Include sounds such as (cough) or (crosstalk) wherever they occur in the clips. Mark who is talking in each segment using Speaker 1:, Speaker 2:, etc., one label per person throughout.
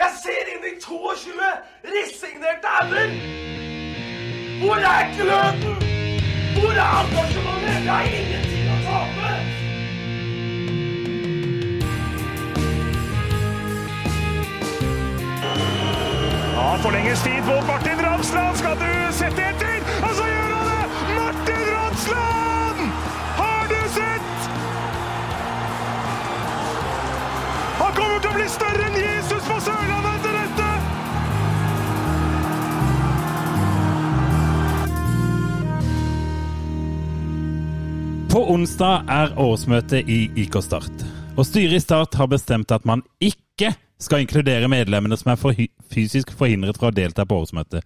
Speaker 1: Jeg ser inn i 22 resignerte ender! Hvor er gløden? Hvor er engasjementet? Jeg har ingenting å tape!
Speaker 2: Ja, forlenges tid på Martin Ramsland. Skal du sette etter? Og så gjør han det! Martin Ramsland! Har du sett? Han kommer til å bli større enn Jesus på Sørlandet etter dette!
Speaker 3: På onsdag er årsmøte i IK Start. Og styret i Start har bestemt at man ikke skal inkludere medlemmene som er forhy- fysisk forhindret fra å delta på årsmøtet.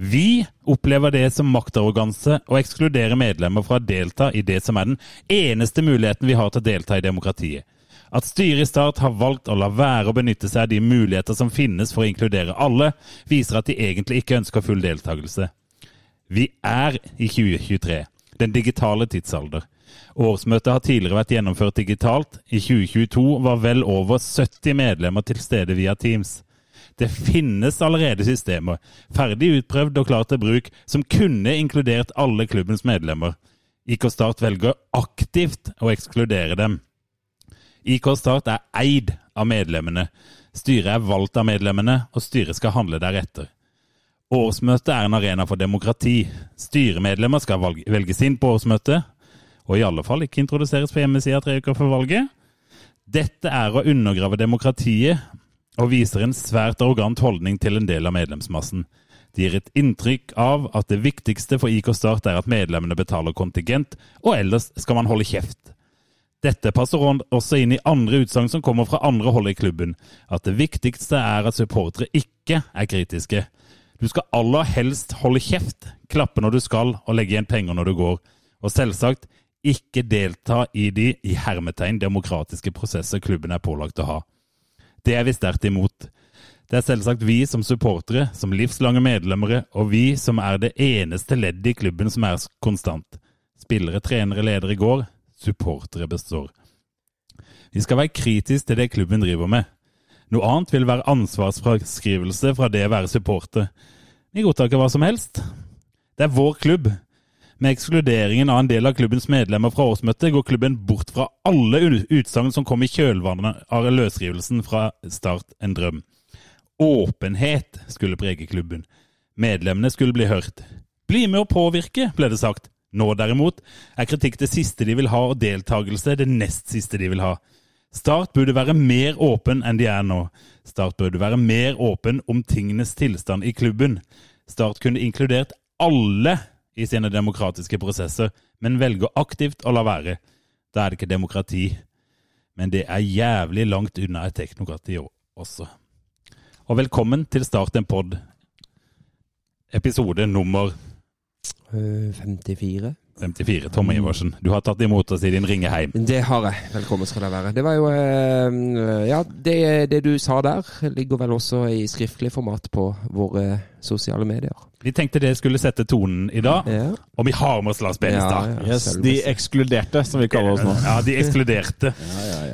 Speaker 3: Vi opplever det som maktarroganse å ekskludere medlemmer fra å delta i det som er den eneste muligheten vi har til å delta i demokratiet. At styret i Start har valgt å la være å benytte seg av de muligheter som finnes for å inkludere alle, viser at de egentlig ikke ønsker full deltakelse. Vi er i 2023, den digitale tidsalder. Årsmøtet har tidligere vært gjennomført digitalt. I 2022 var vel over 70 medlemmer til stede via Teams. Det finnes allerede systemer, ferdig utprøvd og klar til bruk, som kunne inkludert alle klubbens medlemmer. IK Start velger aktivt å ekskludere dem. IK Start er eid av medlemmene. Styret er valgt av medlemmene, og styret skal handle deretter. Årsmøtet er en arena for demokrati. Styremedlemmer skal valg- velges inn på årsmøtet, og i alle fall ikke introduseres på hjemmesida tre uker før valget. Dette er å undergrave demokratiet og viser en svært arrogant holdning til en del av medlemsmassen. Det gir et inntrykk av at det viktigste for IK Start er at medlemmene betaler kontingent, og ellers skal man holde kjeft. Dette passer on- også inn i andre utsagn som kommer fra andre hold i klubben. At det viktigste er at supportere ikke er kritiske. Du skal aller helst holde kjeft, klappe når du skal og legge igjen penger når du går. Og selvsagt ikke delta i de i hermetegn demokratiske prosesser klubben er pålagt å ha. Det er vi sterkt imot. Det er selvsagt vi som supportere, som livslange medlemmere, og vi som er det eneste leddet i klubben som er konstant. Spillere, trenere, ledere går. Supportere består. Vi skal være kritiske til det klubben driver med. Noe annet vil være ansvarsfraskrivelse fra det å være supporter. Vi godtar ikke hva som helst. Det er vår klubb. Med ekskluderingen av en del av klubbens medlemmer fra årsmøtet, går klubben bort fra alle u- utsagn som kom i kjølvannet av løsrivelsen fra Start en drøm. Åpenhet skulle prege klubben. Medlemmene skulle bli hørt. Bli med å påvirke, ble det sagt. Nå derimot er kritikk det siste de vil ha, og deltakelse det nest siste de vil ha. Start burde være mer åpen enn de er nå. Start burde være mer åpen om tingenes tilstand i klubben. Start kunne inkludert alle i sine demokratiske prosesser, men velger aktivt å la være. Da er det ikke demokrati. Men det er jævlig langt unna et teknokrati o- også. Og velkommen til Start en pod, episode nummer
Speaker 4: Eh, 54.
Speaker 3: 54. Tom Iversen, du har tatt imot oss i din ringeheim.
Speaker 4: Det har jeg. Velkommen skal det være. Det var jo eh, Ja, det, det du sa der, ligger vel også i skriftlig format på våre sosiale medier.
Speaker 3: Vi tenkte det skulle sette tonen i dag,
Speaker 4: Ja.
Speaker 3: og vi har med oss Lars Benestad.
Speaker 5: Yes, de ekskluderte, som vi kaller oss nå.
Speaker 3: Ja, de ekskluderte.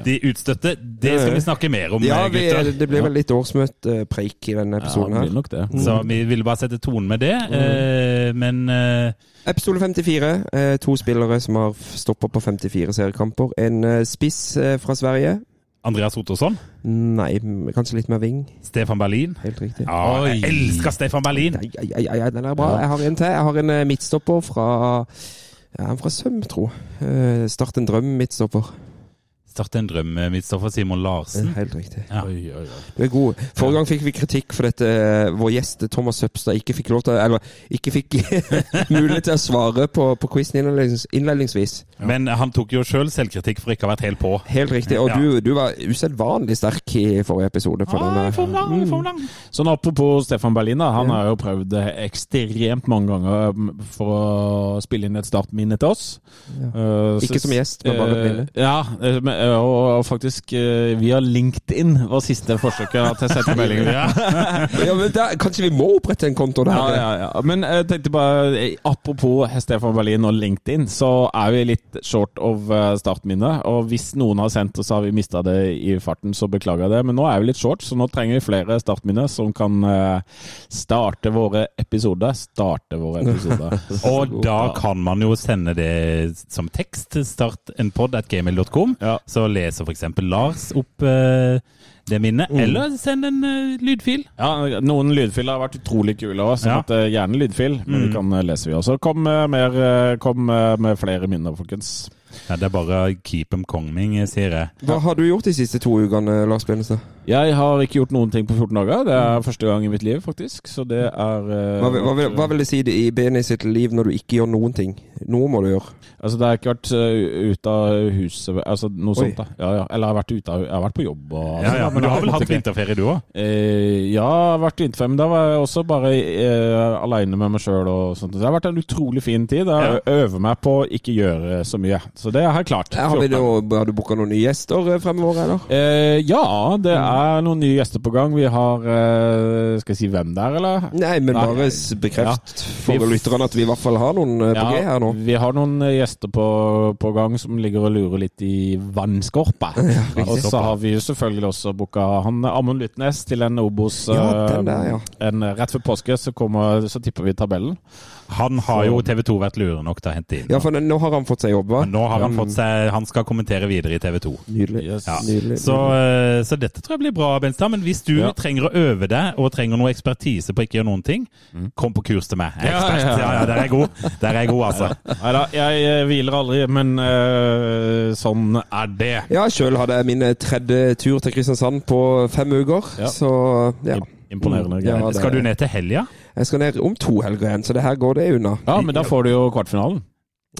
Speaker 3: De utstøtte. Det skal vi snakke mer om, eh,
Speaker 4: ja, vi,
Speaker 3: gutter.
Speaker 4: det blir vel litt årsmøtepreik i denne
Speaker 5: Ja,
Speaker 4: episoden
Speaker 5: det
Speaker 4: her.
Speaker 5: blir nok det.
Speaker 3: Så vi ville bare sette tonen med
Speaker 5: Mm.
Speaker 3: det. eh, Men eh,
Speaker 4: Episode 54. eh, To spillere som har stoppa på 54 seriekamper. En eh, spiss eh, fra Sverige.
Speaker 3: Andreas Ottosson,
Speaker 4: Nei, m- kanskje litt mer ving.
Speaker 3: Stefan Berlin
Speaker 4: Helt riktig.
Speaker 3: Ja, jeg elsker Stefan Berlin!
Speaker 4: Ai, ai, ai, ai, den er bra. Jeg har en til. Jeg har en eh, midtstopper fra ja, han er fra Søm, tro. Eh, Start en drøm, midtstopper.
Speaker 3: Start en drøm, eh, Midtstoffer Simon
Speaker 4: Eh,
Speaker 3: Larsen.
Speaker 4: Helt riktig.
Speaker 3: Ja.
Speaker 5: Oi, oi, oi.
Speaker 4: Du er god. Forrige gang fikk vi kritikk for dette eh, vår gjest Thomas Søpstad ikke fikk lov til å- Eller ikke fikk (laughs) mulighet til å svare på, på quizen innlednings, innledningsvis.
Speaker 3: Men han tok jo sjøl selv selvkritikk for ikke å ha vært helt på.
Speaker 4: Helt riktig. Og
Speaker 3: Ja.
Speaker 4: du, du var usedvanlig sterk i forrige episode. For denne.
Speaker 5: Sånn apropos Stefan Berlin, da. Han har jo prøvd det ekstremt mange ganger mm, for å spille inn et startminne til oss.
Speaker 4: Ja.
Speaker 5: Eh,
Speaker 4: Ikke som gjest, men bare
Speaker 5: eh,
Speaker 4: minne.
Speaker 5: Ja, eh, men, eh, og faktisk eh, via LinkedIn var siste forsøket at jeg
Speaker 4: (laughs)
Speaker 5: sendte meldingen.
Speaker 3: Ja.
Speaker 5: (laughs)
Speaker 4: Ja, men da, kanskje vi må opprette en konto der?
Speaker 5: Ja, ja, ja. Men jeg tenkte bare, eh, apropos Stefan Berlin og LinkedIn, så er vi litt short of eh, startminne. Og hvis noen har sendt, og så har vi mista det i farten, så beklager jeg det. Men nå er vi litt short, så nå trenger vi flere startminner som kan eh, starte våre episoder. Starte våre episoder.
Speaker 3: Og da kan man jo sende det som tekst til startenpod.gmail.com.
Speaker 5: Ja.
Speaker 3: Så leser f.eks. Lars opp eh, det minnet,
Speaker 5: Mm.
Speaker 3: eller send en eh, lydfil.
Speaker 5: Ja, noen lydfiler har vært utrolig kule òg, så
Speaker 3: Ja.
Speaker 5: at, eh, gjerne lydfil. Men vi kan eh, lese, vi også. Kom, eh, mer, eh, kom eh, med flere minner, folkens.
Speaker 3: Ja, det er bare keep them coming, sier jeg.
Speaker 4: Hva har du gjort de siste to ukene, Lars Benestad?
Speaker 5: Jeg har ikke gjort noen ting på 14 dager. Det er første gang i mitt liv, faktisk. Så det er eh,
Speaker 4: Hva, vil- hva, vil- hva vil det si det i Beni sitt liv når du ikke gjør noen ting? Noe må du gjøre.
Speaker 5: Altså, det har ikke vært eh, ut av huset Altså noe
Speaker 4: Oi.
Speaker 5: sånt, da. Ja, ja. Eller jeg har vært ute av Jeg har vært på jobb og
Speaker 3: Ja, ja, Men du har vel hatt vinterferie, du òg?
Speaker 5: Eh, ja, jeg har vært vinterferie, men da var jeg også bare eh, aleine med meg sjøl og sånt. Så det har vært en utrolig fin tid. Jeg øver meg på å ikke gjøre så mye. Så det har jeg klart.
Speaker 4: Har, vi
Speaker 5: 14.
Speaker 4: noe- har du booka noen nye gjester eh, fremover, eller?
Speaker 5: Eh, ja, det er noen nye gjester på gang. Vi har eh, Skal jeg si hvem det er, eller?
Speaker 4: Nei, men
Speaker 5: Nei.
Speaker 4: bare s- bekreft
Speaker 5: Vi-
Speaker 4: for lytterne at vi i hvert fall har noen eh, på G her nå.
Speaker 5: Vi har noen eh, gjester på, på gang som ligger og lurer litt i
Speaker 4: (laughs)
Speaker 5: vannskorpa. og så har vi jo selvfølgelig også booka han eh, Amund Lytnes til en Obos
Speaker 4: Ja, den
Speaker 5: eh,
Speaker 4: der, ja.
Speaker 5: en, eh, Rett før påske så, kommer, så tipper vi tabellen.
Speaker 3: Han har jo TV 2 vært lure nok til å hente inn.
Speaker 4: Ja, for nå har han fått seg jobb, hva?
Speaker 3: Men nå har han fått seg Han skal kommentere videre i TV 2.
Speaker 4: Nydelig.
Speaker 5: Yes.
Speaker 3: Ja.
Speaker 4: Nydelig.
Speaker 3: Så, eh, så dette tror jeg blir bra, Benstad. Men hvis du
Speaker 5: Ja.
Speaker 3: trenger å øve deg, og trenger noe ekspertise på ikke gjøre noen ting,
Speaker 4: Mm.
Speaker 3: kom på kurs til meg. Jeg er
Speaker 5: Ja,
Speaker 3: ekspert.
Speaker 5: ja,
Speaker 3: Ja,
Speaker 5: ja.
Speaker 3: ja, der er jeg god. Der er jeg god, altså.
Speaker 5: Nei da, jeg eh, hviler aldri, men eh, sånn er det.
Speaker 4: Ja, sjøl hadde jeg min eh, tredje tur til Kristiansand på fem uker,
Speaker 5: Ja.
Speaker 4: så ja. Mm.
Speaker 5: Imponerende
Speaker 4: Ja,
Speaker 5: greier.
Speaker 4: det-
Speaker 3: Skal du ned til helga?
Speaker 4: Jeg skal ned om to helger igjen, så det her går det unna.
Speaker 5: Ja, men da får du jo kvartfinalen.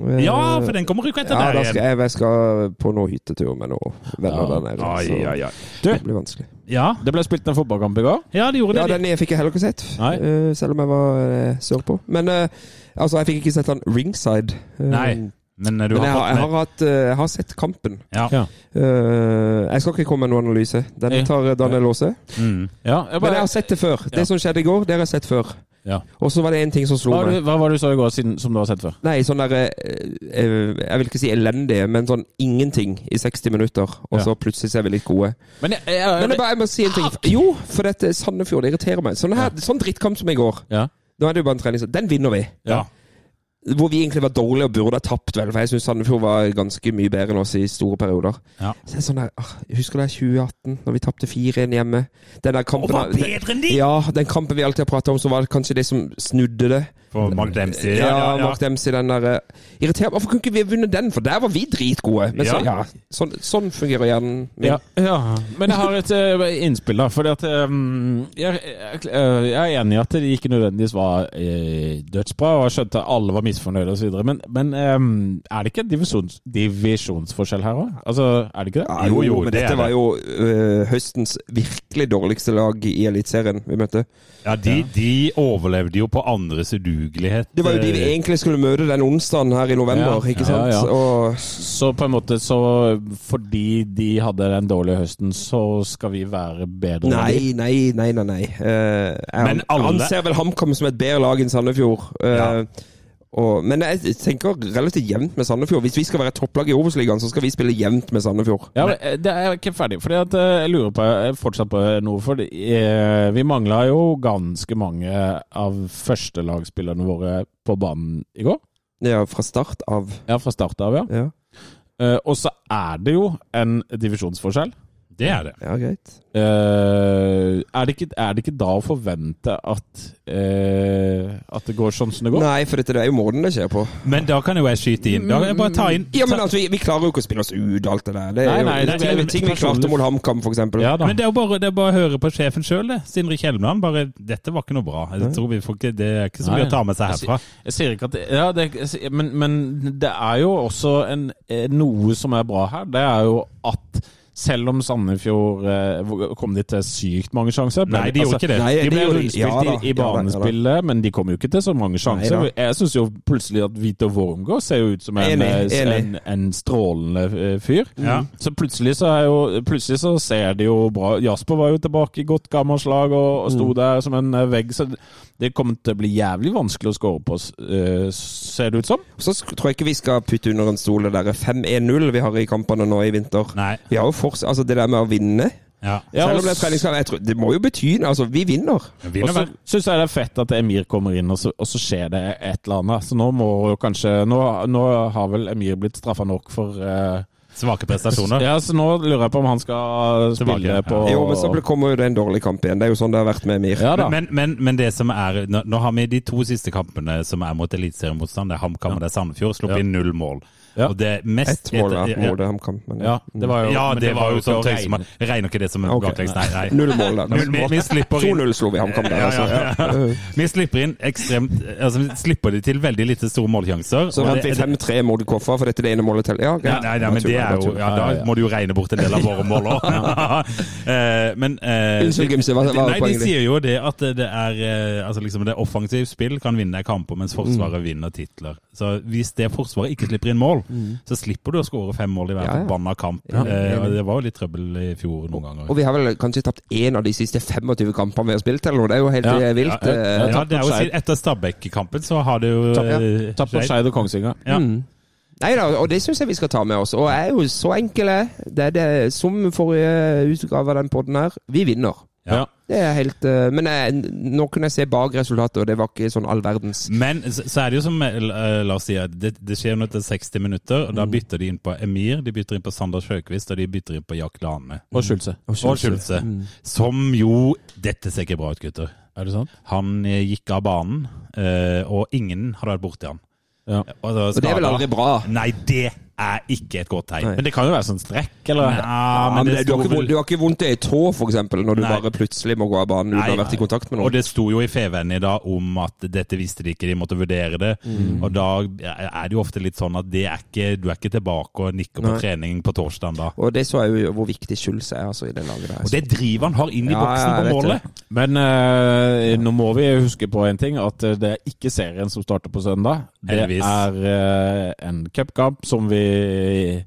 Speaker 4: Eh,
Speaker 3: Ja, for den kommer ikke etter
Speaker 4: ja,
Speaker 3: der
Speaker 4: da skal
Speaker 3: igjen.
Speaker 4: jeg, jeg skal på noe hyttetur med noen venner
Speaker 5: Ja.
Speaker 4: der nede.
Speaker 3: Ai,
Speaker 4: Så
Speaker 3: ai, ai.
Speaker 4: det blir vanskelig.
Speaker 3: Ja,
Speaker 5: Det ble spilt en fotballkamp i går.
Speaker 3: ja, det gjorde
Speaker 4: Ja,
Speaker 3: det.
Speaker 4: den jeg fikk jeg heller ikke sett,
Speaker 5: Nei.
Speaker 4: eh, selv om jeg var eh, sørpå. Men eh, altså, jeg fikk ikke sett han ringside. Eh,
Speaker 3: Nei, men eh, du
Speaker 4: Men jeg
Speaker 3: har
Speaker 4: har, jeg,
Speaker 3: fått med
Speaker 4: har hatt, eh, jeg har sett kampen.
Speaker 3: Ja.
Speaker 4: Eh, jeg skal ikke komme med noen analyse. Den
Speaker 5: Ja.
Speaker 4: tar eh, Daniel Aase.
Speaker 3: Mm.
Speaker 5: Ja,
Speaker 4: Men
Speaker 5: jeg
Speaker 4: jeg
Speaker 5: bare,
Speaker 4: har sett det før.
Speaker 5: Ja.
Speaker 4: Det som skjedde i går, det har jeg sett før.
Speaker 5: Ja.
Speaker 4: Og så var det én ting som slo
Speaker 5: hva, var
Speaker 4: meg.
Speaker 5: det- hva var det du så i går siden, som du har sett før?
Speaker 4: Nei, sånn derre Jeg vil ikke si elendige, men sånn ingenting i 60 minutter, og
Speaker 5: Ja.
Speaker 4: så plutselig ser vi litt gode.
Speaker 5: Men jeg, jeg, jeg,
Speaker 4: Men jeg, bare, jeg må si en ting. Jo, for dette Sandefjord det irriterer meg. Sånn, her, sånn drittkamp som i går.
Speaker 5: Ja.
Speaker 4: Nå er det jo bare en trening, så den vinner vi.
Speaker 3: Ja.
Speaker 4: Hvor vi egentlig var dårlige og burde ha tapt, vel. For jeg syns Sandefjord var ganske mye bedre enn oss i store perioder.
Speaker 3: Ja.
Speaker 4: Så det er sånn der, ah, Husker du det er 2018, når vi tapte 4-1 hjemme? Den der kampen
Speaker 3: Og var bedre enn de!
Speaker 4: Ja, den kampen vi alltid har prata om, som var det kanskje det som snudde det.
Speaker 3: For Mark Dempsey. Ja,
Speaker 4: Ja,
Speaker 3: ja, ja.
Speaker 4: Mark Dempsey, den derre Irriterer Hvorfor kunne ikke vi ha vunnet den, for der var vi dritgode? Men så,
Speaker 3: Ja.
Speaker 4: ja, sånn, sånn fungerer hjernen min.
Speaker 5: Ja, ja. Men jeg har et eh, innspill, da. Fordi at eh, jeg, jeg, eh, jeg er enig i at det ikke nødvendigvis var eh, dødsbra, og jeg skjønte at alle var misfornøyde osv. Men, men eh, er det ikke en divisjons, divisjonsforskjell her òg? Altså, er det ikke det?
Speaker 4: Ja,
Speaker 3: Ah, Jo, jo,
Speaker 4: men
Speaker 3: det
Speaker 4: dette
Speaker 3: er
Speaker 4: var
Speaker 3: det.
Speaker 4: jo ø, høstens virkelig dårligste lag i Eliteserien vi møtte.
Speaker 3: ja de, de overlevde jo på andres udugelighet. eh,
Speaker 4: Det var jo de vi egentlig skulle møte den onsdagen her i november,
Speaker 5: Ja,
Speaker 4: ikke sant?
Speaker 5: ja, ja.
Speaker 4: Og,
Speaker 3: Sånn
Speaker 5: Så på en måte så Fordi de hadde den dårlige høsten, så skal vi være bedre? enn
Speaker 4: nei,
Speaker 5: de?
Speaker 4: nei, nei, nei. nei. Eh,
Speaker 3: Men
Speaker 4: jeg
Speaker 3: alle-
Speaker 4: anser vel HamKam som et bedre lag enn Sandefjord. Eh,
Speaker 3: Ja.
Speaker 4: og, men jeg tenker relativt jevnt med Sandefjord. Hvis vi skal være et topplag i Obos-ligaen, så skal vi spille jevnt med Sandefjord.
Speaker 5: Ja, men eh, det er jeg ikke ferdig. Fordi at eh, jeg lurer på jeg fortsatt på eh, noe. For vi mangla jo ganske mange av førstelagsspillerne våre på banen i går.
Speaker 4: Ja, fra start av.
Speaker 5: Ja, fra start av, ja.
Speaker 4: Ja,
Speaker 5: Eh, Og så er det jo en divisjonsforskjell.
Speaker 3: Det er det.
Speaker 4: ja greit.
Speaker 5: Eh, er, det ikke, er det ikke da å forvente at, eh, at det går sånn som det går?
Speaker 4: Nei, for dette det er jo måten det skjer på.
Speaker 3: Men da kan jo jeg skyte inn. Da kan jeg bare ta inn
Speaker 4: Ja, men altså, vi, vi klarer jo ikke å spille oss ut alt det der. Det
Speaker 5: Nei,
Speaker 4: er jo
Speaker 5: nei,
Speaker 3: det er-
Speaker 4: ting, ting vi klarte mot HamKam, for eksempel.
Speaker 5: Ja da.
Speaker 3: Men det er jo bare, det er bare å høre på sjefen sjøl, det. Sindre Kjelmeland. Bare 'Dette var ikke noe bra'. Jeg tror vi får ikke, det er ikke så mye
Speaker 5: Nei.
Speaker 3: å ta med seg
Speaker 5: Jeg
Speaker 3: herfra.
Speaker 5: sier- Jeg sier ikke at det, ja, det, jeg sier- men, men det er jo også en, eh, noe som er bra her. Det er jo at Selv om Sandefjord eh, kom de til sykt mange sjanser. altså,
Speaker 3: Nei, de gjorde ikke det.
Speaker 4: Nei,
Speaker 5: De
Speaker 4: det
Speaker 5: ble
Speaker 4: gjorde de.
Speaker 5: rundspilt
Speaker 4: Ja da,
Speaker 5: i, i
Speaker 4: ja da, ja da.
Speaker 5: banespillet, men de kom jo ikke til så mange sjanser.
Speaker 4: Nei
Speaker 5: jeg syns jo plutselig at Vito Wormgård ser jo ut som en,
Speaker 4: Enig,
Speaker 5: eh,
Speaker 4: enig.
Speaker 5: en, en strålende eh, fyr.
Speaker 3: Ja.
Speaker 5: Så plutselig så, er jo, plutselig så ser det jo bra Jasper var jo tilbake i godt gammelt slag og, og
Speaker 4: Mm.
Speaker 5: sto der som en eh, vegg, så det kommer til å bli jævlig vanskelig å score på, s- eh, ser det ut som.
Speaker 4: Så sk- tror jeg ikke vi skal putte under en stol det derre 5-1-0 vi har i kampene nå i vinter.
Speaker 3: Nei.
Speaker 4: Vi har jo fortsatt Altså, det der med å vinne
Speaker 3: Ja.
Speaker 5: Ja,
Speaker 4: Selv
Speaker 5: og
Speaker 4: om det er
Speaker 5: s-
Speaker 4: treningskamp, jeg tror, det må jo bety Altså, vi vinner.
Speaker 3: Vinner
Speaker 5: Og så
Speaker 3: hver.
Speaker 5: syns jeg det er fett at Emir kommer inn, og så, og så skjer det et eller annet. Så nå må jo kanskje Nå, nå har vel Emir blitt straffa nok for eh,
Speaker 3: Svake prestasjoner.
Speaker 5: Ja, så nå lurer jeg på om han skal
Speaker 3: Tilbake, ja.
Speaker 5: spille på
Speaker 4: Jo, men så ble- kommer jo det en dårlig kamp igjen. Det er jo sånn det har vært med Emir.
Speaker 5: Ja da.
Speaker 3: Men, men, men det som er nå, nå har vi de to siste kampene som er mot eliteseriemotstand. Det er HamKam og det er Sandefjord. Sluppet
Speaker 5: Ja.
Speaker 3: inn null mål.
Speaker 5: Ja.
Speaker 3: Og det er mest
Speaker 4: Ett mål da,
Speaker 3: ja,
Speaker 4: mot HamKam. men-
Speaker 5: ja, det var jo
Speaker 3: ja,
Speaker 5: men
Speaker 3: det var jo
Speaker 5: ikke
Speaker 3: sånn
Speaker 5: å
Speaker 3: tøys. Man
Speaker 5: regne.
Speaker 3: regner ikke det som en
Speaker 4: Ok.
Speaker 3: baklengs, nei. nei.
Speaker 4: Null mål der.
Speaker 3: Men vi, vi slipper inn
Speaker 4: 2-0 slo vi HamKam der,
Speaker 3: Ja,
Speaker 4: altså.
Speaker 3: ja, ja. Vi slipper inn ekstremt Altså, vi slipper de til veldig lite store målsjanser.
Speaker 4: Så
Speaker 3: og
Speaker 4: vant vi
Speaker 3: det-
Speaker 4: 5-3 mot Koffa, for dette er det ene målet til.
Speaker 3: Ja,
Speaker 4: Ja, greit.
Speaker 3: nei, nei, men det er jo ja, Da må du jo regne bort en del av
Speaker 4: (laughs)
Speaker 3: våre mål òg. Men (laughs) eh,
Speaker 4: Unnskyld, Gimse, hva- hva var
Speaker 3: Nei, de
Speaker 4: poenget ditt?
Speaker 3: sier jo det at det er eh, Altså liksom det er offensivt spill kan vinne kamper,
Speaker 4: Mm.
Speaker 3: mens Forsvaret vinner titler. Så hvis det Forsvaret ikke slipper inn mål, så slipper du å skåre fem mål i hver
Speaker 4: Mm. Ja, ja.
Speaker 3: forbanna kamp. Eh, og Det var jo litt trøbbel i fjor noen ganger.
Speaker 4: Og vi har vel kanskje tapt én av de siste 25 kampene vi har spilt, eller noe. Det er jo helt
Speaker 5: Ja,
Speaker 4: eh, vilt.
Speaker 3: Ja,
Speaker 4: eh.
Speaker 3: ja,
Speaker 5: tapt
Speaker 3: det er
Speaker 5: mot
Speaker 3: jo
Speaker 5: Skeid.
Speaker 3: si- Etter Stabæk-kampen så har det jo
Speaker 5: Tapt-
Speaker 3: eh,
Speaker 5: Tapt mot Skeid og Kongsvinger.
Speaker 3: Ja.
Speaker 4: Mm. Nei da, og det syns jeg vi skal ta med oss. Og jeg er jo så enkel, jeg. Det er det som forrige utgave av den podden her. Vi vinner.
Speaker 3: Ja.
Speaker 4: Det er helt eh, Men jeg, nå kunne jeg se bak resultatet, og det var ikke sånn all verdens.
Speaker 3: Men så så er det jo som eh, La oss si at det, det skjer noe etter 60 minutter, og da
Speaker 4: Mm.
Speaker 3: bytter de inn på Emir, de bytter inn på Sander Sjøkvist, og de bytter inn på Jack Lane.
Speaker 5: Og Schulze.
Speaker 3: Og Schulze.
Speaker 4: Mm.
Speaker 3: Som jo Dette ser ikke bra ut, gutter.
Speaker 5: Er det sant?
Speaker 3: Han eh, gikk av banen, eh, og ingen hadde vært borti han.
Speaker 5: Ja.
Speaker 3: Og, da
Speaker 4: Og det er vel
Speaker 3: skadet-
Speaker 4: aldri bra.
Speaker 3: Nei, det er ikke et godt tegn.
Speaker 4: Nei.
Speaker 3: Men det
Speaker 5: Det kan jo være sånn strekk, eller?
Speaker 3: Ja,
Speaker 4: Ja,
Speaker 3: men
Speaker 4: men
Speaker 3: det
Speaker 4: det, du,
Speaker 3: sto
Speaker 4: har ikke, vondt-
Speaker 3: vel-
Speaker 4: du har ikke vondt i ei tå, for eksempel, når du
Speaker 3: Nei.
Speaker 4: bare plutselig må gå av banen uten å
Speaker 3: Nei,
Speaker 4: ha vært i kontakt med
Speaker 3: Og
Speaker 4: noen.
Speaker 3: det sto jo i Feven i dag om at dette visste de ikke, de måtte vurdere det.
Speaker 4: Mm.
Speaker 3: Og da er det jo ofte litt sånn at det er ikke, du er ikke tilbake og nikker på
Speaker 4: Nei.
Speaker 3: trening på torsdagen da.
Speaker 4: Og det så jeg jo hvor viktig Schulz er altså, i det laget der.
Speaker 3: Og det driver han har inn i
Speaker 4: Ja,
Speaker 3: boksen
Speaker 4: ja, jeg
Speaker 3: på målet.
Speaker 4: vet
Speaker 5: Men eh, nå må vi huske på en ting, at eh, det er ikke serien som starter på søndag. Det
Speaker 3: Heldigvis.
Speaker 5: er eh, en cupkamp som vi Vi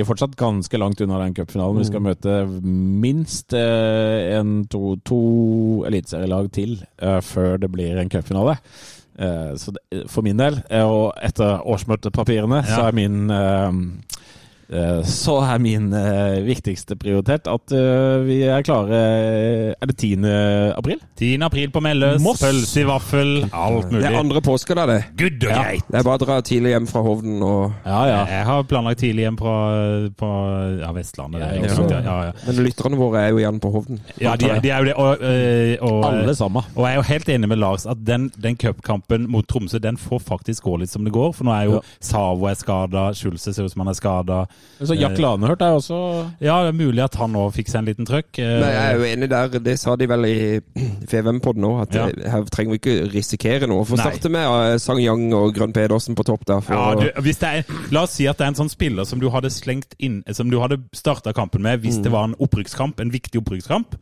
Speaker 5: er fortsatt ganske langt unna den cupfinalen.
Speaker 3: Mm.
Speaker 5: Vi skal møte minst eh, en, to, to eliteserielag til eh, før det blir en cupfinale. Eh, så det, for min del, eh, og etter årsmøtepapirene, så
Speaker 3: Ja.
Speaker 5: er min eh, eh, så er min eh, viktigste prioritet at eh, vi er klare eh, Er det 10. april?
Speaker 3: 10. april på Melløs,
Speaker 5: Moss.
Speaker 3: pølse i vaffel, alt
Speaker 4: Det
Speaker 3: mulig.
Speaker 4: er andre påske, da, det.
Speaker 3: Good og greit.
Speaker 4: Det er bare å dra tidlig hjem fra Hovden og
Speaker 5: Ja, ja.
Speaker 3: Jeg har planlagt tidlig hjem fra på, ja, Vestlandet. det er
Speaker 5: Jeg
Speaker 3: ikke
Speaker 4: også.
Speaker 3: sant, ja, ja, ja.
Speaker 4: Men lytterne våre er jo gjerne på Hovden.
Speaker 3: ja de, de er jo det. Og, øh, og,
Speaker 5: Alle sammen.
Speaker 3: Og jeg er jo helt enig med Lars at den, den cupkampen mot Tromsø den får faktisk gå litt som det går. For nå er jo
Speaker 5: Ja.
Speaker 3: Savo er skada, Schulze ser ut som han er skada.
Speaker 5: Så Jack Lanehørt er også
Speaker 3: Ja, det er mulig at han òg fikk seg en liten trøkk. eh,
Speaker 4: Men jeg er jo enig der, det sa de vel i (clears throat) FVM-podden òg, at
Speaker 3: Ja.
Speaker 4: eh, her trenger vi ikke risikere noe. For å
Speaker 3: Nei.
Speaker 4: starte med eh, Sang Yang og Grønn Pedersen på topp der. For,
Speaker 3: ja,
Speaker 4: å-
Speaker 3: du, hvis det er, la oss si at det er en sånn spiller som du hadde slengt inn Som du hadde starta kampen med hvis
Speaker 4: Mm.
Speaker 3: det var en opprykkskamp, en viktig opprykkskamp.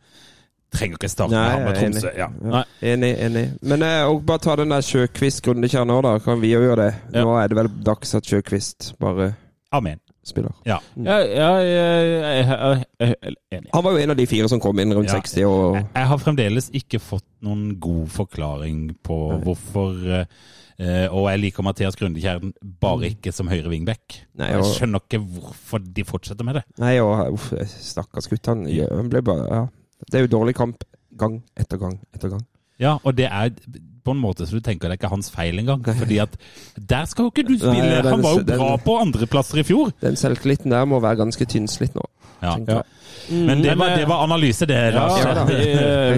Speaker 3: Trenger ikke starte med
Speaker 4: Nei,
Speaker 3: han med
Speaker 4: jeg er
Speaker 3: Tromsø. Ja.
Speaker 5: Nei.
Speaker 4: Enig, enig. Men eh, og bare ta den der Sjøkvist Grundekjerne òg, da. Kan vi jo gjøre det?
Speaker 5: Ja.
Speaker 4: Nå er det vel dags at Sjøkvist bare
Speaker 3: Amen.
Speaker 4: spiller.
Speaker 3: Ja.
Speaker 5: Ja, ja, jeg jeg- jeg- jeg er enig.
Speaker 4: Han var jo en av de fire som kom inn rundt
Speaker 3: Ja.
Speaker 4: 60 og
Speaker 3: Jeg, jeg har fremdeles ikke fått noen god forklaring på hvorfor eh, Og jeg liker Mathias Grundekjern bare ikke som høyre vingbekk.
Speaker 4: Mm. Nei,
Speaker 3: Jeg
Speaker 4: og-
Speaker 3: skjønner ikke hvorfor de fortsetter med det.
Speaker 4: Nei, og eh, uff, stakkars gutt. Han, gjør- han ble bare ja. Det er jo dårlig kamp gang etter gang etter gang.
Speaker 3: Ja, Og det er på en måte så du tenker det er ikke hans feil engang. Fordi at der skal jo ikke du spille!
Speaker 4: Nei, den-
Speaker 3: Han var jo
Speaker 4: den-
Speaker 3: bra på andreplasser i fjor!
Speaker 4: Den selvtilliten der må være ganske tynnslitt nå.
Speaker 3: Ja.
Speaker 4: tenker jeg.
Speaker 3: Men det var, det var analyse, det. Lars.
Speaker 5: Ja,
Speaker 4: da.
Speaker 5: vi, eh,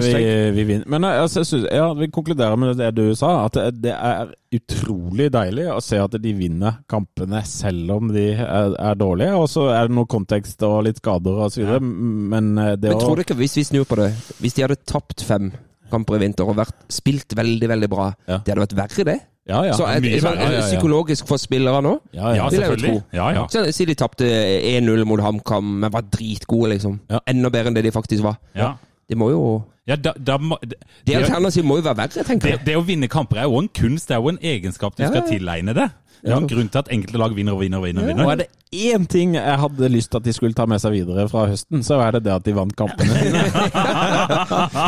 Speaker 4: (laughs)
Speaker 5: vi, vi vinner. Men eh, altså, jeg synes, ja, vi konkluderer med det du sa, at det- det er utrolig deilig å se at de vinner kampene selv om de er, er dårlige. Og så er det noe kontekst og litt skader og så videre, men eh, det
Speaker 4: Men
Speaker 5: å
Speaker 4: tror du ikke, hvis vi snur på det Hvis de hadde tapt fem kamper i vinter og vært, spilt veldig, veldig bra,
Speaker 5: Ja.
Speaker 4: det hadde vært verre, det?
Speaker 5: Ja, ja.
Speaker 4: Så et,
Speaker 3: mye
Speaker 4: sånn,
Speaker 3: verre, ja, ja, ja.
Speaker 4: psykologisk for spillere nå?
Speaker 5: Ja, ja.
Speaker 3: Ja,
Speaker 4: vil jeg jo
Speaker 3: selvfølgelig.
Speaker 4: tro.
Speaker 3: Ja, ja.
Speaker 4: Så Si de tapte 1-0 mot HamKam, men var dritgode, liksom.
Speaker 5: Ja.
Speaker 4: Enda bedre enn det de faktisk var.
Speaker 3: Ja.
Speaker 4: Det må jo
Speaker 3: Ja, da, da må, det,
Speaker 4: De
Speaker 3: det,
Speaker 4: alternativene må jo være verre, tenker
Speaker 3: det,
Speaker 4: jeg.
Speaker 3: det å vinne kamper er jo en kunst, det er jo en egenskap du
Speaker 4: Ja,
Speaker 3: skal
Speaker 4: ja.
Speaker 3: tilegne deg. Det er jo en grunn til at enkelte lag vinner og vinner og vinner. og
Speaker 5: Nå er
Speaker 3: vinner.
Speaker 5: det én ting jeg hadde lyst til at de skulle ta med seg videre fra høsten, så er det det at de vant
Speaker 4: (laughs)
Speaker 5: kampene (laughs) sine.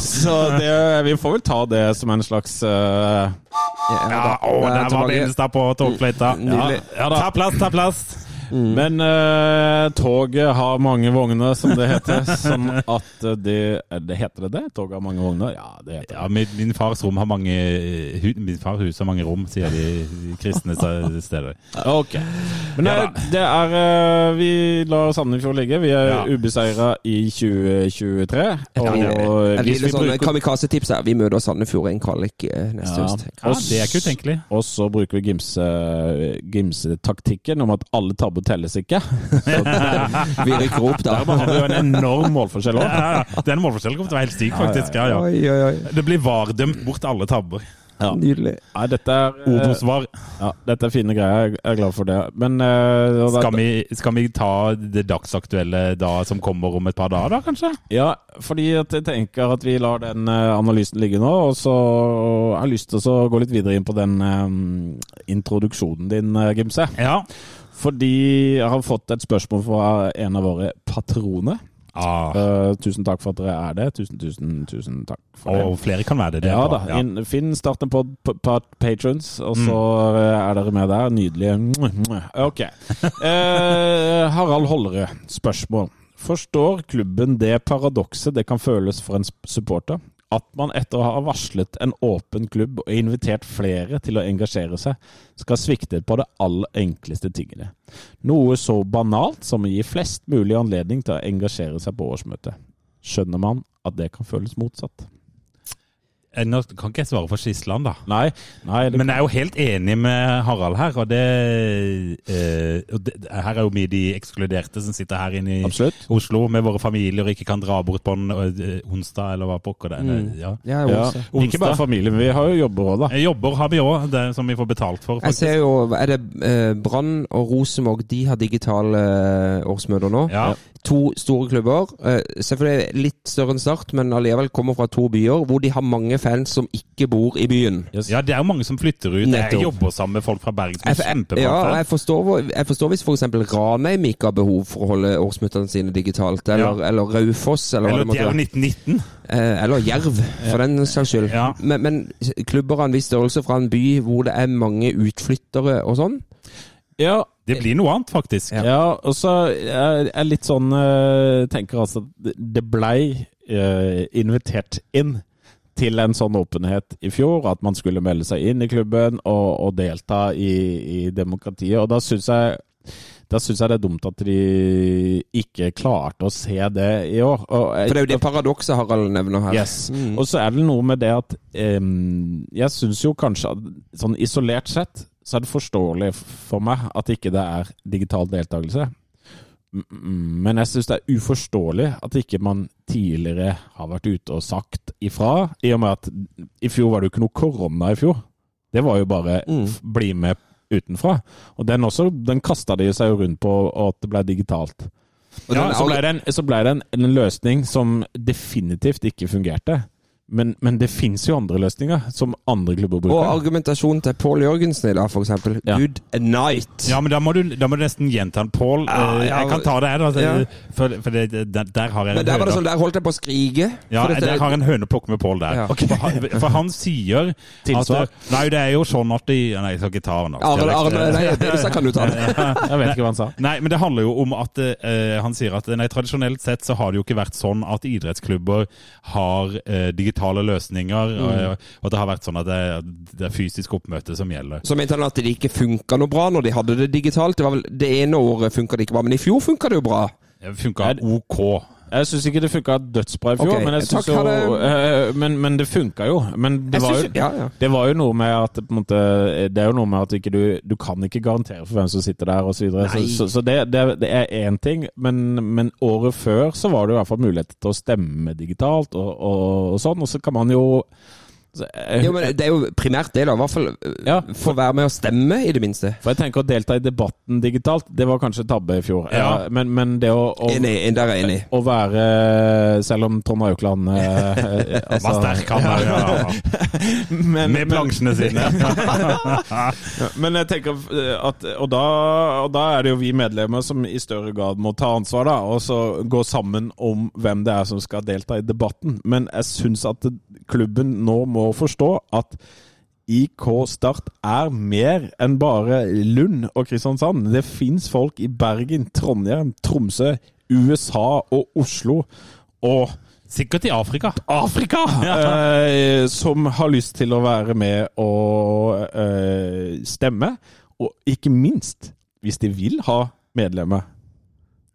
Speaker 5: så det, vi får vel ta det som en slags eh,
Speaker 3: Ja, å,
Speaker 4: Ja,
Speaker 3: der var
Speaker 4: tilbake.
Speaker 3: Benstad på togfløyta. Ja,
Speaker 4: Nydelig.
Speaker 3: ja da. Ta plass, ta plass!
Speaker 5: Men eh, toget har mange vogner, som det
Speaker 3: (laughs)
Speaker 5: heter. sånn at det, eh, det Heter det det? Toget har mange vogner? Ja, det heter det.
Speaker 3: Ja, min, min fars rom har mange hu- Min fars hus har mange rom, sier de kristne sa- steder.
Speaker 5: Ok. Men det, det er eh, Vi lar Sandefjord ligge. Vi er
Speaker 3: Ja.
Speaker 5: ubeseira i 2023. Og
Speaker 4: det Et
Speaker 5: hvis
Speaker 4: lite
Speaker 5: vi
Speaker 4: sånn
Speaker 5: bruker
Speaker 4: kamikaze-tips her. Vi møter Sandefjord i en kvalik eh, neste
Speaker 5: Ja.
Speaker 4: høst.
Speaker 3: Ja, det
Speaker 4: (laughs)
Speaker 3: er ikke utenkelig.
Speaker 5: Og så bruker vi gimse- eh, gimsetaktikken om at alle tabber telles ikke.
Speaker 3: (laughs)
Speaker 4: Vi rykker opp da.
Speaker 5: Der hadde jo en enorm målforskjell òg.
Speaker 3: Ja, ja. Den målforskjellen kommer til å være helt syk, faktisk. Ja, ja.
Speaker 4: Oi, oi, oi.
Speaker 3: Det blir VAR-dømt bort alle tabber.
Speaker 4: Nydelig.
Speaker 5: Nei, dette er, eh,
Speaker 3: Obos-VAR.
Speaker 5: ja, dette er fine greier. Jeg er glad for det. Men eh, og da-
Speaker 3: Skal, vi- skal vi ta det dagsaktuelle da som kommer om et par dager, da, kanskje?
Speaker 5: Ja, fordi at jeg tenker at vi lar den eh, analysen ligge nå, og så har jeg lyst til å gå litt videre inn på den eh, introduksjonen din, eh, Gimse.
Speaker 3: Ja.
Speaker 5: Fordi jeg har fått et spørsmål fra en av våre patroner.
Speaker 3: Ah.
Speaker 5: Eh, tusen takk for at dere er det. Tusen, tusen, tusen takk for det.
Speaker 3: Og flere kan være det. det er
Speaker 5: Eh, Ja
Speaker 3: bra.
Speaker 5: da. Inn, finn starten på, på, på patrons, og så
Speaker 3: Mm.
Speaker 5: eh, er dere med der. Nydelig.
Speaker 3: (laughs)
Speaker 5: Ok. Eh, Harald Hollerød, spørsmål. Forstår klubben det paradokset det kan føles for en sp- supporter? At man etter å ha varslet en åpen klubb og invitert flere til å engasjere seg, skal svikte på det aller enkleste tingene. Noe så banalt som å gi flest mulig anledning til å engasjere seg på årsmøtet. Skjønner man at det kan føles motsatt?
Speaker 3: Eh, Nå kan ikke jeg svare for Skisland, da.
Speaker 5: Nei, nei det
Speaker 3: Men jeg er jo helt enig med Harald her, og det, eh, og det Her er jo vi de ekskluderte som sitter her inne i
Speaker 5: Absolutt.
Speaker 3: Oslo med våre familier og ikke kan dra bort på en eh, onsdag eller hva pokker det er. Ja.
Speaker 4: Mm. Ja,
Speaker 5: Ja.
Speaker 4: Ose.
Speaker 5: Ikke bare familie, men vi har jo jobber òg, da.
Speaker 3: Eh, Jobber har vi òg, som vi får betalt for.
Speaker 4: Jeg
Speaker 3: faktisk.
Speaker 4: ser jo Er det eh, Brann og Rosenborg de har digitale eh, årsmøter nå?
Speaker 3: Ja.
Speaker 4: To store klubber. eh, Selvfølgelig litt større enn Start, men allikevel kommer fra to byer hvor de har mange fans som ikke bor i byen.
Speaker 3: ja, det er jo mange som flytter ut. Jeg
Speaker 4: Nettopp.
Speaker 3: jobber sammen med folk fra Bergen som
Speaker 4: Jeg,
Speaker 3: er
Speaker 4: jeg, ja, og
Speaker 3: kjempebra.
Speaker 4: jeg, forstår, hvor- jeg forstår hvis f.eks. Ranheim ikke har behov for å holde årsmøtene sine digitalt, eller, eller Raufoss, eller,
Speaker 3: Eller
Speaker 4: hva det
Speaker 3: de er jo
Speaker 4: måtte være.
Speaker 3: 1919.
Speaker 4: Eh, Eller Jerv, for den saks skyld.
Speaker 3: Ja.
Speaker 4: Men, men klubber av en viss størrelse fra en by hvor det er mange utflyttere og sånn,
Speaker 5: Ja,
Speaker 3: Det blir noe annet, faktisk.
Speaker 5: ja. og så er jeg litt sånn eh, Tenker altså at det- det blei eh, invitert inn til en sånn åpenhet i fjor. At man skulle melde seg inn i klubben og, og delta i, i demokratiet. Og da syns jeg da synes jeg det er dumt at de ikke klarte å se det i år. Og jeg-
Speaker 4: For det er jo det paradokset Harald nevner her.
Speaker 5: Yes. Og så er det noe med det at em, Jeg syns jo kanskje at sånn isolert sett så er det forståelig f- for meg at ikke det er digital deltakelse. Mm, mm, Men jeg syns det er uforståelig at ikke man tidligere har vært ute og sagt ifra. I og med at i fjor var det jo ikke noe korona i fjor. Det var jo bare f- bli med utenfra. Og den også, den kasta de seg jo rundt på, og at det ble digitalt.
Speaker 4: Og
Speaker 5: Ja,
Speaker 4: den er
Speaker 5: så
Speaker 4: all-
Speaker 5: ble det, en, så ble det en, en løsning som definitivt ikke fungerte. Men, men det fins jo andre løsninger, som andre klubber
Speaker 4: Og
Speaker 5: bruker.
Speaker 4: argumentasjonen til Pål Jørgensen i dag, for eksempel.
Speaker 5: Ja.
Speaker 4: Good night!
Speaker 3: Ja, men da må du, da må du nesten gjenta den, Pål.
Speaker 4: Ja,
Speaker 3: Eh,
Speaker 4: ja,
Speaker 3: jeg kan ta det, jeg, da.
Speaker 4: ja.
Speaker 3: For, for det, der, der har jeg
Speaker 4: Men
Speaker 3: en
Speaker 4: der var
Speaker 3: høne.
Speaker 4: det sånn, der holdt jeg på å skrike.
Speaker 3: Ja,
Speaker 4: for dette-
Speaker 3: jeg har en høneplukk med Pål der.
Speaker 4: Ja.
Speaker 3: For, han, for han sier
Speaker 5: Tilsvar.
Speaker 3: at eh, Nei, det er jo sånn at de Nei, jeg skal ikke ta den. altså.
Speaker 4: Arne, Arne, nei, det så kan du ta det.
Speaker 5: Jeg vet ikke hva han sa.
Speaker 3: Nei, men det handler jo om at eh, han sier at nei, tradisjonelt sett så har det jo ikke vært sånn at idrettsklubber har eh, digitale løsninger, og, og det har vært sånn at det, det er fysisk oppmøte som gjelder.
Speaker 4: Så mente han at det ikke funka noe bra når de hadde det digitalt. Det var vel det ene året funka det ikke bra, men i fjor funka det jo bra.
Speaker 3: Det funka OK.
Speaker 5: Jeg syns ikke det funka dødsbra i fjor,
Speaker 4: Ok,
Speaker 5: men, jeg synes
Speaker 4: takk, ha
Speaker 5: jo,
Speaker 4: det.
Speaker 5: eh, men, men det funka jo. Men det
Speaker 4: Jeg
Speaker 5: var jo,
Speaker 4: synes- ja, ja.
Speaker 5: det var jo noe med at det på en måte, Det er jo noe med at ikke du, du kan ikke garantere for hvem som sitter der, osv. Så, videre. så,
Speaker 4: Nei.
Speaker 5: så, så det, det, det er én ting, men, men året før så var det jo i hvert fall mulighet til å stemme digitalt og, og, og sånn. Og så kan man jo Så, eh,
Speaker 4: Jo, men Det er jo primært det, da. I hvert fall eh,
Speaker 5: Ja.
Speaker 4: få være med og stemme, i det minste.
Speaker 5: For jeg tenker å delta i debatten digitalt, det var kanskje tabbe i fjor.
Speaker 3: Ja.
Speaker 5: Eh, Men, men det å, å,
Speaker 4: Enig, der er jeg enig.
Speaker 5: å være eh, Selv om Trond Aukland
Speaker 3: (laughs)
Speaker 5: eh,
Speaker 3: Var sterk han der, ja.
Speaker 5: men,
Speaker 3: Med plansjene sine.
Speaker 5: Men jeg tenker eh, at og da, og da er det jo vi medlemmer som i større grad må ta ansvar, da. Og så gå sammen om hvem det er som skal delta i debatten. Men jeg syns at klubben nå må forstå at IK Start er mer enn bare Lund og Kristiansand. Det fins folk i Bergen, Trondheim, Tromsø, USA og Oslo. Og
Speaker 3: Sikkert i Afrika.
Speaker 5: Afrika! Eh, som har lyst til å være med og eh, stemme. Og ikke minst, hvis de vil ha medlemmer.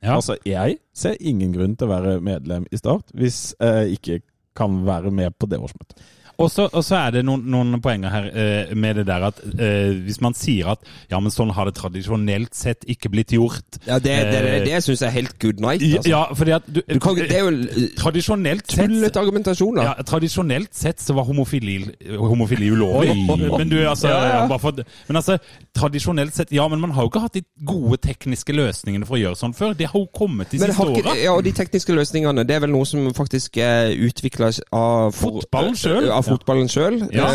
Speaker 3: Ja.
Speaker 5: Altså, jeg ser ingen grunn til å være medlem i Start hvis jeg ikke kan være med på det årsmøtet.
Speaker 3: Og så og så er det noen, noen poenger her eh, med det der at eh, hvis man sier at ja, men sånn har det tradisjonelt sett ikke blitt gjort.
Speaker 4: Ja, Det, det, det, det syns jeg er helt good night. Altså.
Speaker 3: Ja, fordi at du,
Speaker 4: Du kan, det er jo eh,
Speaker 3: Tradisjonelt sett
Speaker 4: tullet argumentasjon, da.
Speaker 3: Ja, tradisjonelt sett så var homofili, homofili ulovlig.
Speaker 4: (laughs)
Speaker 3: Men du, altså, bare for- men altså, tradisjonelt sett Ja, men man har jo ikke hatt de gode tekniske løsningene for å gjøre sånn før. Det har jo kommet de
Speaker 4: Men
Speaker 3: siste
Speaker 4: har ikke,
Speaker 3: åra.
Speaker 4: ja, og de tekniske løsningene, det er vel noe som faktisk er utvikla av for-
Speaker 3: Fotballen selv.
Speaker 4: Av fotballen sjøl.
Speaker 3: Ja.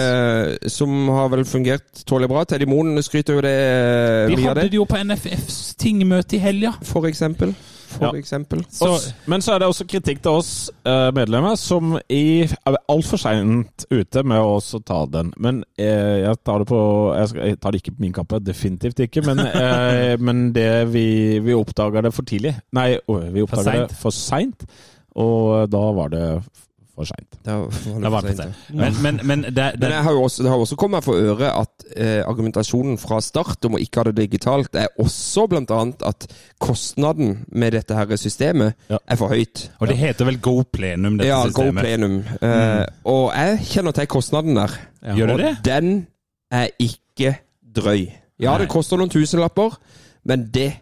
Speaker 4: Eh, som har vel fungert tålelig bra. Teddy Moen skryter jo det eh,
Speaker 3: De
Speaker 4: mye av
Speaker 3: hadde
Speaker 4: det.
Speaker 3: det jo på NFFs tingmøte i helga.
Speaker 4: For eksempel. For
Speaker 5: Ja.
Speaker 4: eksempel.
Speaker 3: Så
Speaker 5: Oss- Men så er det også kritikk til oss eh, medlemmer, som i, er altfor seint ute med å også ta den. Men eh, jeg, tar det på, jeg, skal, jeg tar det ikke på min kappe, definitivt ikke. (laughs) Men, eh, men det vi, vi oppdaga det for tidlig. Nei, å, vi oppdaga
Speaker 3: seint.
Speaker 5: det for seint. Og eh, da var det f- for seint.
Speaker 4: Da var
Speaker 3: Da var
Speaker 4: for
Speaker 3: det på
Speaker 4: sent,
Speaker 3: seg.
Speaker 4: ja.
Speaker 3: Men, men, men det,
Speaker 4: Men
Speaker 3: det,
Speaker 4: jeg har jo også, det har jo også kommet meg for øre at eh, argumentasjonen fra start om å ikke ha det digitalt, er også blant annet at kostnaden med dette her systemet
Speaker 5: Ja.
Speaker 4: er for høyt.
Speaker 3: Og det heter vel Go Plenum, dette
Speaker 4: Ja, go
Speaker 3: systemet. Mm.
Speaker 4: plenum. Eh, Og jeg kjenner til kostnaden der.
Speaker 3: Gjør
Speaker 4: og
Speaker 3: du det?
Speaker 4: den er ikke drøy. Ja, det koster noen tusenlapper, men det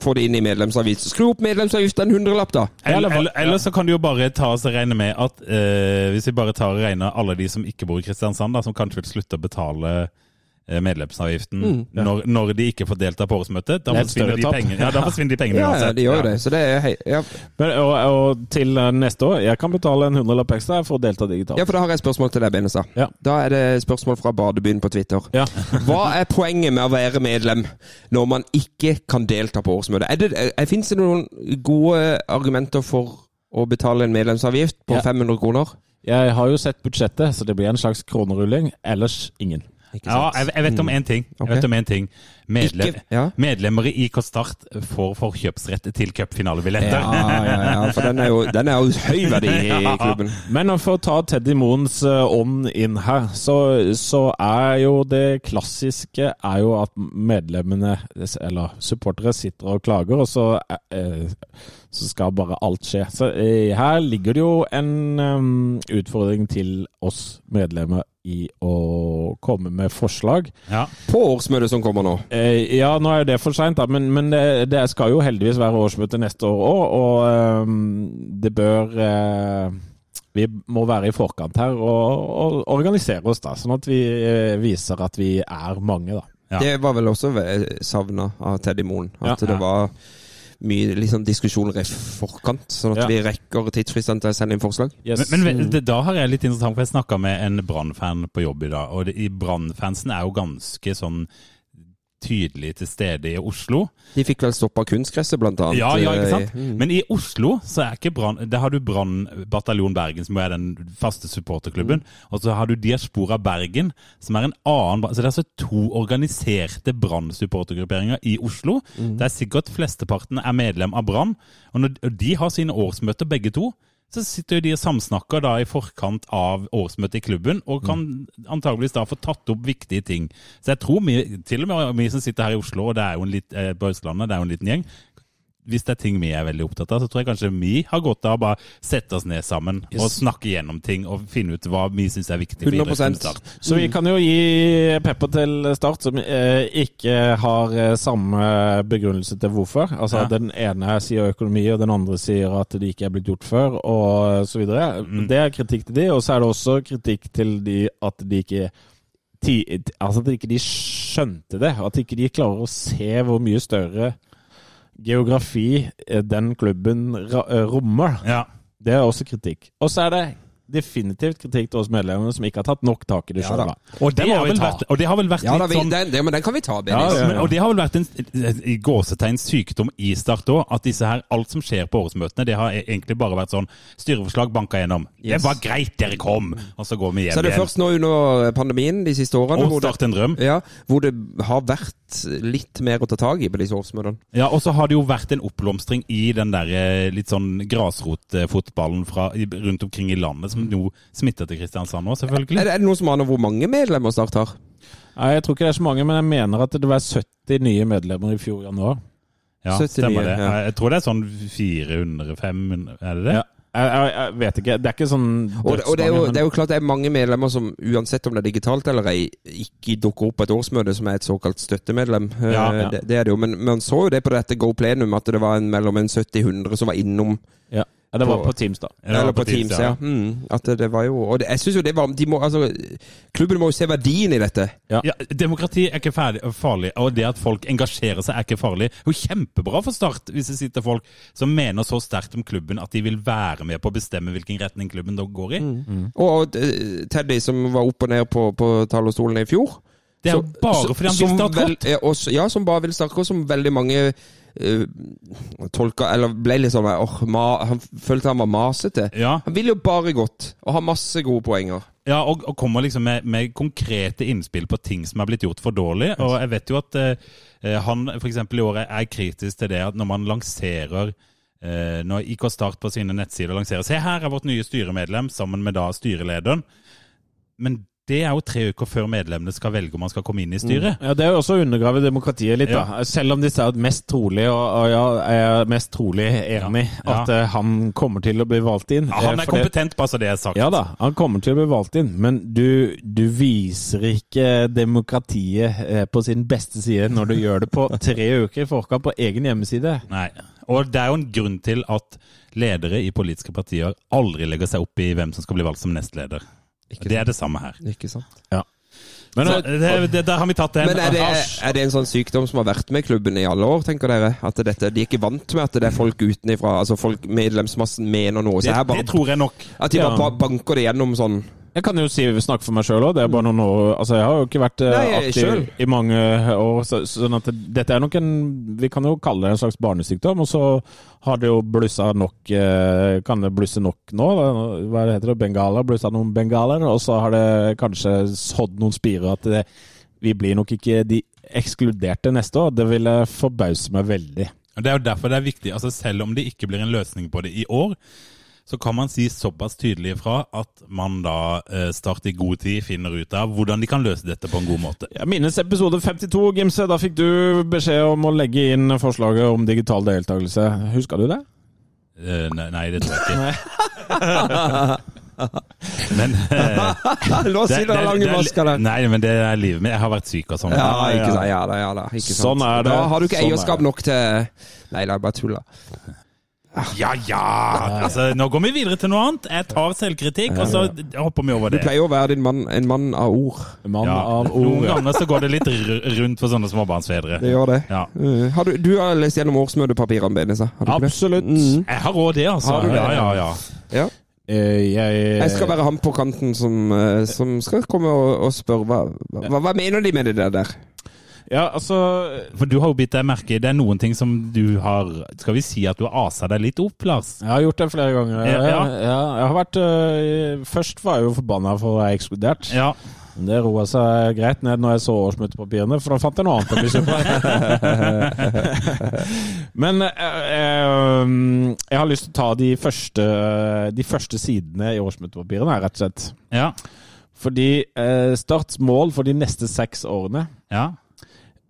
Speaker 4: får de inn i medlemsavgift. Skru opp medlemsavgiften en hundrelapp, da.
Speaker 3: Eller, eller, eller så kan du jo bare ta oss og regne med at eh, hvis vi bare tar og regner alle de som ikke bor i Kristiansand, da, som kanskje vil slutte å betale eh, medlemsavgiften
Speaker 4: Mm.
Speaker 3: når, når de ikke får delta på årsmøtet, da
Speaker 5: Det er et
Speaker 3: forsvinner
Speaker 5: større
Speaker 3: de
Speaker 5: tap.
Speaker 3: pengene, ja, da forsvinner de pengene
Speaker 4: Ja, ja,
Speaker 3: uansett.
Speaker 4: de gjør jo
Speaker 3: Ja.
Speaker 4: det. Så det er hei, ja.
Speaker 5: Men, og, og til eh, neste år, jeg kan betale en hundrelapp ekstra for å delta digitalt.
Speaker 4: ja, for da har jeg et spørsmål til deg, Benestad.
Speaker 5: Ja.
Speaker 4: Da er det spørsmål fra Badebyen på Twitter.
Speaker 5: Ja.
Speaker 3: (laughs)
Speaker 4: Hva er poenget med å være medlem når man ikke kan delta på årsmøtet? Er det, er, finnes det noen gode argumenter for å betale en medlemsavgift på
Speaker 5: Ja.
Speaker 4: 500 kroner?
Speaker 5: Jeg har jo sett budsjettet, så det blir en slags kronerulling. Ellers ingen.
Speaker 4: Ikke Mm.
Speaker 3: Ja, jeg, jeg vet om én ting. Jeg vet
Speaker 4: Ok.
Speaker 3: om en ting. Medlem,
Speaker 4: Ikke- ja.
Speaker 3: Medlemmer i IK Start får forkjøpsrett til cupfinalebilletter.
Speaker 4: Ja, ja, ja, for den er jo, den er jo høy verdi
Speaker 5: (laughs)
Speaker 4: (laughs) i klubben.
Speaker 5: Men for å ta Teddy Moens eh, ånd inn her, så, så er jo det klassiske er jo at medlemmene, eller supportere, sitter og klager, og så, eh, eh, så skal bare alt skje. Så eh, her ligger det jo en eh, utfordring til oss medlemmer i å komme med forslag.
Speaker 3: Ja.
Speaker 4: På årsmøtet som kommer nå.
Speaker 5: Eh, ja, nå er jo det for seint, da, men, men det, det skal jo heldigvis være årsmøte neste år òg, og eh, det bør eh, Vi må være i forkant her og, og organisere oss, da, sånn at vi eh, viser at vi er mange, da.
Speaker 3: Ja.
Speaker 4: Det var vel også savna av Teddy Moen. At
Speaker 5: Ja.
Speaker 4: det var mye liksom, diskusjoner i forkant, sånn at
Speaker 5: Ja.
Speaker 4: vi rekker tidsfristene til å sende inn forslag.
Speaker 5: Yes.
Speaker 3: Men, men det, da har jeg litt interessant, for jeg snakka med en Brann-fan på jobb i dag. Og det- i Brann-fansen er jo ganske sånn tydelig til stede i Oslo.
Speaker 4: De fikk vel stoppa kunstgresset, blant annet.
Speaker 3: Ja, ja, ikke
Speaker 4: eh,
Speaker 3: sant? Men i Oslo så er ikke Brann Der har du Brann Bataljon Bergen, som er den faste supporterklubben.
Speaker 4: Mm.
Speaker 3: Og så har du Diaspora Bergen, som er en annen bra- Så det er altså to organiserte Brann-supportergrupperinger i Oslo.
Speaker 4: Mm.
Speaker 3: Der sikkert flesteparten er medlem av Brann. Og når og de har sine årsmøter, begge to. Så sitter jo de og samsnakker da i forkant av årsmøtet i klubben, og kan
Speaker 4: Mm.
Speaker 3: antageligvis da få tatt opp viktige ting. Så jeg tror vi, til og med vi som sitter her i Oslo, og det er jo en litt, eh, på Østlandet, det er jo en liten gjeng, hvis det er ting vi er veldig opptatt av, så tror jeg kanskje vi har godt av å bare sette oss ned sammen og snakke gjennom ting og finne ut hva vi syns er viktig. for
Speaker 4: 100
Speaker 3: idretten Start.
Speaker 4: Mm.
Speaker 5: Så vi kan jo gi pepper til Start, som eh, ikke har eh, samme begrunnelse til hvorfor. Altså
Speaker 3: Ja.
Speaker 5: Den ene sier økonomi, og den andre sier at det ikke er blitt gjort før, og så videre.
Speaker 4: Mm.
Speaker 5: Det er kritikk til de, og så er det også kritikk til de at de ikke ti, Altså at ikke de skjønte det. At ikke de klarer å se hvor mye større geografi eh, den klubben ra- eh, rommer.
Speaker 3: Ja.
Speaker 5: Det er også kritikk. Og så er det definitivt kritikk til oss medlemmene som ikke har tatt nok tak i det
Speaker 4: Ja
Speaker 5: sjøl.
Speaker 4: da.
Speaker 3: Og det,
Speaker 5: må
Speaker 3: har
Speaker 5: vi
Speaker 3: vel
Speaker 5: ta.
Speaker 3: vært, og det har vel vært
Speaker 4: Ja, da,
Speaker 3: litt
Speaker 4: vi,
Speaker 3: sånn
Speaker 4: den, den, men den kan vi ta, Benny.
Speaker 5: Ja, ja.
Speaker 3: Men, og det har vel vært en i gåsetegn sykdom i Start òg, at disse her, alt som skjer på årsmøtene, det har e- egentlig bare vært sånn styreforslag banka gjennom. Det
Speaker 4: Yes.
Speaker 3: var greit, dere kom! Og så går vi hjem
Speaker 4: Så er det
Speaker 3: igjen.
Speaker 4: først nå under pandemien de siste årene
Speaker 3: Og
Speaker 4: hvor det,
Speaker 3: start en drøm.
Speaker 4: ja, hvor det har vært litt mer å ta tak i på disse årsmøtene.
Speaker 3: Ja, og så har det jo vært en oppblomstring i den der eh, litt sånn grasrotfotballen fra- i- rundt omkring i landet, som jo smitter til Kristiansand nå,
Speaker 4: Er
Speaker 3: selvfølgelig.
Speaker 4: det, Mm. er det noen som aner hvor mange medlemmer Start har?
Speaker 5: Nei, jeg tror ikke det er så mange, men jeg mener at det var 70 nye medlemmer i fjor januar.
Speaker 3: Ja,
Speaker 4: 79,
Speaker 3: stemmer det.
Speaker 4: ja.
Speaker 3: Jeg tror det er sånn 400-500, er det det?
Speaker 5: Ja. Jeg, jeg, jeg vet ikke. Det er ikke sånn
Speaker 4: Og, det- og det, er jo,
Speaker 5: dødsmange, men-
Speaker 4: det er jo klart det er mange medlemmer som uansett om det er digitalt eller ei, ikke dukker opp på et årsmøte som er et såkalt støttemedlem. Eh,
Speaker 3: Ja, ja.
Speaker 4: Det, det er det jo. Men man så jo det på dette Go Plenum, at det var en, mellom en 70-100 som var innom
Speaker 5: ja. Ja, det var på Teams, da.
Speaker 3: Eller
Speaker 4: Eller
Speaker 3: på
Speaker 4: på
Speaker 3: Teams,
Speaker 4: Teams, ja. Mm, at det, det var jo Og det, jeg syns jo det var de må, altså, Klubben må jo se verdien i dette.
Speaker 3: Ja, Demokrati er ikke ferdig, farlig, og det at folk engasjerer seg er ikke farlig. Det er jo kjempebra for Start hvis det sitter folk som mener så sterkt om klubben at de vil være med på å bestemme hvilken retning klubben da går i.
Speaker 4: Og, og eh, Teddy, som var opp og ned på, på talerstolen i fjor
Speaker 3: Det er jo
Speaker 4: så-
Speaker 3: bare
Speaker 4: så-
Speaker 3: fordi han
Speaker 4: som
Speaker 3: vil Start
Speaker 4: vel-
Speaker 3: godt.
Speaker 4: ja, og s- Ja, som bare vil Start godt, som veldig mange uh, tolka Eller ble litt sånn åh, ma, Han følte han var masete.
Speaker 3: Ja.
Speaker 4: Han vil jo bare godt, og har masse gode poenger.
Speaker 3: Ja, og, og kommer liksom med, med konkrete innspill på ting som er blitt gjort for dårlig. Og jeg vet jo at eh, han f.eks. i år er- er kritisk til det at når man lanserer eh, Når IK Start på sine nettsider lanserer Se, her er vårt nye styremedlem sammen med da styrelederen. Men det er jo tre uker før medlemmene skal velge om man skal komme inn i styret.
Speaker 5: Ja, Det er jo også å undergrave demokratiet litt,
Speaker 3: Ja.
Speaker 5: da. Selv om disse er mest trolig, og, og ja, jeg er mest trolig enig
Speaker 3: Ja.
Speaker 5: at eh, han kommer til å bli valgt inn.
Speaker 3: Ja,
Speaker 5: Eh,
Speaker 3: han er
Speaker 5: for det-
Speaker 3: kompetent, bare så det er sagt.
Speaker 5: Ja da, han kommer til å bli valgt inn, men du, du viser ikke demokratiet eh, på sin beste side når du gjør det på tre uker i forkant på egen hjemmeside.
Speaker 3: Nei. Og det er jo en grunn til at ledere i politiske partier aldri legger seg opp i hvem som skal bli valgt som nestleder. Det er det samme her.
Speaker 4: Ikke sant?
Speaker 3: Men så, det, det, der har vi tatt Ah, en
Speaker 4: Men er det,
Speaker 3: hasj.
Speaker 4: er det en sånn sykdom som har vært med klubben i alle år, tenker dere? At dette, de er ikke vant med at det er folk utenifra, altså folk medlemsmassen mener noe. Så
Speaker 3: Det,
Speaker 4: her bare,
Speaker 3: det tror jeg nok.
Speaker 4: at de bare
Speaker 5: Ja.
Speaker 4: ba- banker det gjennom (laughs) sånn
Speaker 5: Jeg kan jo si, snakke for meg sjøl òg, det er bare noen år Altså, jeg har jo ikke vært eh,
Speaker 4: Nei,
Speaker 5: aktiv
Speaker 4: selv.
Speaker 5: i mange år, så, sånn at dette er nok en Vi kan jo kalle det en slags barnesykdom, og så har det jo blussa nok eh, Kan det blusse nok nå? da? Hva heter det? Bengaler? Blussa noen bengaler, og så har det kanskje sådd noen spirer at det, vi blir nok ikke de ekskluderte neste år. Det ville forbause meg veldig.
Speaker 3: Og Det er jo derfor det er viktig. altså Selv om det ikke blir en løsning på det i år, så kan man si såpass tydelig ifra at man da eh, starter i god tid, finner ut av hvordan de kan løse dette på en god måte.
Speaker 5: Jeg minnes episode 52, Gimse. Da fikk du beskjed om å legge inn forslaget om digital deltakelse. Huska du det?
Speaker 3: Eh, ne- nei, det tror jeg ikke. men
Speaker 4: (laughs)
Speaker 3: eh,
Speaker 4: La oss si det er lange masker der.
Speaker 3: Nei, men det er livet mitt. Jeg har vært syk og sånn.
Speaker 4: Ja,
Speaker 5: Ja,
Speaker 4: ikke
Speaker 5: ja.
Speaker 4: sant. Ja da, ja da. Ikke sant.
Speaker 5: Sånn er det.
Speaker 4: Da har du ikke
Speaker 5: Sånn er
Speaker 4: eierskap
Speaker 5: det.
Speaker 4: nok til Nei da, jeg bare tulla.
Speaker 3: Ja, ja! Altså, nå går vi videre til noe annet. Jeg tar selvkritikk, og så hopper vi over
Speaker 4: Du
Speaker 3: det.
Speaker 4: pleier å være din mann, en mann av ord.
Speaker 5: Mann
Speaker 3: Ja,
Speaker 5: av
Speaker 3: noen
Speaker 5: ordet.
Speaker 3: ganger så går det litt r- rundt for sånne småbarnsfedre.
Speaker 4: Det gjør det.
Speaker 3: Ja.
Speaker 4: Uh, Har du, du har lest gjennom årsmøtepapirene, Benesa? Har du ikke det?
Speaker 5: Absolutt.
Speaker 3: Mm.
Speaker 5: Mm.
Speaker 3: Jeg har òg det, altså.
Speaker 4: Har du det?
Speaker 3: Ja, ja, ja.
Speaker 4: Ja.
Speaker 5: Eh, jeg,
Speaker 4: Jeg skal være han på kanten som, eh, som skal komme og, og spørre hva, hva, hva mener de med det der? der?
Speaker 5: Ja, altså
Speaker 3: For du har jo bitt deg merke i det er noen ting som du har Skal vi si at du har asa deg litt opp, Lars?
Speaker 5: Jeg har gjort det flere ganger.
Speaker 3: Ja, ja.
Speaker 5: Jeg, jeg har vært eh, Først var jeg jo forbanna for å være ekskludert.
Speaker 3: Ja.
Speaker 5: Men Det roa seg greit ned når jeg så årsmøtepapirene, for da fant jeg noe annet å bli sur på. (laughs) Men eh, eh, jeg har lyst til å ta de første, de første sidene i årsmøtepapirene, her, rett og slett.
Speaker 3: Ja.
Speaker 5: Fordi eh, Starts mål for de neste seks årene,
Speaker 3: ja.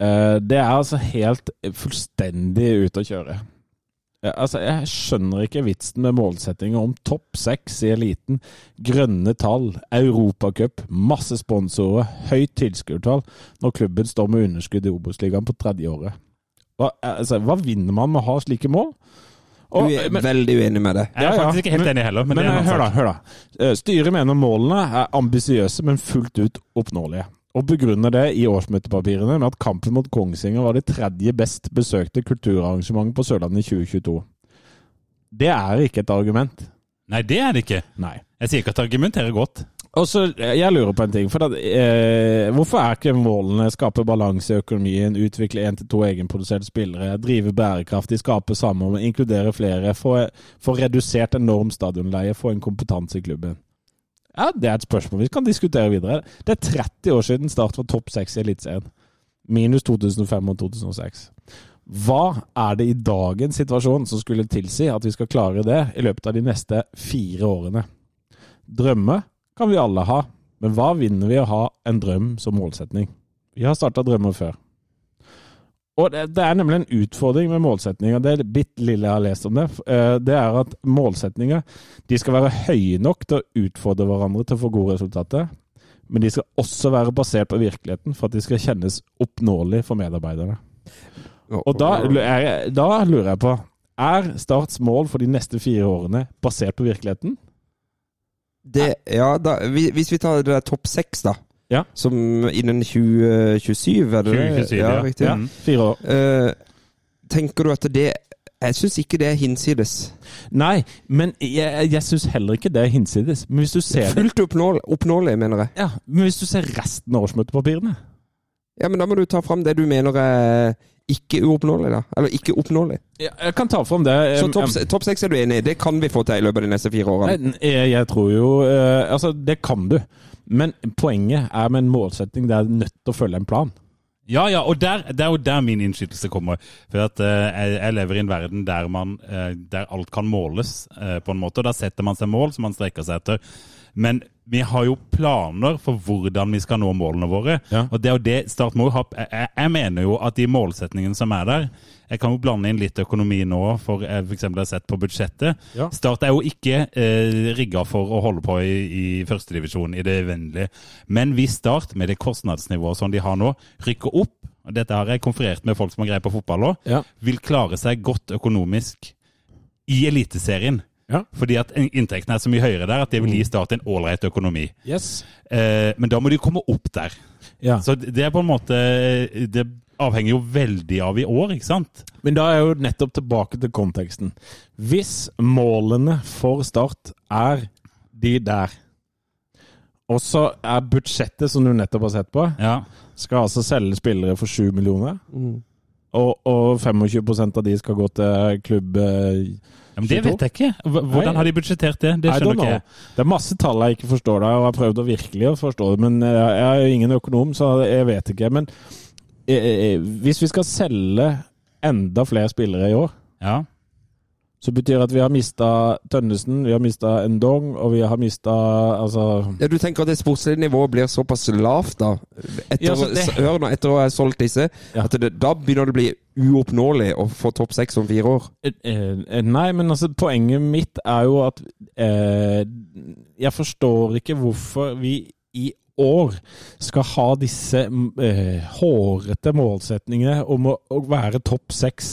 Speaker 5: eh, det er altså helt fullstendig ute å kjøre. Ja, altså, jeg skjønner ikke vitsen med målsettinga om topp seks i eliten. Grønne tall, Europacup, masse sponsorer, høyt tilskuertall når klubben står med underskudd i Obos-ligaen på tredje året. Hva, altså, hva vinner man med å ha slike mål? Og-
Speaker 4: Du er
Speaker 5: men-
Speaker 4: veldig uenig med det.
Speaker 3: Jeg er
Speaker 5: Ja, ja.
Speaker 3: faktisk ikke helt
Speaker 5: Men-
Speaker 3: enig heller. Men,
Speaker 5: men
Speaker 3: det er en
Speaker 5: eh,
Speaker 3: annen
Speaker 5: hør da,
Speaker 3: sak.
Speaker 5: hør da. Eh, Styret mener målene er ambisiøse, men fullt ut oppnåelige. Og begrunner det i årsmøtepapirene med at kampen mot Kongsvinger var det tredje best besøkte kulturarrangementet på Sørlandet i 2022. Det er ikke et argument.
Speaker 3: Nei, det er det ikke.
Speaker 5: Nei.
Speaker 3: Jeg sier ikke at det argumenterer godt.
Speaker 5: Og så, eh, Jeg lurer på en ting. For at, eh, hvorfor er ikke målene skape balanse i økonomien, utvikle én til to egenproduserte spillere, drive bærekraftig, skape sammen, inkludere flere, få, få redusert enorm stadionleie, få en kompetanse i klubben? Ja, Det er et spørsmål vi kan diskutere videre. Det er 30 år siden start var topp seks i Eliteserien. Minus 2005 og 2006. Hva er det i dagens situasjon som skulle tilsi at vi skal klare det i løpet av de neste fire årene? Drømme kan vi alle ha, men hva vinner vi å ha en drøm som målsetning? Vi har starta drømmer før. Og det, det er nemlig en utfordring med målsetninger. Det bitte lille jeg har lest om det, eh, det er at målsetninger de skal være høye nok til å utfordre hverandre til å få gode resultater. Men de skal også være basert på virkeligheten for at de skal kjennes oppnåelig for medarbeiderne. Og da, lu- er, da lurer jeg på Er Starts mål for de neste fire årene basert på virkeligheten?
Speaker 4: det, ja, da, vi- hvis vi tar det der topp seks, da.
Speaker 5: Ja.
Speaker 4: Som innen 2027, er det det?
Speaker 3: 2027, ja.
Speaker 4: riktig.
Speaker 3: Ja.
Speaker 5: Fire år.
Speaker 4: Eh, tenker du at det Jeg syns ikke det er hinsides.
Speaker 5: Nei, men jeg, jeg syns heller ikke det er hinsides. Men hvis du ser det
Speaker 4: Fullt oppnåelig, oppnåelig, mener jeg.
Speaker 5: ja, men hvis du ser resten av årsmøtepapirene
Speaker 4: Ja, Men da må du ta fram det du mener er ikke uoppnåelig, da. Eller ikke oppnåelig.
Speaker 5: Jeg kan ta fram det.
Speaker 4: Så
Speaker 5: em,
Speaker 3: Um,
Speaker 4: topp
Speaker 5: em,
Speaker 4: se- topp seks er du enig i? Det kan vi få til i løpet av de neste fire årene.
Speaker 5: Nei, jeg, jeg tror jo eh, Altså, det kan du. Men poenget er med en målsetting det er nødt til å følge en plan.
Speaker 3: Ja, ja, og der, det er jo der min innskytelse kommer. For at eh, jeg, jeg lever i en verden der, man, eh, der alt kan måles, eh, på en måte. Og da setter man seg mål som man strekker seg etter. Men vi har jo planer for hvordan vi skal nå målene våre.
Speaker 5: Ja.
Speaker 3: Og det er jo det Start må jo ha jeg, jeg- jeg mener jo at de målsetningene som er der Jeg kan jo blande inn litt økonomi nå, for jeg for eksempel har sett på budsjettet.
Speaker 5: Ja.
Speaker 3: Start er jo ikke eh, rigga for å holde på i, i førstedivisjon i det uendelige. Men hvis Start, med det kostnadsnivået som de har nå, rykker opp og Dette har jeg konferert med folk som har greie på fotball òg.
Speaker 5: Ja.
Speaker 3: Vil klare seg godt økonomisk i Eliteserien.
Speaker 5: Ja. Mm.
Speaker 3: Fordi at inntektene er så mye høyere der at det vil gi Start en ålreit økonomi.
Speaker 5: Yes.
Speaker 3: Eh, men da må de komme opp der.
Speaker 5: Ja.
Speaker 3: Så det er på en måte Det avhenger jo veldig av i år, ikke sant?
Speaker 5: Men da er jeg jo nettopp tilbake til konteksten. Hvis målene for Start er de der, og så er budsjettet som du nettopp har sett på,
Speaker 3: Ja.
Speaker 5: skal altså selge spillere for 7 millioner.
Speaker 3: Mm.
Speaker 5: Og, og 25 av de skal gå til klubb eh,
Speaker 3: Men det vet jeg ikke. Hv- Hvordan har de budsjettert det? Det
Speaker 5: I don't
Speaker 3: skjønner
Speaker 5: know.
Speaker 3: ikke jeg.
Speaker 5: Det er masse tall jeg ikke forstår der, og jeg har prøvd å virkelig å forstå det, men eh, jeg er jo ingen økonom, så jeg vet ikke. Men eh, eh, hvis vi skal selge enda flere spillere i år,
Speaker 3: Ja.
Speaker 5: så betyr det at vi har mista Tønnesen, vi har mista Endong, og vi har mista altså
Speaker 4: Ja, Du tenker at det sportslige nivået blir såpass lavt, da?
Speaker 3: altså,
Speaker 4: Etter,
Speaker 5: Ja, så det-
Speaker 4: s- Hør nå, etter å ha solgt disse.
Speaker 5: Ja.
Speaker 4: At det, da begynner det å bli uoppnåelig å få topp seks om fire år.
Speaker 5: Eh, eh, Nei, men altså, poenget mitt er jo at eh, Jeg forstår ikke hvorfor vi i år skal ha disse mm, eh, hårete målsetningene om å, å være topp seks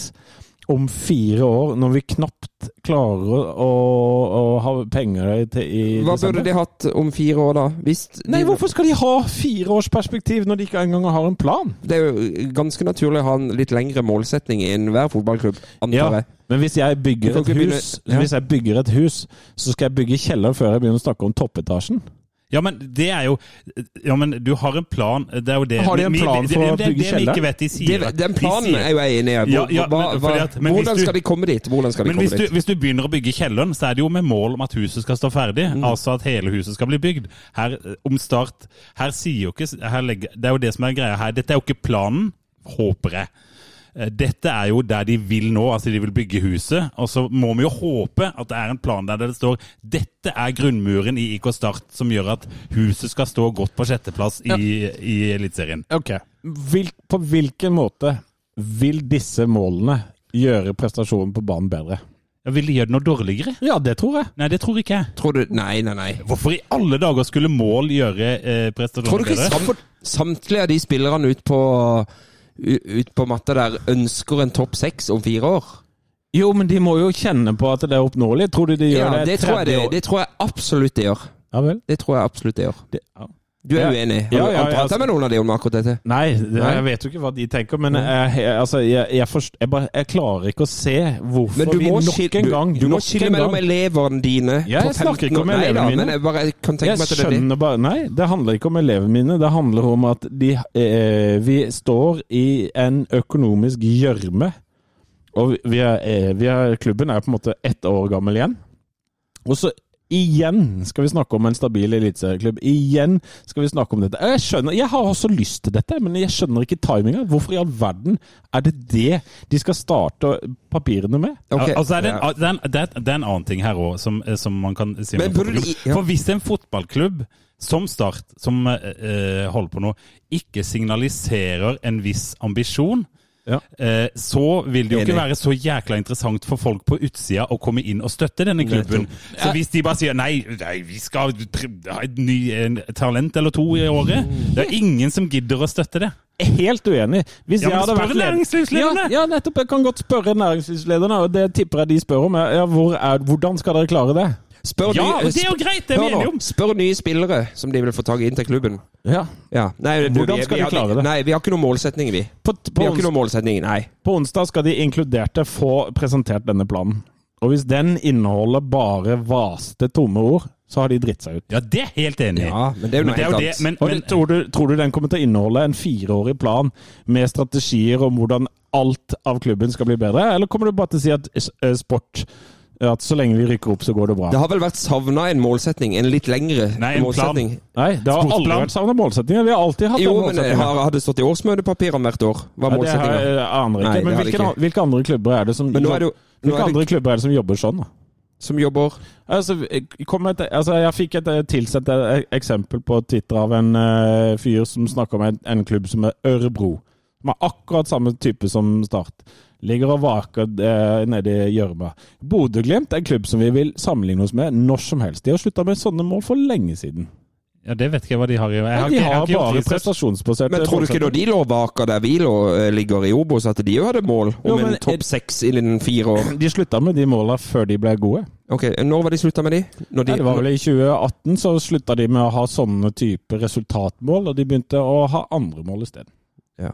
Speaker 5: om fire år, når vi knapt klarer å, å, å ha penger til i
Speaker 4: Hva burde de hatt om fire år, da? Hvis
Speaker 5: Nei,
Speaker 4: de,
Speaker 5: hvorfor skal de ha fireårsperspektiv når de ikke engang har en plan?
Speaker 4: Det er jo ganske naturlig å ha en litt lengre målsetning i enhver fotballklubb, antar
Speaker 5: Ja,
Speaker 4: jeg.
Speaker 5: men hvis jeg,
Speaker 4: Du
Speaker 5: bygger
Speaker 4: kan
Speaker 5: et
Speaker 4: ikke
Speaker 5: hus,
Speaker 4: begynne- ja.
Speaker 5: hvis jeg bygger et hus, så skal jeg bygge kjeller før jeg begynner å snakke om toppetasjen.
Speaker 3: Ja, men det er jo Ja, men du har en plan. Det er jo det
Speaker 5: Har de en
Speaker 3: Vi- vi-
Speaker 5: plan
Speaker 3: det-
Speaker 5: for
Speaker 3: det-
Speaker 5: å bygge
Speaker 3: Det er det vi
Speaker 5: kjeller?
Speaker 3: ikke vet de sier.
Speaker 4: Det, den
Speaker 3: De
Speaker 4: planen
Speaker 3: sier-
Speaker 4: er jo jeg enig i.
Speaker 3: Ja,
Speaker 4: Hvor,
Speaker 3: ja,
Speaker 4: hva,
Speaker 3: men
Speaker 4: hva,
Speaker 3: fordi at- men hvis
Speaker 4: hvordan
Speaker 3: du-
Speaker 4: skal de komme dit? Hvordan skal de
Speaker 3: Men hvis
Speaker 4: komme
Speaker 3: du,
Speaker 4: dit?
Speaker 3: hvis du begynner å bygge kjelleren, så er det jo med mål om at huset skal stå ferdig.
Speaker 4: Mm.
Speaker 3: Altså at hele huset skal bli bygd. Her, eh, om start, her sier jo ikke her legger, Det er jo det som er greia her. Dette er jo ikke planen, håper jeg. Eh, Dette er jo der de vil nå, altså de vil bygge huset. Og så må vi jo håpe at det er en plan der det står 'Dette er grunnmuren i IK Start', som gjør at huset skal stå godt på sjetteplass i, i Eliteserien.
Speaker 5: Ok. Hvil, på hvilken måte vil disse målene gjøre prestasjonen på banen bedre.
Speaker 3: Ja, Vil de gjøre det noe dårligere?
Speaker 5: Ja, det tror jeg.
Speaker 3: Nei, det tror ikke jeg.
Speaker 4: Tror du Nei, nei, nei.
Speaker 3: Hvorfor i alle dager skulle mål gjøre eh,
Speaker 4: Tror du
Speaker 3: prestasjoner
Speaker 4: ikke
Speaker 3: bedre?
Speaker 4: sam samtlige av de spillerne ut på, u- ut på matta der ønsker en topp seks om fire år?
Speaker 5: Jo, men de må jo kjenne på at det er oppnåelig. Tror du de gjør
Speaker 4: Ja,
Speaker 5: det?
Speaker 4: det tror jeg, det, det tror jeg absolutt det gjør.
Speaker 5: Ja vel.
Speaker 4: Det tror jeg absolutt det gjør.
Speaker 5: Det, ja.
Speaker 4: Du er
Speaker 5: Ja.
Speaker 4: uenig? Har, du-
Speaker 5: Ja, ja,
Speaker 4: har du
Speaker 5: ja,
Speaker 4: prata
Speaker 5: altså-
Speaker 4: med noen av de om akkurat dette?
Speaker 5: Nei, det,
Speaker 4: Nei.
Speaker 5: jeg vet jo ikke hva de tenker, men jeg, jeg, altså, jeg, jeg, forst, jeg, bare, jeg klarer ikke å se
Speaker 4: Men
Speaker 5: hvorfor
Speaker 4: du
Speaker 5: vi
Speaker 4: må,
Speaker 5: nok
Speaker 4: skille,
Speaker 5: en gang
Speaker 4: du, du må
Speaker 5: nok
Speaker 4: skille
Speaker 5: en
Speaker 4: mellom
Speaker 5: gang-
Speaker 4: elevene dine
Speaker 5: Ja,
Speaker 4: på
Speaker 5: jeg snakker
Speaker 4: 15
Speaker 5: ikke
Speaker 4: år.
Speaker 5: om
Speaker 4: Nei da,
Speaker 5: elevene mine.
Speaker 4: men jeg bare jeg kan tenke
Speaker 5: Jeg
Speaker 4: meg at det er det.
Speaker 5: skjønner bare Nei, det handler ikke om elevene mine. Det handler om at de, eh, vi står i en økonomisk gjørme. Og vi- vi er, eh, vi er, klubben er på en måte ett år gammel igjen. Og så igjen skal vi snakke om en stabil eliteserieklubb. Igjen skal vi snakke om dette. Jeg skjønner, jeg har også lyst til dette, men jeg skjønner ikke timinga. Hvorfor i all verden er det det de skal starte papirene med?
Speaker 4: Ok.
Speaker 3: Al- Altså er det, en,
Speaker 4: Ja.
Speaker 3: det, er en, det, er, det er en annen ting her òg, som, eh, som man kan si. om
Speaker 4: Men
Speaker 3: en
Speaker 4: burde de-
Speaker 3: fotballklubb.
Speaker 4: ja.
Speaker 3: For hvis en fotballklubb som Start, som eh, eh, holder på nå, ikke signaliserer en viss ambisjon,
Speaker 5: Ja.
Speaker 3: eh, så vil det jo ikke
Speaker 4: Enig.
Speaker 3: være så jækla interessant for folk på utsida å komme inn og støtte denne klubben. Så hvis de bare sier nei, nei vi skal tr- ha et ny en talent eller to i året, det er ingen som gidder å støtte det.
Speaker 5: Helt uenig. Hvis
Speaker 3: Ja,
Speaker 5: jeg
Speaker 3: men
Speaker 5: hadde
Speaker 3: spør
Speaker 5: vært leder-
Speaker 3: næringslivslederne!
Speaker 5: Ja, ja, nettopp. Jeg kan godt spørre næringslivslederne, og det tipper jeg de spør om. Ja, hvor er, hvordan skal dere klare det?
Speaker 4: Spør
Speaker 3: Ja,
Speaker 4: nye-
Speaker 3: og det er jo greit, det er vi
Speaker 4: Hør nå,
Speaker 3: enige om.
Speaker 4: Spør nye spillere som de vil få tak i inn til klubben.
Speaker 5: Ja.
Speaker 4: Ja. Nei, du,
Speaker 5: Hvordan skal de
Speaker 4: har-
Speaker 5: klare det?
Speaker 4: Nei, vi har ikke noen målsetning, vi.
Speaker 5: På,
Speaker 4: Vi
Speaker 5: på,
Speaker 4: har ikke
Speaker 5: ons
Speaker 4: noen målsetning, nei.
Speaker 5: på onsdag skal de inkluderte få presentert denne planen. Og hvis den inneholder bare vaste, tomme ord, så har de dritt seg ut.
Speaker 3: Ja, det er jeg helt enig i.
Speaker 4: Ja, men det er jo
Speaker 3: Men
Speaker 4: noe
Speaker 3: det er
Speaker 4: helt
Speaker 3: jo det,
Speaker 4: annet.
Speaker 3: men,
Speaker 5: Og
Speaker 3: men,
Speaker 5: det- tror, du, tror du den kommer til å inneholde en fireårig plan med strategier om hvordan alt av klubben skal bli bedre, eller kommer du bare til å si at eh, sport at så lenge vi rykker opp, så går det bra?
Speaker 4: Det har vel vært savna en målsetning, en litt lengre
Speaker 3: Nei, en plan.
Speaker 4: målsetning.
Speaker 5: Nei, det har aldri
Speaker 3: Sportsplan.
Speaker 5: vært savna målsettinger. Vi har alltid hatt
Speaker 4: Jo,
Speaker 5: den
Speaker 4: men det
Speaker 5: målsettingen.
Speaker 4: har, har det stått i årsmøtepapirene hvert år? Hva er
Speaker 5: Ja, det har
Speaker 4: målsettinga?
Speaker 5: jeg aner ikke.
Speaker 4: Nei, det
Speaker 5: men
Speaker 4: har det
Speaker 5: hvilke,
Speaker 4: ikke.
Speaker 5: hvilke andre klubber er det som
Speaker 4: Men nå er det jo nå
Speaker 5: Hvilke
Speaker 4: er det
Speaker 5: andre klubber er det som jobber sånn, da?
Speaker 4: som jobber
Speaker 5: Altså, jeg- kom med et, altså, jeg fikk et eh, tilsendt eh, eksempel på Twitter av en eh, fyr som snakker om en, en klubb som er Ørebro. Som er akkurat samme type som Start. Ligger og vaker eh, nede i gjørma. Bodø-Glimt er en klubb som vi vil sammenligne oss med når som helst. De har slutta med sånne mål for lenge siden.
Speaker 3: ja, det vet ikke jeg hva de har i Jeg har,
Speaker 5: de
Speaker 3: ikke- jeg har
Speaker 5: har
Speaker 3: ikke gjort
Speaker 5: bare
Speaker 3: research.
Speaker 5: prestasjonsbaserte
Speaker 4: Men tror du ikke da de lå bak der vi lå, eh, ligger i Obos, at de jo hadde mål om
Speaker 5: Jo, men-
Speaker 4: en topp seks innen fire år?
Speaker 5: De slutta med de måla før de ble gode.
Speaker 4: Ok, Når var de slutta med de? Når de
Speaker 5: Nei, det var vel i 2018 så slutta de med å ha sånne type resultatmål, og de begynte å ha andre mål isteden.
Speaker 4: ja.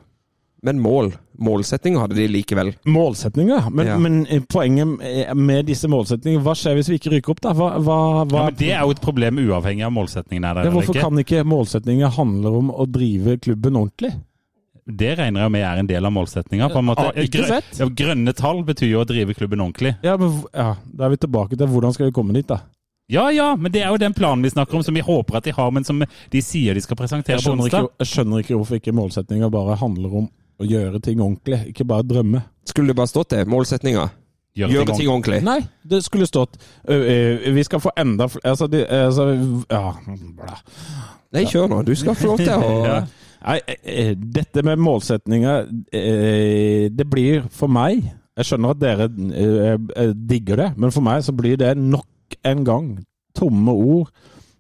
Speaker 4: Men mål. Målsettinger hadde de likevel.
Speaker 5: Målsetninger, men,
Speaker 4: Ja.
Speaker 5: men eh, poenget med disse målsetningene, hva skjer hvis vi ikke rykker opp, da? Hva, hva, hva
Speaker 3: Ja, men det er jo et problem uavhengig av målsetningen er der
Speaker 5: Ja,
Speaker 3: eller
Speaker 5: Hvorfor
Speaker 3: ikke.
Speaker 5: kan ikke målsetninger handle om å drive klubben ordentlig?
Speaker 3: Det regner jeg med er en del av målsetninga. på en måte.
Speaker 5: Ah, ikke
Speaker 3: Grø-
Speaker 5: fett.
Speaker 3: ja, grønne tall betyr jo å drive klubben ordentlig.
Speaker 5: Ja, men hv- ja, Da er vi tilbake til hvordan skal vi komme dit, da?
Speaker 3: Ja ja, men det er jo den planen vi snakker om, som vi håper at de har, men som de sier de skal presentere
Speaker 5: Jeg
Speaker 3: på
Speaker 5: skjønner ikke,
Speaker 3: onsdag.
Speaker 5: jeg skjønner ikke hvorfor ikke målsetninger bare handler om å gjøre ting ordentlig, ikke bare drømme.
Speaker 4: Skulle det bare stått det? Målsettinga.
Speaker 3: Gjøre ting
Speaker 4: Gjøre ting ordentlig.
Speaker 5: Nei, det skulle stått ø, ø, Vi skal få enda flere altså, de- altså, Ja, bla.
Speaker 4: Nei, kjør nå. Du skal få lov til å
Speaker 5: (laughs) Ja. Nei, eh, eh, dette med målsetninger eh, Det blir for meg Jeg skjønner at dere eh, eh, digger det, men for meg så blir det nok en gang tomme ord.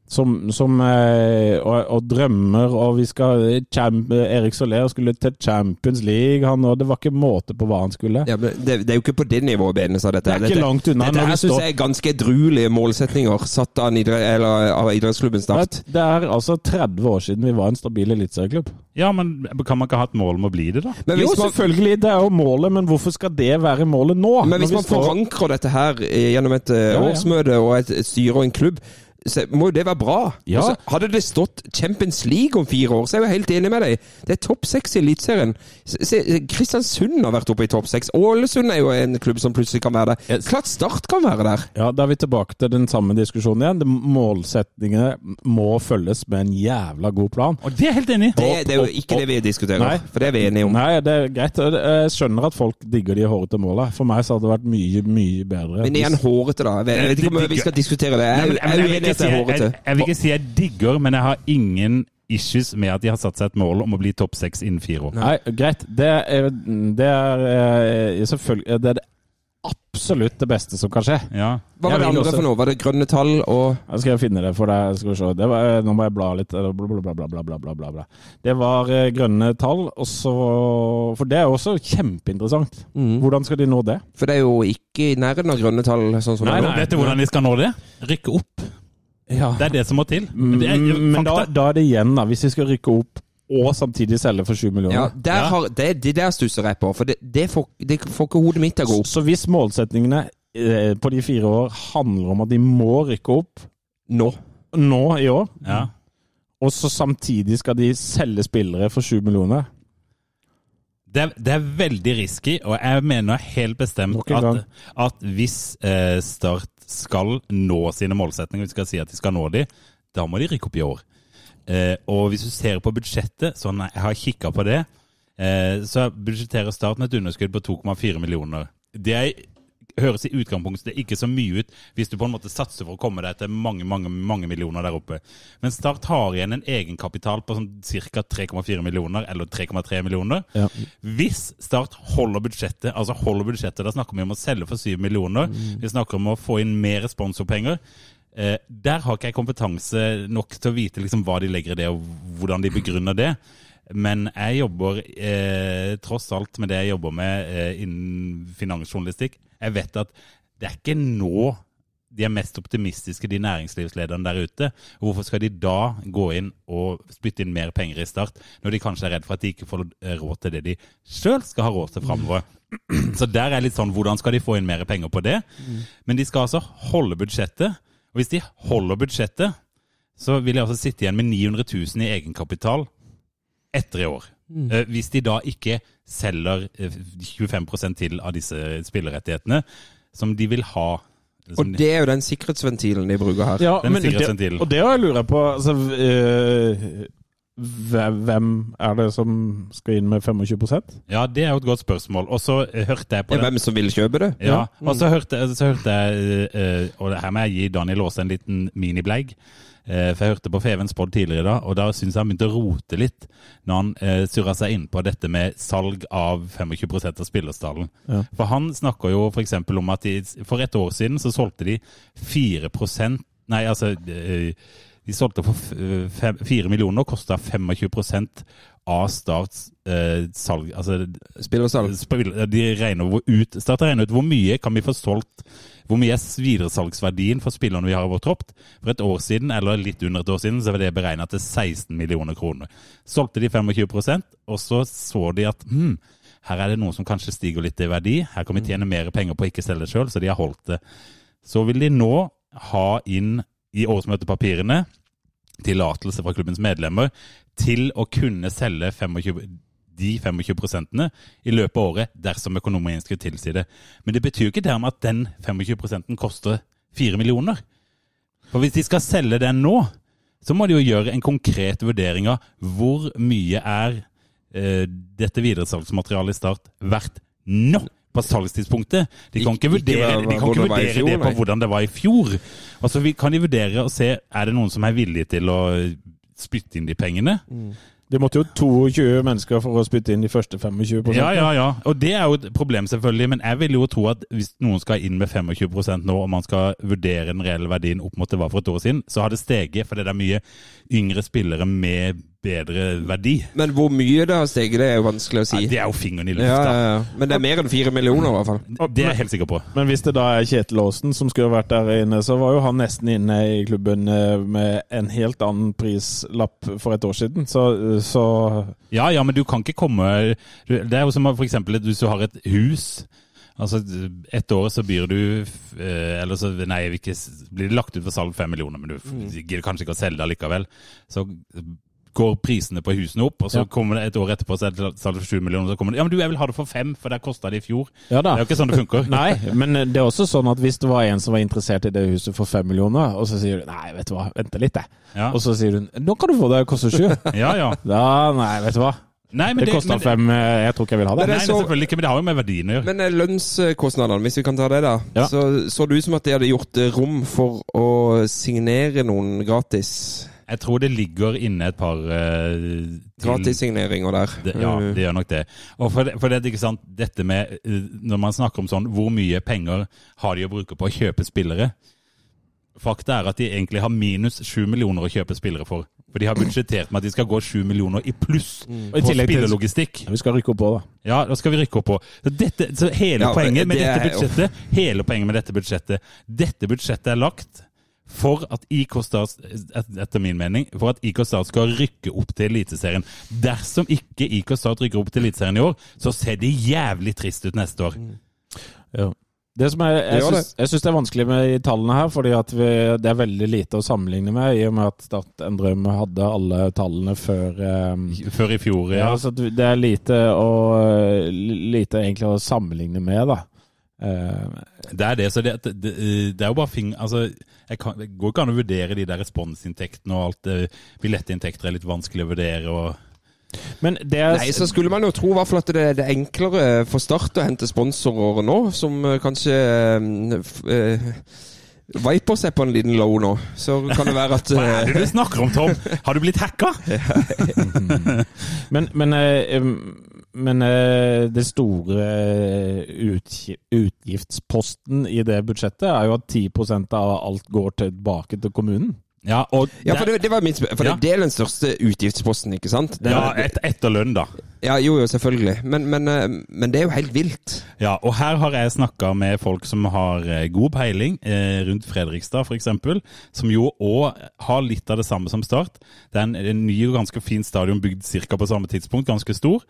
Speaker 5: Som, som eh, og, og drømmer, og vi skal champ, Erik Soler skulle til Champions League, han, og det var ikke måte på hva han skulle.
Speaker 4: Ja, men det, det er jo ikke på det nivået Benes av dette.
Speaker 5: Det er ikke langt unna
Speaker 4: Dette
Speaker 5: når
Speaker 4: her
Speaker 5: vi
Speaker 4: syns
Speaker 5: står-
Speaker 4: jeg er ganske edruelige målsetninger satt av, en idre, eller, av idrettsklubben Start.
Speaker 5: Det er altså 30 år siden vi var en stabil eliteserieklubb.
Speaker 3: Ja, men kan man ikke ha et mål om å bli det, da?
Speaker 4: Men
Speaker 5: Jo,
Speaker 4: hvis man,
Speaker 5: selvfølgelig, det er jo målet, men hvorfor skal det være målet nå?
Speaker 4: men hvis
Speaker 5: Når vi
Speaker 4: man
Speaker 5: står-
Speaker 4: forankrer dette her eh, gjennom et eh,
Speaker 5: Ja, ja.
Speaker 4: årsmøte og et, et styre og en klubb, så må jo det være bra.
Speaker 5: Ja.
Speaker 4: Og så hadde det stått Champions League om fire år, så er jeg jo helt enig med deg. Det er topp seks i Eliteserien. Se- se, Kristiansund har vært oppe i topp seks. Ålesund er jo en klubb som plutselig kan være der.
Speaker 5: Yes.
Speaker 4: Klart Start kan være der.
Speaker 5: Ja, Da er vi tilbake til den samme diskusjonen igjen. Det- Målsettingene må følges med en jævla god plan.
Speaker 3: Og det er jeg helt enig i!
Speaker 4: Det, det er
Speaker 5: opp,
Speaker 4: jo ikke det vi diskuterer,
Speaker 5: Nei.
Speaker 4: for det er vi enige om.
Speaker 5: Nei, det er greit. Jeg skjønner at folk digger de hårete måla. For meg så hadde det vært mye, mye bedre.
Speaker 4: Men igjen hårete, da. Jeg vet- Jeg vet ikke om vi skal diskutere det. Jeg
Speaker 3: Nei,
Speaker 4: er
Speaker 3: men-
Speaker 4: jeg er
Speaker 3: men jeg vil
Speaker 4: uenig i
Speaker 3: ikke
Speaker 4: at
Speaker 3: si-
Speaker 4: det er
Speaker 3: jeg-
Speaker 4: hårete.
Speaker 3: jeg- Jeg vil ikke si jeg digger, men jeg har ingen issues med at de har satt seg et mål om å bli topp seks innen fire år.
Speaker 5: Nei, greit. Det er, det er eh, selvfølgelig Det er det absolutt det beste som kan skje.
Speaker 3: Ja.
Speaker 4: Hva var
Speaker 5: Jeg
Speaker 4: det
Speaker 5: vil
Speaker 4: andre
Speaker 5: også-
Speaker 4: for noe? Var det grønne tall og
Speaker 5: Jeg skal finne det for deg. Skal vi se. Det var, eh, nå må jeg bla litt. eh, Bla, bla, bla, bla, bla, bla, bla, bla, bla. Det var eh, grønne tall, og så For det er jo også kjempeinteressant.
Speaker 3: Mm.
Speaker 5: Hvordan skal de nå det?
Speaker 4: For det er jo ikke i nærheten av grønne tall, sånn som
Speaker 5: Nei,
Speaker 4: det er nå.
Speaker 5: nei.
Speaker 3: Vet du hvordan de skal nå det? Rykke opp.
Speaker 5: Ja.
Speaker 3: Det er det som må til.
Speaker 4: Mm,
Speaker 3: Men det er,
Speaker 5: Men da,
Speaker 3: fakta.
Speaker 5: da er det igjen, da. Hvis vi skal rykke opp og samtidig selge for 7 millioner.
Speaker 4: Ja, der
Speaker 3: Ja.
Speaker 4: Har, det, det der stusser jeg på, for det, det, får, det får ikke hodet mitt til å gå opp.
Speaker 5: Så hvis målsetningene eh, på de fire år handler om at de må rykke opp
Speaker 4: Nå.
Speaker 5: nå i år,
Speaker 3: ja.
Speaker 5: og så samtidig skal de selge spillere for 7 millioner
Speaker 3: Det er, det er veldig risky, og jeg mener helt bestemt
Speaker 5: Nok en
Speaker 3: at,
Speaker 5: gang.
Speaker 3: at hvis eh, Start skal nå sine målsetninger, hvis de skal si at de skal nå de, da må de rykke opp i år. Eh, og hvis du ser på budsjettet, sånn jeg har kikka på det, eh, så budsjetterer Start med et underskudd på 2,4 millioner. Det er, høres i utgangspunktet ikke så mye ut hvis du på en måte satser for å komme deg til mange, mange, mange millioner der oppe. Men Start har igjen en egenkapital på sånn ca. 3,4 millioner, eller 3,3 millioner.
Speaker 5: Ja.
Speaker 3: Hvis Start holder budsjettet, altså holder budsjettet, da snakker vi om å selge for 7 millioner, vi snakker om å få inn mer sponsorpenger. Eh, der har ikke jeg kompetanse nok til å vite liksom, hva de legger i det, og hvordan de begrunner det. Men jeg jobber eh, tross alt med det jeg jobber med eh, innen finansjournalistikk. Jeg vet at det er ikke nå de er mest optimistiske, de næringslivslederne der ute. Hvorfor skal de da gå inn og spytte inn mer penger i Start, når de kanskje er redd for at de ikke får eh, råd til det de sjøl skal ha råd til framover? (clears throat) Så der er litt sånn, hvordan skal de få inn mer penger på det? Men de skal altså holde budsjettet. Og hvis de holder budsjettet, så vil de altså sitte igjen med 900 000 i egenkapital etter i år.
Speaker 4: Mm.
Speaker 3: Eh, Hvis de da ikke selger eh, 25 til av disse spillerettighetene, som de vil ha.
Speaker 4: Og
Speaker 3: Liksom,
Speaker 4: det er jo den sikkerhetsventilen de bruker her.
Speaker 5: Ja,
Speaker 3: Den
Speaker 5: men det,
Speaker 3: sikkerhetsventilen.
Speaker 5: og det jeg lurer på altså, eh, hve- Hvem er det som skal inn med 25
Speaker 3: Ja, det er jo et godt spørsmål. Og så eh, hørte jeg på
Speaker 4: Det er
Speaker 3: det.
Speaker 4: hvem som vil kjøpe det.
Speaker 3: Ja, og så hørte, eh, så hørte jeg eh, Og her må jeg gi Daniel Aase en liten miniblegg. eh, For jeg hørte på Fevens pod tidligere i dag, og da syns jeg han begynte å rote litt når han eh, surra seg inn på dette med salg av 25 av spillerstallen.
Speaker 5: Ja.
Speaker 3: For han snakker jo f.eks. om at de, for et år siden så solgte de 4 Nei, altså eh, De solgte for f- fem- 4 millioner og kosta 25 av Starts eh, salg, altså
Speaker 4: Spill og salg.
Speaker 3: Spill- De regner hvor ut, Start har regnet ut hvor mye kan vi få solgt Hvor mye er videresalgsverdien for spillerne vi har i vår tropp? For et år siden, eller litt under et år siden, så var det beregnet til 16 millioner kroner. Solgte de 25 og så så de at hm, her er det noe som kanskje stiger litt i verdi. Her
Speaker 4: Mm.
Speaker 3: kan vi tjene mer penger på å ikke selge sjøl, så de har holdt det. Så vil de nå ha inn i årsmøtepapirene tillatelse fra klubbens medlemmer til å kunne selge 25, de 25 i løpet av året dersom økonomien skulle tilsi det. Men det betyr jo ikke dermed at den 25 koster 4 millioner. For hvis de skal selge den nå, så må de jo gjøre en konkret vurdering av hvor mye er eh, dette videresalgsmaterialet i Start verdt nå på salgstidspunktet. De kan ikke
Speaker 4: Ikke- ikke
Speaker 3: vurdere,
Speaker 4: hva-
Speaker 3: de kan ikke
Speaker 4: hvordan det var i
Speaker 3: vurdere
Speaker 4: fjor,
Speaker 3: det på
Speaker 4: nei.
Speaker 3: hvordan det var i fjor. Altså, vi, kan de vurdere og se er det noen som er villige til å spytte inn de pengene?
Speaker 5: Det måtte jo 22 mennesker for å spytte inn de første 25
Speaker 3: Ja, ja, ja. Og det er jo et problem, selvfølgelig. Men jeg vil jo tro at hvis noen skal inn med 25 nå, og man skal vurdere den reelle verdien opp mot det var for et år siden, så har det steget fordi det er mye yngre spillere med bedre verdi.
Speaker 4: Men hvor mye det har steget, det er jo vanskelig å
Speaker 3: Ja,
Speaker 4: si.
Speaker 3: det er jo fingeren i
Speaker 4: Ja,
Speaker 3: lufta.
Speaker 4: ja, ja. Men det er mer enn fire millioner, i hvert fall.
Speaker 3: Det er jeg helt sikker på.
Speaker 5: Men hvis det da er Kjetil Aasen som skulle vært der inne, så var jo han nesten inne i klubben eh, med en helt annen prislapp for et år siden. Så, så
Speaker 3: Ja, ja, men du kan ikke komme du- Det er jo som for eksempel at hvis du har et hus. Altså, ett år så byr du f- eh, Eller så nei, jeg vil ikke, s- blir det lagt ut for salg fem millioner, men du f-
Speaker 5: Mm.
Speaker 3: gidder kanskje ikke å selge det likevel. Så går prisene på husene opp, og så
Speaker 5: Ja.
Speaker 3: kommer det et år etterpå så er det salg for sju millioner. Så kommer det Ja, men du, jeg vil ha det for fem, for der kosta det i fjor.
Speaker 5: Ja da.
Speaker 3: Det er jo ikke sånn det funker.
Speaker 5: Nei, men det er også sånn at hvis det var en som var interessert i det huset for fem millioner, og så sier du nei, vet du hva, vent litt, jeg.
Speaker 3: Ja.
Speaker 5: Og så sier hun nå kan du få det, det koster sju.
Speaker 3: (laughs) (laughs) Ja, ja.
Speaker 5: Da, nei, vet du hva.
Speaker 3: Nei, men
Speaker 5: Det koster
Speaker 3: men-
Speaker 5: fem, eh, jeg tror ikke jeg vil ha det.
Speaker 4: Men
Speaker 3: Nei,
Speaker 4: det
Speaker 3: det
Speaker 4: så-
Speaker 3: selvfølgelig ikke, men det har jo med verdien å gjøre.
Speaker 4: Men eh, lønnskostnadene, hvis vi kan ta det, da.
Speaker 5: Ja.
Speaker 4: Så så det ut som at de hadde gjort eh, rom for å signere noen gratis.
Speaker 3: Jeg tror det ligger inne et par eh, til-
Speaker 4: Gratis-signeringer der. Mm.
Speaker 3: Det, ja, det gjør nok det. Og for, det- for det, ikke sant, dette med eh, Når man snakker om sånn Hvor mye penger har de å bruke på å kjøpe spillere? Fakta er at de egentlig har minus sju millioner å kjøpe spillere for. For de har budsjettert med at de skal gå sju millioner i pluss
Speaker 5: Og i
Speaker 3: på
Speaker 5: tillegg til-
Speaker 3: spillerlogistikk.
Speaker 5: Vi skal rykke opp på, da.
Speaker 3: Ja, da skal vi rykke opp på. Så, dette, så hele
Speaker 4: Ja,
Speaker 3: poenget med
Speaker 4: det
Speaker 3: dette
Speaker 4: er-
Speaker 3: budsjettet Hele poenget med dette budsjettet Dette budsjettet er lagt for at IK Stars et- etter min mening, for at IK Start skal rykke opp til Eliteserien. Dersom ikke IK Start rykker opp til Eliteserien i år, så ser de jævlig trist ut neste år.
Speaker 4: Mm.
Speaker 5: Det som er, jeg,
Speaker 4: gjør
Speaker 5: syns, jeg syns det er vanskelig med de tallene her, fordi at vi, det er veldig lite å sammenligne med, i og med at Start en drøm hadde alle tallene før eh,
Speaker 3: Før i fjor,
Speaker 5: ja.
Speaker 3: ja.
Speaker 5: så at Det er lite, å, lite egentlig å sammenligne med, da. Eh,
Speaker 3: Det er det, så det, det, det er jo bare fing... Altså, jeg kan, det går ikke an å vurdere de der responsinntektene og alt. det- Billettinntekter er litt vanskelig å vurdere og
Speaker 4: (laughs)
Speaker 5: men det er,
Speaker 4: Nei, så skulle man jo tro i hvert fall at det er det enklere eh, for Start å hente sponsorer nå, som eh, kanskje eh, f, eh, Vipers er på en liten low nå. Så kan det være at
Speaker 3: (laughs) Hva er
Speaker 4: eh,
Speaker 3: det du snakker om, Tom? Har du blitt hacka?
Speaker 5: Men, men, eh, em, men eh, det store eh, utgi- utgiftsposten i det budsjettet er jo at 10 av alt går tilbake til kommunen.
Speaker 3: Ja, og
Speaker 4: eh, Ja, for det, det var mitt spørsmål. For
Speaker 3: Ja.
Speaker 4: det er den største utgiftsposten, ikke sant? Det,
Speaker 3: Ja, et, etter lønn, da.
Speaker 4: ja, jo, jo, selvfølgelig. Men, men, eh, men det er jo helt vilt.
Speaker 3: Ja, og her har jeg snakka med folk som har eh, god peiling, eh, rundt Fredrikstad f.eks., som jo òg har litt av det samme som Start. Det er en, en ny og ganske fin stadion bygd ca. på samme tidspunkt, ganske stor,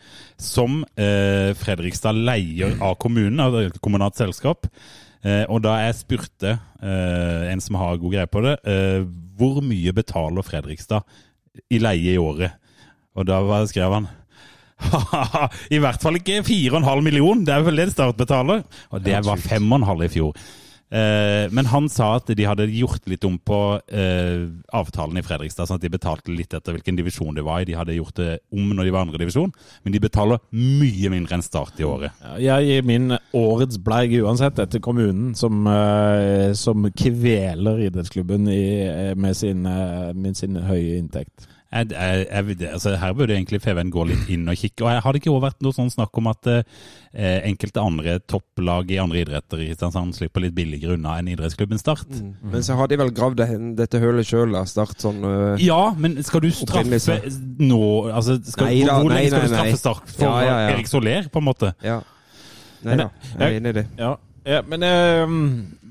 Speaker 3: som eh, Fredrikstad leier av kommunen, av et kommunalt selskap. Eh, og da jeg spurte eh, en som har god greie på det, eh, hvor mye betaler Fredrikstad i leie i året? Og da var- skrev han I hvert fall ikke 4,5 million, det er vel det Start betaler. Og det var 5,5 i fjor. Eh, Men han sa at de hadde gjort litt om på eh, avtalen i Fredrikstad, sånn at de betalte litt etter hvilken divisjon de var i. De hadde gjort det om når de var i andre divisjon, men de betaler mye mindre enn Start i året.
Speaker 5: Jeg gir min årets bleig uansett etter kommunen, som, eh, som kveler idrettsklubben i, med, sin, eh, med sin høye inntekt.
Speaker 3: Jeg, jeg, jeg, det- altså, her burde egentlig Feven gå litt inn og kikke. Og jeg, Har det ikke også vært noe sånn snakk om at eh, enkelte andre topplag i andre idretter i Kristiansand slipper litt billigere unna enn idrettsklubben Start?
Speaker 4: Mm. Men så har de vel gravd det hen- dette hølet sjøl, da. Start sånn eh,
Speaker 3: Ja, men skal du straffe
Speaker 4: Opprinnelse.
Speaker 3: nå altså, skal,
Speaker 4: Nei da,
Speaker 3: Hvor
Speaker 4: nei,
Speaker 3: lenge skal du
Speaker 4: nei,
Speaker 3: straffe
Speaker 4: nei.
Speaker 3: Start for
Speaker 4: Ja, ja, ja.
Speaker 3: Erik Soler, på en måte?
Speaker 4: Ja. Nei da, jeg er enig i det.
Speaker 5: Ja, ja men eh,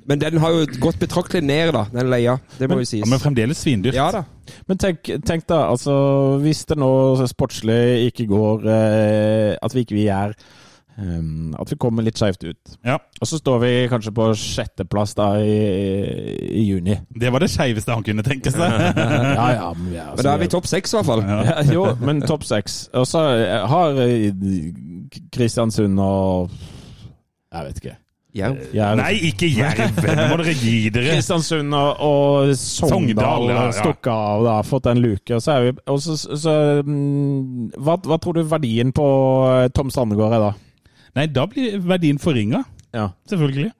Speaker 4: Men den har jo gått betraktelig ned, da, den leia. Det må jo
Speaker 3: Ja,
Speaker 4: sies.
Speaker 3: men fremdeles svindyrt.
Speaker 4: Ja da.
Speaker 5: Men tenk, tenk da, altså hvis det nå sportslig ikke går eh, At vi ikke vi er eh, At vi kommer litt skjevt ut.
Speaker 3: Ja,
Speaker 5: Og så står vi kanskje på sjetteplass da i, i (laughs) juni.
Speaker 3: Det var det skeiveste han kunne tenke seg.
Speaker 4: (laughs)
Speaker 5: Ja, ja, men vi er, altså,
Speaker 4: Men da er vi topp seks, i hvert fall.
Speaker 5: Ja, jo, men topp seks. Og så eh, har eh, Kristiansund og Jeg vet ikke.
Speaker 4: Jerv.
Speaker 5: Jeg-
Speaker 3: Nei, ikke Jerv! Nå må dere gi dere!
Speaker 5: Kristiansund og, og Sogndal
Speaker 3: Sogndal, ja, ja.
Speaker 5: stukket av, da, fått en luke. Og så er vi, og så, så, så, mm, hva, hva tror du verdien på eh, Tom Sandegård er da?
Speaker 3: Nei, da blir verdien forringa.
Speaker 5: Ja.
Speaker 3: Selvfølgelig.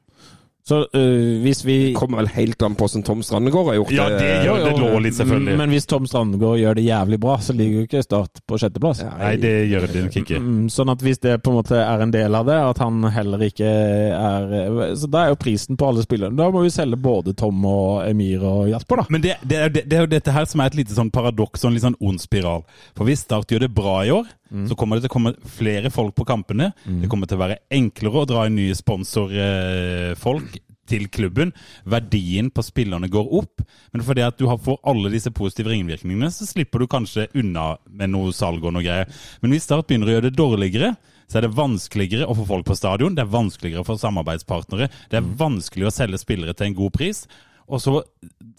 Speaker 5: Så eh, hvis vi
Speaker 4: Kommer vel helt an på hvordan Tom Strandegård har gjort
Speaker 3: Ja, det gjør det lå litt, selvfølgelig.
Speaker 5: Mm, Men hvis Tom Strandegård gjør det jævlig bra, så ligger jo ikke Start på sjetteplass.
Speaker 3: Nei, det gjør det nok ikke.
Speaker 5: Mm, Sånn at hvis det på en måte er en del av det, at han heller ikke er Så da er jo prisen på alle spillerne Da må vi selge både Tom og Emir og Jasper, da.
Speaker 3: Men det, det, er, jo- det, det er jo dette her som er et lite sånn paradoks og en litt sånn ond spiral. For hvis Start gjør det bra i år, så kommer det til å komme flere folk på kampene. Det kommer til å være enklere å dra inn nye sponsorfolk til klubben. Verdien på spillerne går opp. Men fordi at du har- får alle disse positive ringvirkningene, så slipper du kanskje unna med noe salg og noe greier. Men hvis Start begynner å gjøre det dårligere, så er det vanskeligere å få folk på stadion, det er vanskeligere å få samarbeidspartnere, det er vanskelig å selge spillere til en god pris. Og så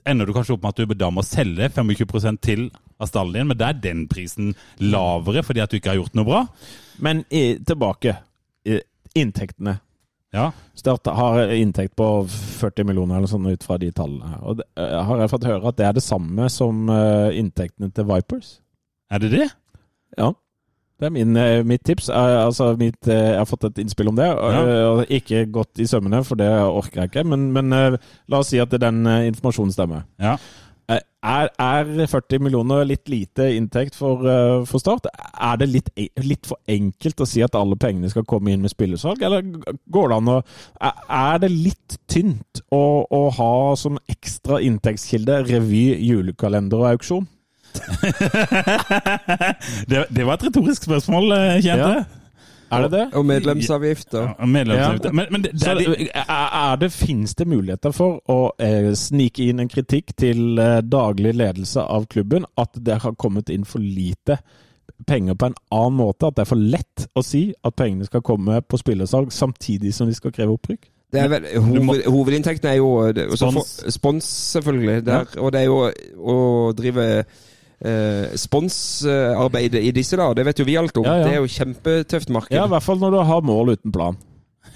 Speaker 3: ender du kanskje opp med at du da må selge 25 til av stallen din, men da er den prisen lavere fordi at du ikke har gjort noe bra.
Speaker 5: Men i, tilbake. I, inntektene.
Speaker 3: Ja,
Speaker 5: Start har inntekt på 40 millioner eller sånn ut fra de tallene her. Og det, eh, har jeg fått høre at det er det samme som eh, inntektene til Vipers?
Speaker 3: Er det det?
Speaker 5: Ja. Det er min, eh, mitt tips. Eh, altså mitt, eh, jeg har fått et innspill om det, og,
Speaker 3: Ja.
Speaker 5: eh, og ikke gått i sømmene, for det orker jeg ikke. Men, men eh, la oss si at den eh, informasjonen stemmer.
Speaker 3: Ja.
Speaker 5: Eh, Er, er 40 millioner litt lite inntekt for, eh, for Start? Er det litt, e- litt for enkelt å si at alle pengene skal komme inn med spillesalg, eller g- går det an å Er er det litt tynt å, å ha som ekstra inntektskilde revy, julekalender og auksjon?
Speaker 3: det, det var et retorisk spørsmål, eh, kjente jeg.
Speaker 5: Er det det?
Speaker 4: Og medlemsavgift. Og.
Speaker 3: Ja, medlemsavgift.
Speaker 5: Ja.
Speaker 3: Men, men det, det,
Speaker 5: Så
Speaker 3: er
Speaker 5: er
Speaker 3: de-
Speaker 5: det, er er det, finnes det muligheter for å eh, snike inn en kritikk til eh, daglig ledelse av klubben at det har kommet inn for lite penger på en annen måte? At det er for lett å si at pengene skal komme på spillersalg samtidig som de skal kreve opprykk?
Speaker 4: Det er vel, hoved, hovedinntekten er jo øh, det, og så
Speaker 3: Spons.
Speaker 4: får- Spons, selvfølgelig. Der, Og det er jo øh, å drive eh, sponsarbeidet i disse dager, det vet jo vi alt om.
Speaker 5: Ja, ja.
Speaker 4: Det er jo kjempetøft marked.
Speaker 5: Ja, i hvert fall når du har mål uten plan.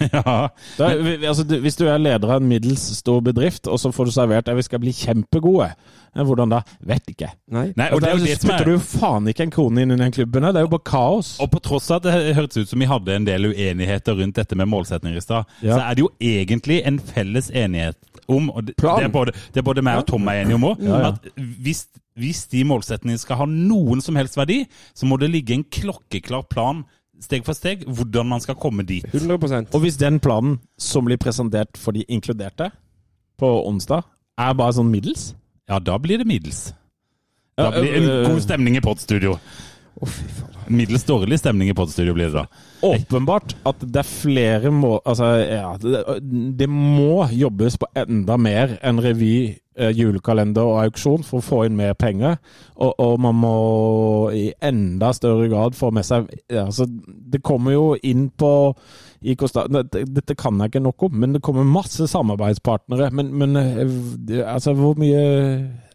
Speaker 3: (laughs) ja.
Speaker 5: Da, vi- altså, du- hvis du er leder av en middels stor bedrift, og så får du servert at vi skal bli kjempegode, Eh, hvordan da? Vet ikke.
Speaker 4: Nei.
Speaker 3: Nei, Eh, og det er jo det
Speaker 5: så
Speaker 3: som
Speaker 5: putter
Speaker 3: er
Speaker 5: du jo faen ikke en krone inn i den klubben her, det er jo bare kaos.
Speaker 3: Og på tross av at det hørtes ut som vi hadde en del uenigheter rundt dette med målsetninger i stad,
Speaker 5: Ja.
Speaker 3: så er det jo egentlig en felles enighet om og det,
Speaker 4: Plan.
Speaker 3: det, er både, det er både meg og Tom er enige om òg.
Speaker 5: Ja, ja.
Speaker 3: At hvis, hvis de målsetningene skal ha noen som helst verdi, så må det ligge en klokkeklar plan steg for steg hvordan man skal komme dit.
Speaker 4: 100
Speaker 5: Og hvis den planen som blir presentert for de inkluderte på onsdag, er bare sånn middels
Speaker 3: Ja, da blir det middels. Da
Speaker 5: Ja,
Speaker 3: blir det
Speaker 5: øh,
Speaker 3: en god stemning i podstudio. Middels dårlig stemning i podstudio blir det da.
Speaker 5: Åpenbart at det er flere må... Altså, ja, det, det må jobbes på enda mer enn revy, eh, julekalender og auksjon for å få inn mer penger. Og, og man må i enda større grad få med seg ja, altså, Det kommer jo inn på i Costa, dette, dette kan jeg ikke nok om, men det kommer masse samarbeidspartnere. Men, men eh, det- altså, hvor mye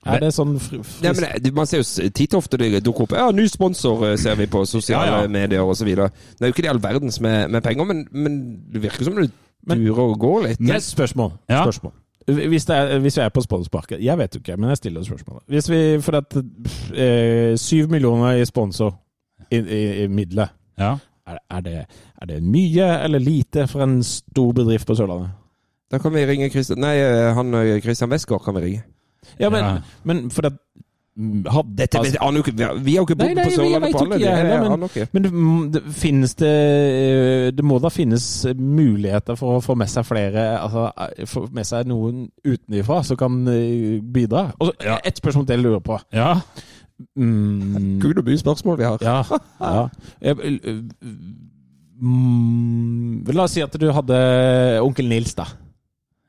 Speaker 5: Er det sånn fri,
Speaker 4: Nei, men det- Man ser jo s- titt og ofte det dukker opp Ja, ny sponsor eh, ser vi på sosiale
Speaker 3: Ja, ja.
Speaker 4: medier osv. Det er jo ikke det all verdens med, med penger, men, men det virker som det durer og går litt.
Speaker 5: Men spørsmål.
Speaker 3: Ja.
Speaker 5: spørsmål. Hvis, det er, hvis vi er på sponsorparken Jeg vet jo ikke, men jeg stiller spørsmålet. Hvis vi For at pff, eh, syv millioner i sponsor i, i, i midler,
Speaker 3: Ja.
Speaker 5: er, er, det, er det mye eller lite for en stor bedrift på Sørlandet?
Speaker 4: Da kan vi ringe Christian Nei, eh, han eh, Christian Westgård kan vi ringe.
Speaker 5: Ja, men,
Speaker 3: Ja.
Speaker 5: men for at mm, har-
Speaker 4: Dette
Speaker 5: altså-
Speaker 4: vet- aner jo ikke- vi har- vi har jo ikke
Speaker 5: Nei,
Speaker 4: bodd
Speaker 5: nei,
Speaker 4: på
Speaker 5: vi- jeg
Speaker 4: Sørlandet
Speaker 5: vet
Speaker 4: på
Speaker 5: jo
Speaker 4: alle. Det
Speaker 5: ikke jeg
Speaker 4: er-
Speaker 5: heller, men-
Speaker 4: aner ikke.
Speaker 5: Men det, m- det, finnes det Det må da finnes muligheter for å få med seg flere altså, Få med seg noen utenifra som kan eh, bidra. Og så
Speaker 3: Ja.
Speaker 5: ett spørsmål til jeg lurer på.
Speaker 3: ja.
Speaker 5: Mm,
Speaker 4: Gud og by spørsmål vi har.
Speaker 5: ja, ja. Jeg, eh, mm, la oss si at du hadde onkel Nils, da.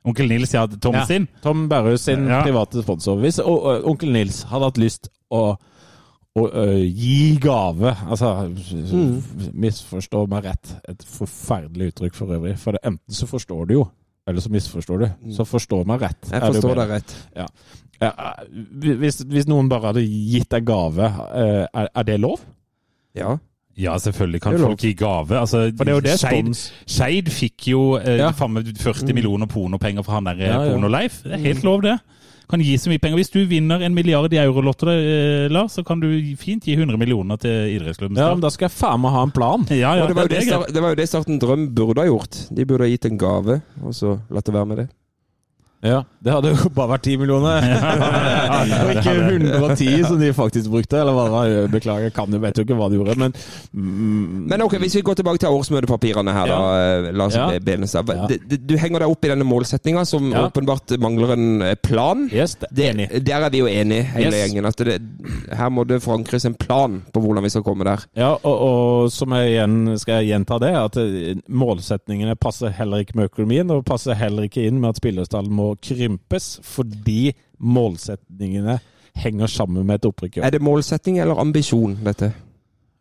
Speaker 3: Onkel Nils, ja. Tom
Speaker 5: Ja.
Speaker 3: sin.
Speaker 5: Tom Berrhus sin
Speaker 3: Ja.
Speaker 5: private sponsor. Hvis o- o- onkel Nils hadde hatt lyst å å ø, gi gave Altså,
Speaker 4: Mm.
Speaker 5: misforstå meg rett. Et forferdelig uttrykk for øvrig. For det, enten så forstår du jo, eller så misforstår du. Så forstå meg rett.
Speaker 4: Mm. Jeg forstår deg rett.
Speaker 5: Hvis, hvis noen bare hadde gitt deg gave, eh, er, er det lov?
Speaker 4: Ja.
Speaker 3: Ja, selvfølgelig
Speaker 4: Det
Speaker 3: kan
Speaker 4: er lov.
Speaker 3: folk gi gave. Altså,
Speaker 5: For det er jo det
Speaker 3: Skeid-
Speaker 5: spons
Speaker 3: Skeid fikk jo eh,
Speaker 5: Ja.
Speaker 3: faen meg 40 millioner pornopenger fra han der eh,
Speaker 5: Ja, ja.
Speaker 3: porno-Leif. Det er helt lov, det. Kan gi så mye penger. Hvis du vinner en milliard i eurolotto, eh, Lars, så kan du fint gi 100 millioner til idrettsklubben.
Speaker 5: Ja, men da skal jeg faen meg ha en plan.
Speaker 3: ja, ja,
Speaker 4: Og det var jo det,
Speaker 3: er greit.
Speaker 4: Star- det var jo det Starten Drøm burde ha gjort. De burde ha gitt en gave, og så latt det være med det.
Speaker 5: Ja, Det hadde jo (laughs) bare vært 10 millioner. Og ikke 110 som de faktisk brukte. Eller hva det var. Beklager, jeg kan jo, vet jo ikke hva de gjorde, men mm,
Speaker 4: Men ok, hvis vi går tilbake til årsmøtepapirene her, da. eh, La oss
Speaker 5: Ja.
Speaker 4: bene seg.
Speaker 5: Ja.
Speaker 4: Det- det- Du henger deg opp i denne målsettinga, som
Speaker 5: Ja.
Speaker 4: åpenbart mangler en eh, plan.
Speaker 5: Yes, det,
Speaker 4: Det,
Speaker 5: enig.
Speaker 4: der er vi jo enige, hele
Speaker 5: Yes.
Speaker 4: gjengen. At det, her må det forankres en plan på hvordan vi skal komme der.
Speaker 5: Ja, og, og som jeg igjen skal jeg gjenta det, at eh, målsetningene passer heller ikke med økonomien, og passer heller ikke inn med at spillerstallen må krympes, fordi målsetningene henger sammen med et opprykk. i år.
Speaker 4: Er det målsetting eller ambisjon, dette?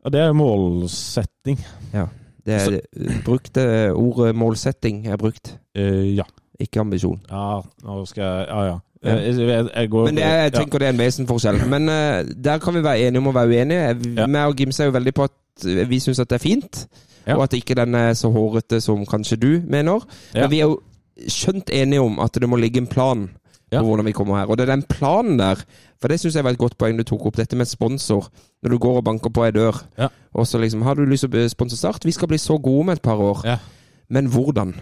Speaker 5: Og det er jo målsetning.
Speaker 4: Ja. Det er, brukte ordet målsetting er brukt,
Speaker 5: Eh, ja.
Speaker 4: ikke ambisjon.
Speaker 5: Ja, nå skal jeg Ja, ja.
Speaker 4: Ja.
Speaker 5: Eh, Jeg, jeg, jeg går
Speaker 4: Men det er, jeg
Speaker 5: ja.
Speaker 4: tenker det er en vesenforskjell. Men eh, der kan vi være enige om å være uenige. Vi-
Speaker 5: Ja.
Speaker 4: Meg og Gims er jo veldig på at eh, vi syns at det er fint,
Speaker 5: Ja.
Speaker 4: og at ikke den er så hårete som kanskje du mener.
Speaker 5: Ja.
Speaker 4: Men vi er jo skjønt enige om at det må ligge en plan
Speaker 5: Ja.
Speaker 4: på hvordan vi kommer her. Og det er den planen der, for det syns jeg var et godt poeng du tok opp, dette med sponsor. Når du går og banker på ei dør,
Speaker 5: Ja.
Speaker 4: og så liksom Har du lyst til å bli sponse Start? Vi skal bli så gode med et par år.
Speaker 5: Ja.
Speaker 4: Men hvordan?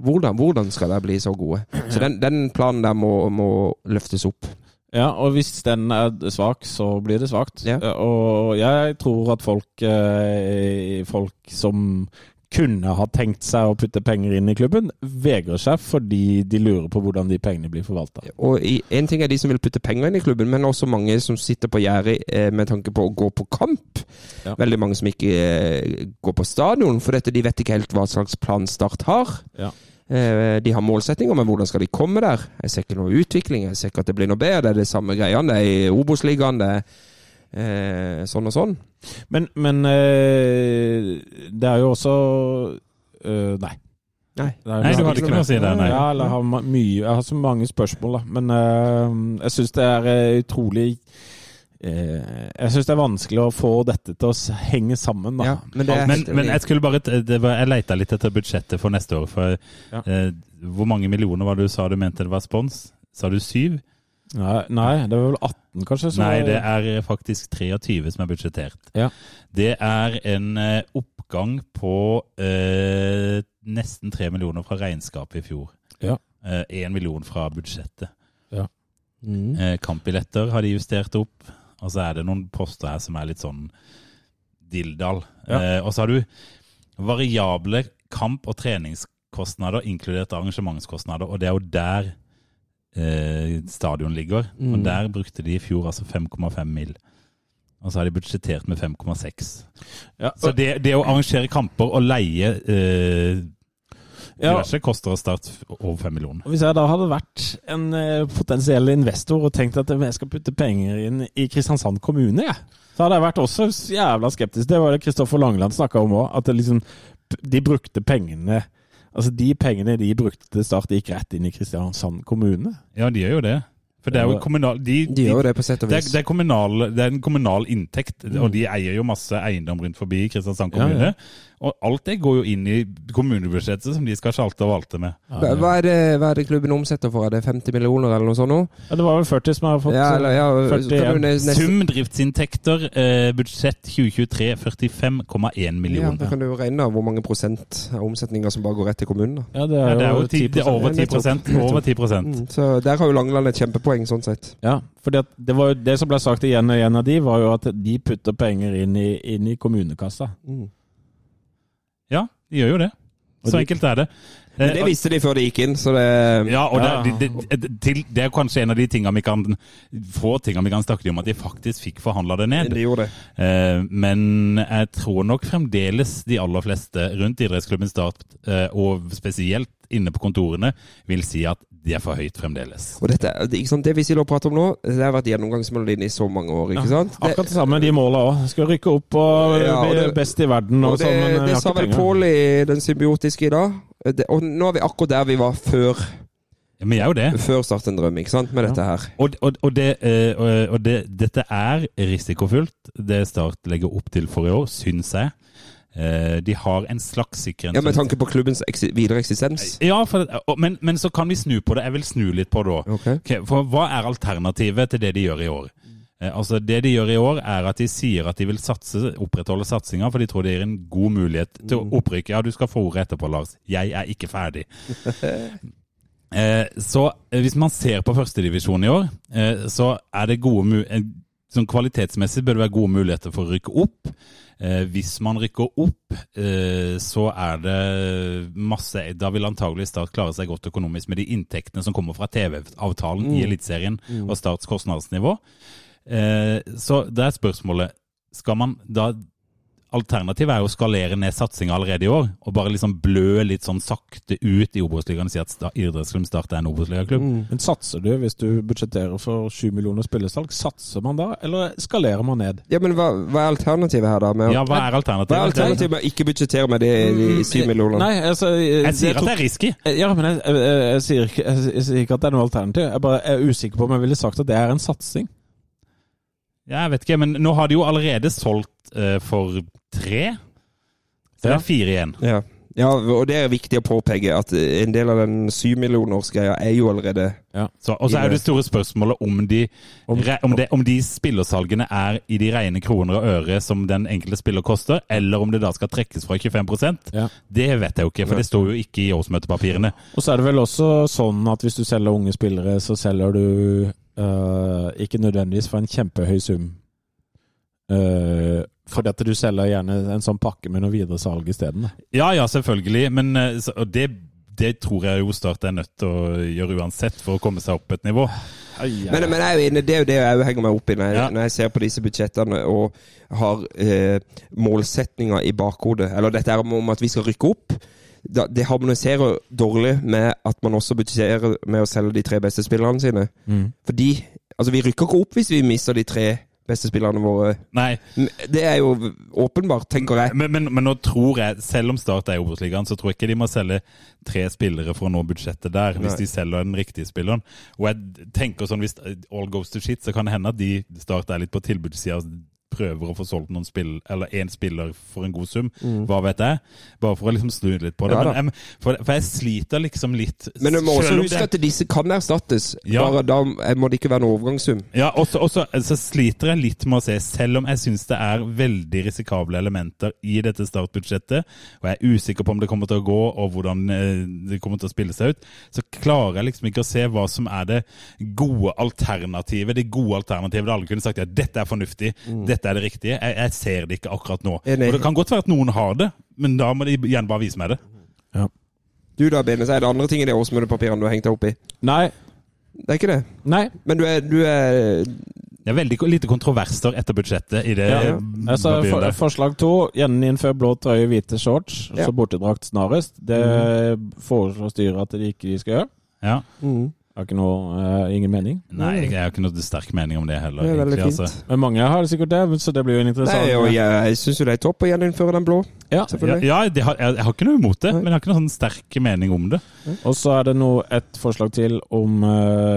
Speaker 4: Hvordan, hvordan skal de bli så gode? Så den, den planen der må, må løftes opp.
Speaker 5: Ja, og hvis den er svak, så blir det svakt.
Speaker 4: Ja.
Speaker 5: Eh, Og jeg tror at folk, eh, folk som kunne ha tenkt seg å putte penger inn i klubben, vegrer seg fordi de lurer på hvordan de pengene blir forvalta.
Speaker 4: Og i- en ting er de som vil putte penger inn i klubben, men også mange som sitter på gjerdet eh, med tanke på å gå på kamp.
Speaker 5: Ja.
Speaker 4: Veldig mange som ikke eh, går på stadion, for dette, de vet ikke helt hva slags plan Start har.
Speaker 5: Ja.
Speaker 4: Eh, de har målsettinger, men hvordan skal de komme der? Jeg ser ikke noe utvikling, jeg ser ikke at det blir noe bedre. Det er det samme greiene, det er i Obos-ligaen, det er eh, sånn og sånn.
Speaker 5: Men, men eh, det er jo også eh, Nei.
Speaker 4: Nei.
Speaker 5: Det er-
Speaker 3: Nei, du har ikke noe å si der, nei.
Speaker 5: Ja, eller har ma- mye, jeg har så mange spørsmål, da. Men eh, jeg syns det er eh, utrolig eh, Jeg syns det er vanskelig å få dette til å s- henge sammen, da.
Speaker 4: Ja, men det er
Speaker 3: Men,
Speaker 4: helt-
Speaker 3: men jeg skulle bare t- eh, det var, Jeg leita litt etter budsjettet for neste år. For
Speaker 5: Ja.
Speaker 3: eh, hvor mange millioner var det du sa du mente det var spons? Sa du syv?
Speaker 5: Nei, nei, det var vel 18, kanskje? som
Speaker 3: Nei,
Speaker 5: var-
Speaker 3: det er eh, faktisk 23 som er budsjettert.
Speaker 5: Ja.
Speaker 3: Det er en eh, oppgang på eh, nesten 3 millioner fra regnskapet i fjor.
Speaker 5: Ja.
Speaker 3: Eh, 1 million fra budsjettet.
Speaker 4: Mm.
Speaker 3: Eh, kampbilletter har de justert opp. Og så er det noen poster her som er litt sånn dilldall.
Speaker 5: Ja.
Speaker 3: Eh, og så har du variable kamp- og treningskostnader, inkludert arrangementskostnader, og det er jo der eh, stadion ligger. Og
Speaker 4: Mm.
Speaker 3: der brukte de i fjor altså 5,5 mil. Og så har de budsjettert med 5,6.
Speaker 5: ja,
Speaker 3: Så det, det å arrangere kamper og leie eh,
Speaker 5: ja,
Speaker 3: diverse koster å starte over 5 millioner.
Speaker 5: og hvis jeg da hadde vært en eh, potensiell investor og tenkt at eh, jeg skal putte penger inn i Kristiansand kommune, jeg, så hadde jeg vært også jævla skeptisk. Det var det Kristoffer Langeland snakka om òg, at det liksom, p- de brukte pengene Altså De pengene de brukte til start, gikk rett inn i Kristiansand kommune.
Speaker 3: Ja, de gjør jo det. For det er jo kommunal... De,
Speaker 4: De gjør jo det på sett og
Speaker 3: Det er,
Speaker 4: vis.
Speaker 3: det, er kommunal, det er en kommunal inntekt,
Speaker 4: Mm.
Speaker 3: og de eier jo masse eiendom rundt forbi i Kristiansand
Speaker 5: Ja, ja.
Speaker 3: kommune. Og alt det går jo inn i kommunebudsjettet som de skal sjalte og valte med.
Speaker 4: Hva hva er, det, hva er det klubben omsetter for? Er det 50 millioner eller noe sånt nå?
Speaker 5: Ja, det var vel 40 som har fått
Speaker 4: Ja, eller, ja, så kan
Speaker 5: 41.
Speaker 4: du ne- neste-
Speaker 3: Sum driftsinntekter, eh, budsjett 2023 45,1
Speaker 4: Ja, da
Speaker 3: millioner.
Speaker 4: kan du jo regne av hvor mange prosent av omsetninga som bare går rett til kommunen. da.
Speaker 5: Ja, det
Speaker 3: Ja,
Speaker 5: er,
Speaker 3: det er jo ti, det er over
Speaker 4: Ja,
Speaker 3: 10
Speaker 4: nettopp.
Speaker 3: Over 10
Speaker 4: Mm, så der har jo Langeland et kjempepoeng, sånn sett.
Speaker 5: Ja, for det, var jo det som ble sagt igjen og igjen av de, var jo at de putter penger inn i, inn i kommunekassa.
Speaker 4: Mm.
Speaker 3: Ja, de gjør jo det. Så
Speaker 5: de-
Speaker 3: enkelt er det. Eh,
Speaker 4: Men det visste de før de gikk inn, så det
Speaker 3: Ja, og
Speaker 5: Ja.
Speaker 3: Det, det, det, til, det er kanskje en av de tingene vi kan få tingene vi kan snakke om, at de faktisk fikk forhandla det ned.
Speaker 4: de gjorde det.
Speaker 3: Eh, men jeg tror nok fremdeles de aller fleste rundt idrettsklubben Start, eh, og spesielt inne på kontorene, vil si at det er for høyt fremdeles.
Speaker 4: Og dette, er- det- ikke sant? det vi sitter og prater om nå, det har vært gjennomgangsmelodien i så mange år, ikke sant? Det,
Speaker 5: Akkurat det samme med de måla òg. Skal rykke opp og
Speaker 4: Ja, og
Speaker 5: bli
Speaker 4: det-
Speaker 5: best i verden. Og
Speaker 4: og det,
Speaker 5: sånn, men jeg
Speaker 4: det
Speaker 5: har
Speaker 4: sa
Speaker 5: ikke
Speaker 4: vel
Speaker 5: penger.
Speaker 4: Pål i Den symbiotiske i dag. Det, og nå er vi akkurat der vi var før,
Speaker 3: Ja, Men jeg er jo det.
Speaker 4: før Start en drøm, ikke sant, med dette her.
Speaker 3: Og, og, og, det, eh, og, og det, dette er risikofylt, det Start legger opp til for i år, syns jeg. Eh, de har en slags sikkerhet
Speaker 4: Ja, Med tanke på klubbens eksi videre eksistens.
Speaker 3: Ja, for, og- men, men så kan vi snu på det. Jeg vil snu litt på det òg.
Speaker 4: Ok.
Speaker 3: Ok, for Hva er alternativet til det de gjør i år? Eh, altså Det de gjør i år, er at de sier at de vil satse, opprettholde satsinga, for de tror det gir en god mulighet til å opprykke. Ja, du skal få ordet etterpå, Lars. Jeg er ikke ferdig. eh, så eh, hvis man ser på førstedivisjon i år, eh, så er det gode mu eh, Sånn Kvalitetsmessig bør det være gode muligheter for å rykke opp. Eh, hvis man rykker opp, eh, så er det masse Da vil antagelig Start klare seg godt økonomisk med de inntektene som kommer fra TV-avtalen i Eliteserien og Starts kostnadsnivå. Eh, så det er spørsmålet Skal man da Alternativet er jo å skalere ned satsinga allerede i år, og bare liksom blø litt sånn sakte ut i Obos-ligaen og si at Sta- idrettsklubben Start er en Obos-ligaklubb.
Speaker 5: Men satser du hvis du budsjetterer for 7 millioner spillesalg? Satser man da, eller skalerer man ned?
Speaker 4: Ja, men hva, hva er alternativet her, da? Med,
Speaker 3: Ja, hva er
Speaker 4: hva er
Speaker 3: alternativet?
Speaker 4: alternativet med å ikke budsjettere med det de syv millionene?
Speaker 5: Mm, Nei, altså
Speaker 3: Jeg sier at det er risky.
Speaker 5: Ja, men jeg, jeg, jeg, jeg, sier ikke, jeg, jeg sier ikke at det er noe alternativ. Jeg bare jeg er usikker på om jeg ville sagt at det er en satsing.
Speaker 3: Ja, Jeg vet ikke, men nå har de jo allerede solgt eh, for tre. Så det
Speaker 5: Ja.
Speaker 3: er fire igjen.
Speaker 4: Ja. ja, og det er viktig å påpeke at en del av den syvmillionersgreia er jo allerede
Speaker 3: Så, og så er det store spørsmålet om de,
Speaker 5: Om-
Speaker 3: re- om, det, om de spillersalgene er i de rene kroner og øre som den enkelte spiller koster, eller om det da skal trekkes fra 25
Speaker 5: Ja.
Speaker 3: Det vet jeg jo ikke, for det står jo ikke i årsmøtepapirene.
Speaker 5: Og så er det vel også sånn at hvis du selger unge spillere, så selger du eh, eh, ikke nødvendigvis for en kjempehøy sum. Eh, fordi at du selger gjerne en sånn pakke med noe videresalg isteden. da.
Speaker 3: Ja, ja, selvfølgelig. Men eh, så- og det, det tror jeg jo Start er nødt til å gjøre uansett for å komme seg opp et nivå.
Speaker 4: Men, men jeg er jo enig, det er jo det jeg også henger meg opp i når jeg,
Speaker 3: Ja.
Speaker 4: når jeg ser på disse budsjettene og har eh, målsetninger i bakhodet. Eller dette er om- om at vi skal rykke opp. Da, det harmoniserer dårlig med at man også budsjetterer med å selge de tre beste spillerne sine. Fordi altså, vi rykker ikke opp hvis vi mister de tre beste spillerne våre.
Speaker 3: Nei,
Speaker 4: Det er jo åpenbart, tenker jeg.
Speaker 3: men, men, men nå tror jeg, selv om Start er i Obos-ligaen, så tror jeg ikke de må selge tre spillere for å nå budsjettet der, hvis
Speaker 4: Nei.
Speaker 3: de selger den riktige spilleren. Og jeg tenker sånn, hvis all goes to shit, så kan det hende at de Start er litt på tilbudssida og prøver å få solgt noen spill, eller én spiller for en god sum. Hva vet jeg? Bare for å liksom snu litt på det.
Speaker 4: Mm. Ja da.
Speaker 3: men, em, for, for jeg sliter liksom litt
Speaker 4: Men du må også
Speaker 3: selv om
Speaker 4: huske
Speaker 3: det-
Speaker 4: at disse kan erstattes.
Speaker 3: Ja.
Speaker 4: Bare da må det ikke være noen overgangssum.
Speaker 3: Ja, og så- og så så sliter jeg litt med å se, selv om jeg syns det er veldig risikable elementer i dette startbudsjettet, og jeg er usikker på om det kommer til å gå, og hvordan eh, det kommer til å spille seg ut, så klarer jeg liksom ikke å se hva som er det gode alternativet. Det gode alternativet der alle kunne sagt ja, dette er fornuftig, dette er det riktige. Jeg, jeg ser det ikke akkurat nå.
Speaker 4: Enig.
Speaker 3: Og det kan godt være at noen har det, men da må de igjen bare vise meg det.
Speaker 4: Du da, Benes, er det andre ting i det årsmøtepapirene du har hengt deg opp i?
Speaker 5: Nei.
Speaker 4: Det er ikke det.
Speaker 5: Nei.
Speaker 4: Men du er, du er
Speaker 3: Det er veldig ko- lite kontroverser etter budsjettet i det.
Speaker 5: Ja,
Speaker 3: eh,
Speaker 5: Altså,
Speaker 3: papiret
Speaker 5: for,
Speaker 3: der.
Speaker 5: forslag to. Gjeninnfør blå trøye, hvite shorts.
Speaker 4: Ja.
Speaker 5: Så bortedrakt snarest. Det foreslår styret at de ikke skal gjøre.
Speaker 3: ja.
Speaker 5: Jeg har ikke noe, eh, ingen mening.
Speaker 3: Nei, jeg, jeg har ikke noe sterk mening om det heller.
Speaker 4: Mm. Det er veldig
Speaker 3: egentlig, altså.
Speaker 4: fint.
Speaker 5: Men mange har sikkert det, så det blir jo en interessant
Speaker 4: Nei, og jeg, jeg syns jo det er topp å gjeninnføre den blå.
Speaker 5: Ja.
Speaker 3: Ja,
Speaker 4: Selvfølgelig.
Speaker 3: ja det har, jeg, jeg har ikke noe imot det, men jeg har ikke noen sånn sterk mening om det.
Speaker 5: Og så er det nå et forslag til om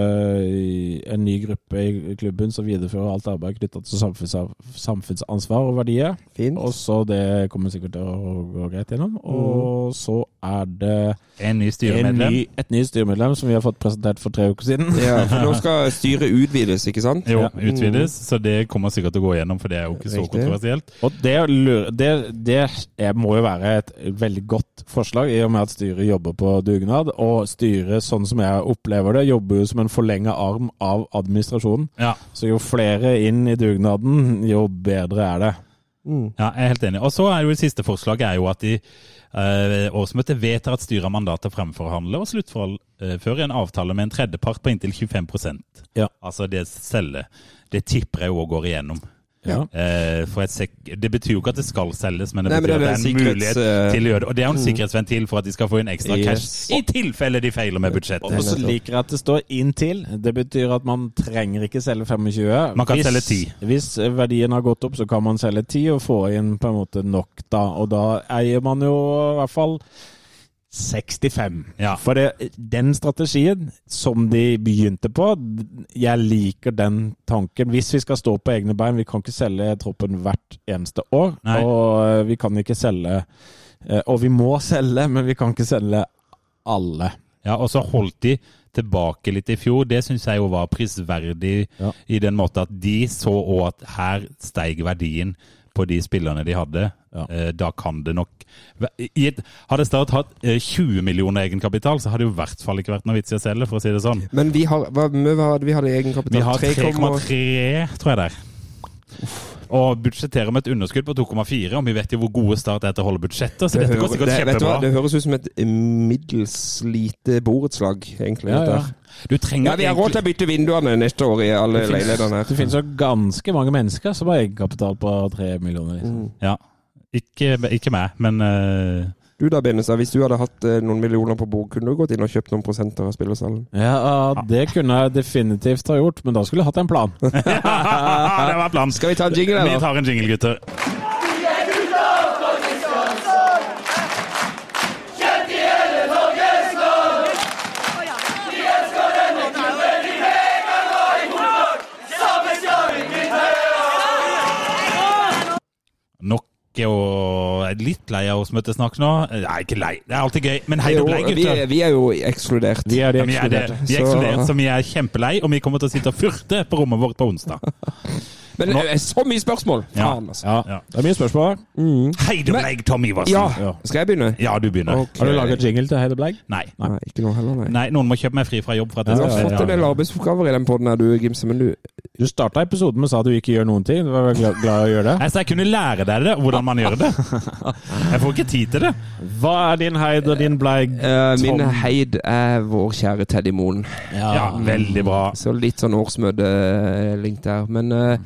Speaker 5: eh, en ny gruppe i klubben som viderefører alt arbeid knytta til samfunnsa- samfunnsansvar og verdier.
Speaker 4: Fint.
Speaker 5: Og så det kommer sikkert til å gå greit gjennom. Og så er det
Speaker 3: En ny
Speaker 5: en
Speaker 3: styremedlem.
Speaker 5: ny, et nytt styremedlem som vi har fått presentert for tre uker siden.
Speaker 4: Ja, for nå skal styret utvides, ikke sant?
Speaker 3: Jo,
Speaker 5: Ja.
Speaker 3: utvides, så det kommer sikkert til å gå igjennom, for det er jo ikke så
Speaker 4: Riktig.
Speaker 3: kontroversielt.
Speaker 5: Og det, lurer- det, det er- må jo være et veldig godt forslag, i og med at styret jobber på dugnad. Og styret, sånn som jeg opplever det, jobber jo som en forlenga arm av administrasjonen.
Speaker 3: Ja,
Speaker 5: Så jo flere inn i dugnaden, jo bedre er det.
Speaker 3: ja jeg er helt enig. Og så er jo det siste forslaget er jo at de eh, årsmøtet vedtar at styret har mandat til å fremforhandle og sluttføre en avtale med en tredjepart på inntil 25
Speaker 5: Ja.
Speaker 3: Altså det selge. Det tipper jeg òg går igjennom.
Speaker 5: Ja.
Speaker 3: Eh, for et sek det betyr jo ikke at det skal selges, men det
Speaker 4: Nei,
Speaker 3: betyr
Speaker 4: men det er
Speaker 3: at det er en
Speaker 4: sikkerhets-
Speaker 3: mulighet til å gjøre det. Og det er jo en sikkerhetsventil for at de skal få inn ekstra
Speaker 5: Yes.
Speaker 3: cash i tilfelle de feiler med budsjettet.
Speaker 5: Og så liker jeg at det står 'inntil'. Det betyr at man trenger ikke selge 25.
Speaker 3: Man kan
Speaker 5: hvis,
Speaker 3: selge 10.
Speaker 5: Hvis eh, verdien har gått opp, så kan man selge 10 og få inn på en måte nok, da. Og da eier man jo i hvert fall 65.
Speaker 3: Ja.
Speaker 5: For det, den strategien som de begynte på, jeg liker den tanken. Hvis vi skal stå på egne bein, vi kan ikke selge troppen hvert eneste år.
Speaker 3: Nei.
Speaker 5: Og eh, vi kan ikke selge eh, Og vi må selge, men vi kan ikke selge alle.
Speaker 3: Ja, og så holdt de tilbake litt i fjor. Det syns jeg jo var prisverdig
Speaker 5: Ja.
Speaker 3: i den måte at de så òg at her steig verdien på de spillerne de hadde.
Speaker 5: Ja.
Speaker 3: Eh, Da kan det nok I et, Hadde Start hatt eh, 20 millioner egenkapital, så hadde det jo i hvert fall ikke vært noe vits i å selge, for å si det sånn.
Speaker 4: Men vi har hva, mye hadde vi hadde i
Speaker 3: Vi
Speaker 4: egenkapital?
Speaker 3: har 3,3,
Speaker 4: 3,3.
Speaker 3: tror jeg det er. Og budsjetterer med et underskudd på 2,4, og vi vet jo hvor gode Start er til å holde budsjetter, så dette går
Speaker 4: hører-
Speaker 3: sikkert
Speaker 4: det, vet du hva,
Speaker 3: kjempebra.
Speaker 4: det høres ut som et middels lite borettslag, egentlig.
Speaker 5: Ja,
Speaker 4: dette
Speaker 5: ja.
Speaker 4: her.
Speaker 3: Du trenger
Speaker 4: Ja, vi har råd til å bytte vinduene neste år i alle leilighetene her.
Speaker 5: Det finnes jo ganske mange mennesker som har egenkapital på tre millioner. Liksom.
Speaker 4: Mm.
Speaker 3: Ja. Ikke, ikke meg, men eh,
Speaker 4: Du da, Benestad, hvis du hadde hatt eh, noen millioner på bok, kunne du gått inn og kjøpt noen prosenter av spillersalen?
Speaker 5: Ja, det kunne jeg definitivt ha gjort, men da skulle jeg hatt
Speaker 4: (laughs)
Speaker 5: en plan.
Speaker 3: Det var planen.
Speaker 4: Skal vi ta en jingle,
Speaker 3: Vi
Speaker 4: eller?
Speaker 3: tar en jingle, gutter. Nok og jeg er litt lei av årsmøtesnakk nå. Nei, ikke lei. Det er alltid gøy. Men hei,
Speaker 4: Jo,
Speaker 3: du blei,
Speaker 4: vi,
Speaker 3: gutter.
Speaker 4: er- vi er jo ekskludert.
Speaker 5: Vi er de
Speaker 3: Ja, vi er det.
Speaker 5: ekskluderte.
Speaker 3: Vi er
Speaker 4: Så-
Speaker 3: ekskludert, så vi er kjempelei, og vi kommer til å sitte og furte på rommet vårt på onsdag.
Speaker 4: Men det er så mye spørsmål! Faen, altså.
Speaker 5: Ja,
Speaker 3: Ja.
Speaker 5: Det er mye spørsmål.
Speaker 3: Hei du meg, Tom Iversen!
Speaker 4: Ja.
Speaker 5: Ja.
Speaker 4: Skal jeg begynne?
Speaker 3: Ja, du begynner.
Speaker 4: Ok.
Speaker 5: Har du laga jingle til Heide Blegg?
Speaker 3: Nei.
Speaker 4: Nei, ikke nå heller, nei.
Speaker 3: Nei, noen må kjøpe meg fri fra jobb for at jeg
Speaker 4: Du
Speaker 3: skal
Speaker 4: har fått en del arbeidsoppgaver i den poden her, du, Gimse, men du
Speaker 5: Du starta episoden med å sa at du ikke gjør noen ting. Du var vel glad, glad i å gjøre det.
Speaker 3: Nei, så jeg kunne lære deg det, hvordan man gjør det.
Speaker 4: (laughs)
Speaker 3: Jeg får ikke tid til det.
Speaker 5: Hva er din Heid og din Blegg?
Speaker 4: Eh, Min
Speaker 5: Tom?
Speaker 4: heid er vår kjære Teddy Moen.
Speaker 3: Ja, veldig bra.
Speaker 4: Så litt sånn årsmøtelink der. Men eh,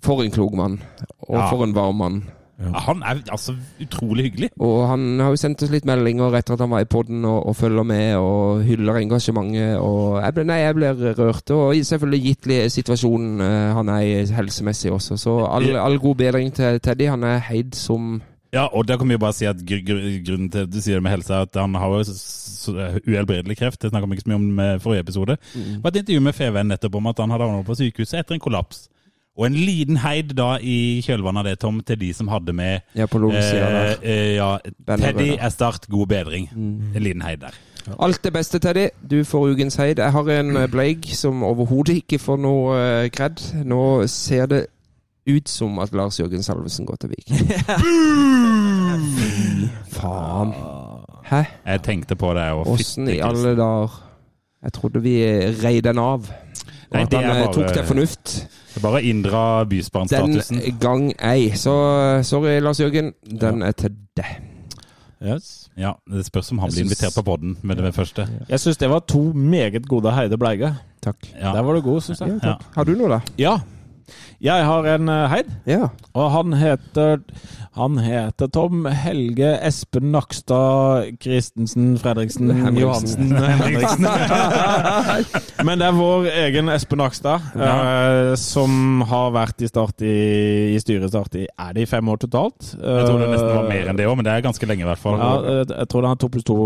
Speaker 4: for en klok mann. Og
Speaker 3: Ja.
Speaker 4: for en varm mann.
Speaker 3: Ja, Han er altså utrolig hyggelig.
Speaker 4: Og han har jo sendt oss litt meldinger etter at han var i poden, og, og følger med og hyller engasjementet. Og jeg ble, nei, jeg blir rørt. Og selvfølgelig gitt li- situasjonen eh, han er i helsemessig også. Så all, all god bedring til Teddy. Han er heid som
Speaker 3: Ja, og da kan vi jo bare si at gr gr grunnen til at du sier det med helse, er at han har jo s- s- uhelbredelig kreft. Det snakka vi ikke så mye om i forrige episode.
Speaker 4: Mm.
Speaker 3: Det var et intervju med FVN nettopp om at han hadde havnet på sykehuset etter en kollaps. Og en liten heid da i kjølvannet av det, Tom, til de som hadde med
Speaker 4: er på lommesida
Speaker 3: eh,
Speaker 4: der.
Speaker 3: eh, ja,
Speaker 4: Banner,
Speaker 3: Teddy
Speaker 4: banner.
Speaker 3: er start, god bedring. En liten heid der.
Speaker 4: Alt det beste, Teddy. Du får ukens heid. Jeg har en eh, Blake som overhodet ikke får noe eh, cred. Nå ser det ut som at Lars Jørgen Salvesen går til (laughs) Viking. Faen. Hæ?
Speaker 3: Jeg tenkte på det òg.
Speaker 4: Åssen i alle dager? Jeg trodde vi eh, rei den av. Og
Speaker 3: Nei,
Speaker 4: at
Speaker 3: det er
Speaker 4: han eh,
Speaker 3: bare-
Speaker 4: tok til fornuft.
Speaker 3: Bare inndra
Speaker 4: Den
Speaker 3: bysbarnstatusen.
Speaker 4: gang ei. Så eh, sorry, Lars Jørgen. Den er til deg.
Speaker 5: Yes.
Speaker 3: Ja, det spørs om han blir
Speaker 5: Jeg syns-
Speaker 3: invitert på podden med det første. (laughs)
Speaker 5: Jeg syns det var to meget gode Heide Bleiga.
Speaker 4: Takk.
Speaker 5: Der
Speaker 3: Ja.
Speaker 5: var du god, syns jeg.
Speaker 3: Ja.
Speaker 4: Har du noe, da?
Speaker 5: Ja. Jeg har en eh, Heid,
Speaker 4: Ja.
Speaker 5: og han heter Han heter Tom Helge Espen Nakstad Christensen Fredriksen
Speaker 4: Henriksen.
Speaker 5: Johansen Henriksen. Men det er vår egen Espen Nakstad, eh, som har vært i, start i, i styret i start i Er det i fem år totalt?
Speaker 3: Jeg tror det nesten var mer enn det òg, men det er ganske lenge i hvert fall.
Speaker 5: Ja, eh, jeg tror det er to pluss to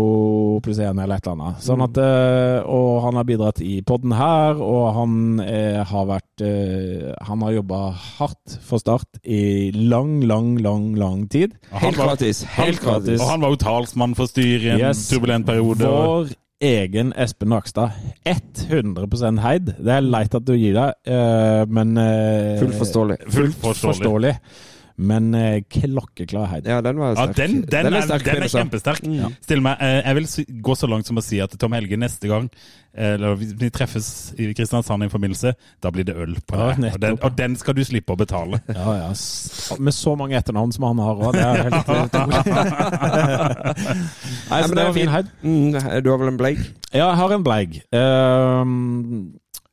Speaker 5: pluss én eller et eller annet.
Speaker 3: Mm.
Speaker 5: Sånn at, eh, og han har bidratt i podden her, og han eh, har vært eh, Han har jobba hardt for Start i lang, lang, lang, lang tid.
Speaker 3: Og han
Speaker 4: Helt
Speaker 3: var-
Speaker 4: gratis. Helt gratis.
Speaker 3: Og han var jo talsmann for styret i en
Speaker 5: Yes.
Speaker 3: turbulent periode. og-
Speaker 5: Vår egen Espen Nakstad. 100 heid. Det er leit at du gir deg, eh, men eh,
Speaker 4: Fullt forståelig.
Speaker 3: Fullt forståelig.
Speaker 5: forståelig. Men eh, klokkeklar heid.
Speaker 4: Ja, den var
Speaker 3: Ja,
Speaker 4: sterk.
Speaker 3: den, den, er,
Speaker 4: sterk,
Speaker 3: den
Speaker 4: mener
Speaker 3: er
Speaker 4: jeg.
Speaker 3: kjempesterk. Still meg, eh, jeg vil s- gå så langt som å si at Tom Helge neste gang, eh, eller hvis vi treffes i Kristiansand i en forbindelse, da blir det øl på
Speaker 5: Ja,
Speaker 3: deg. Og den,
Speaker 5: nettopp.
Speaker 3: og den skal du slippe å betale.
Speaker 5: Ja, ja. S- Med så mange etternavn som han har òg. Det er helt utrolig. (laughs) Nei,
Speaker 4: Ja,
Speaker 5: så
Speaker 4: men
Speaker 5: det
Speaker 4: er
Speaker 5: var fin
Speaker 4: fint.
Speaker 5: heid.
Speaker 4: Mm, du har vel en bleik?
Speaker 5: Ja, jeg har en bleig. Ehm,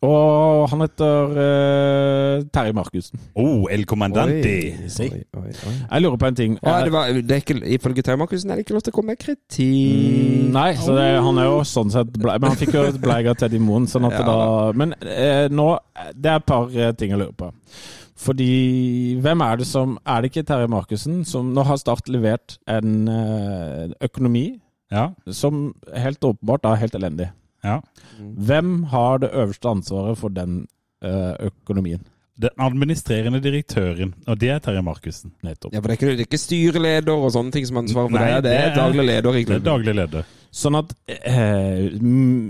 Speaker 5: og han heter eh, Terje Markussen.
Speaker 3: (laughs) Oh, El Comandante!
Speaker 5: si.
Speaker 4: Oi, oi, oi.
Speaker 5: Jeg lurer på en ting.
Speaker 4: Å, det var, det er ikke, ifølge Terje Markussen er det ikke lov til å komme med kritikk.
Speaker 5: Nei, så det, han er jo sånn sett bleig, men han fikk jo et bleig av Teddy Moen. Sånn at
Speaker 4: Ja.
Speaker 5: det da, men eh, nå Det er et par eh, ting jeg lurer på. Fordi hvem er det som Er det ikke Terje Markussen som Nå har Start levert en eh, økonomi
Speaker 3: Ja,
Speaker 5: som helt åpenbart er helt elendig.
Speaker 3: ja.
Speaker 5: Hvem har det øverste ansvaret for den eh, økonomien?
Speaker 3: Den administrerende direktøren, og det er Terje Markussen. Nettopp.
Speaker 4: Ja, for det er ikke, det er ikke styreleder og sånne ting som han svarer for.
Speaker 3: Nei,
Speaker 4: det, er- det er daglig leder
Speaker 3: Det
Speaker 4: i
Speaker 3: er
Speaker 4: klubben.
Speaker 3: daglig leder.
Speaker 5: Sånn at eh, mm,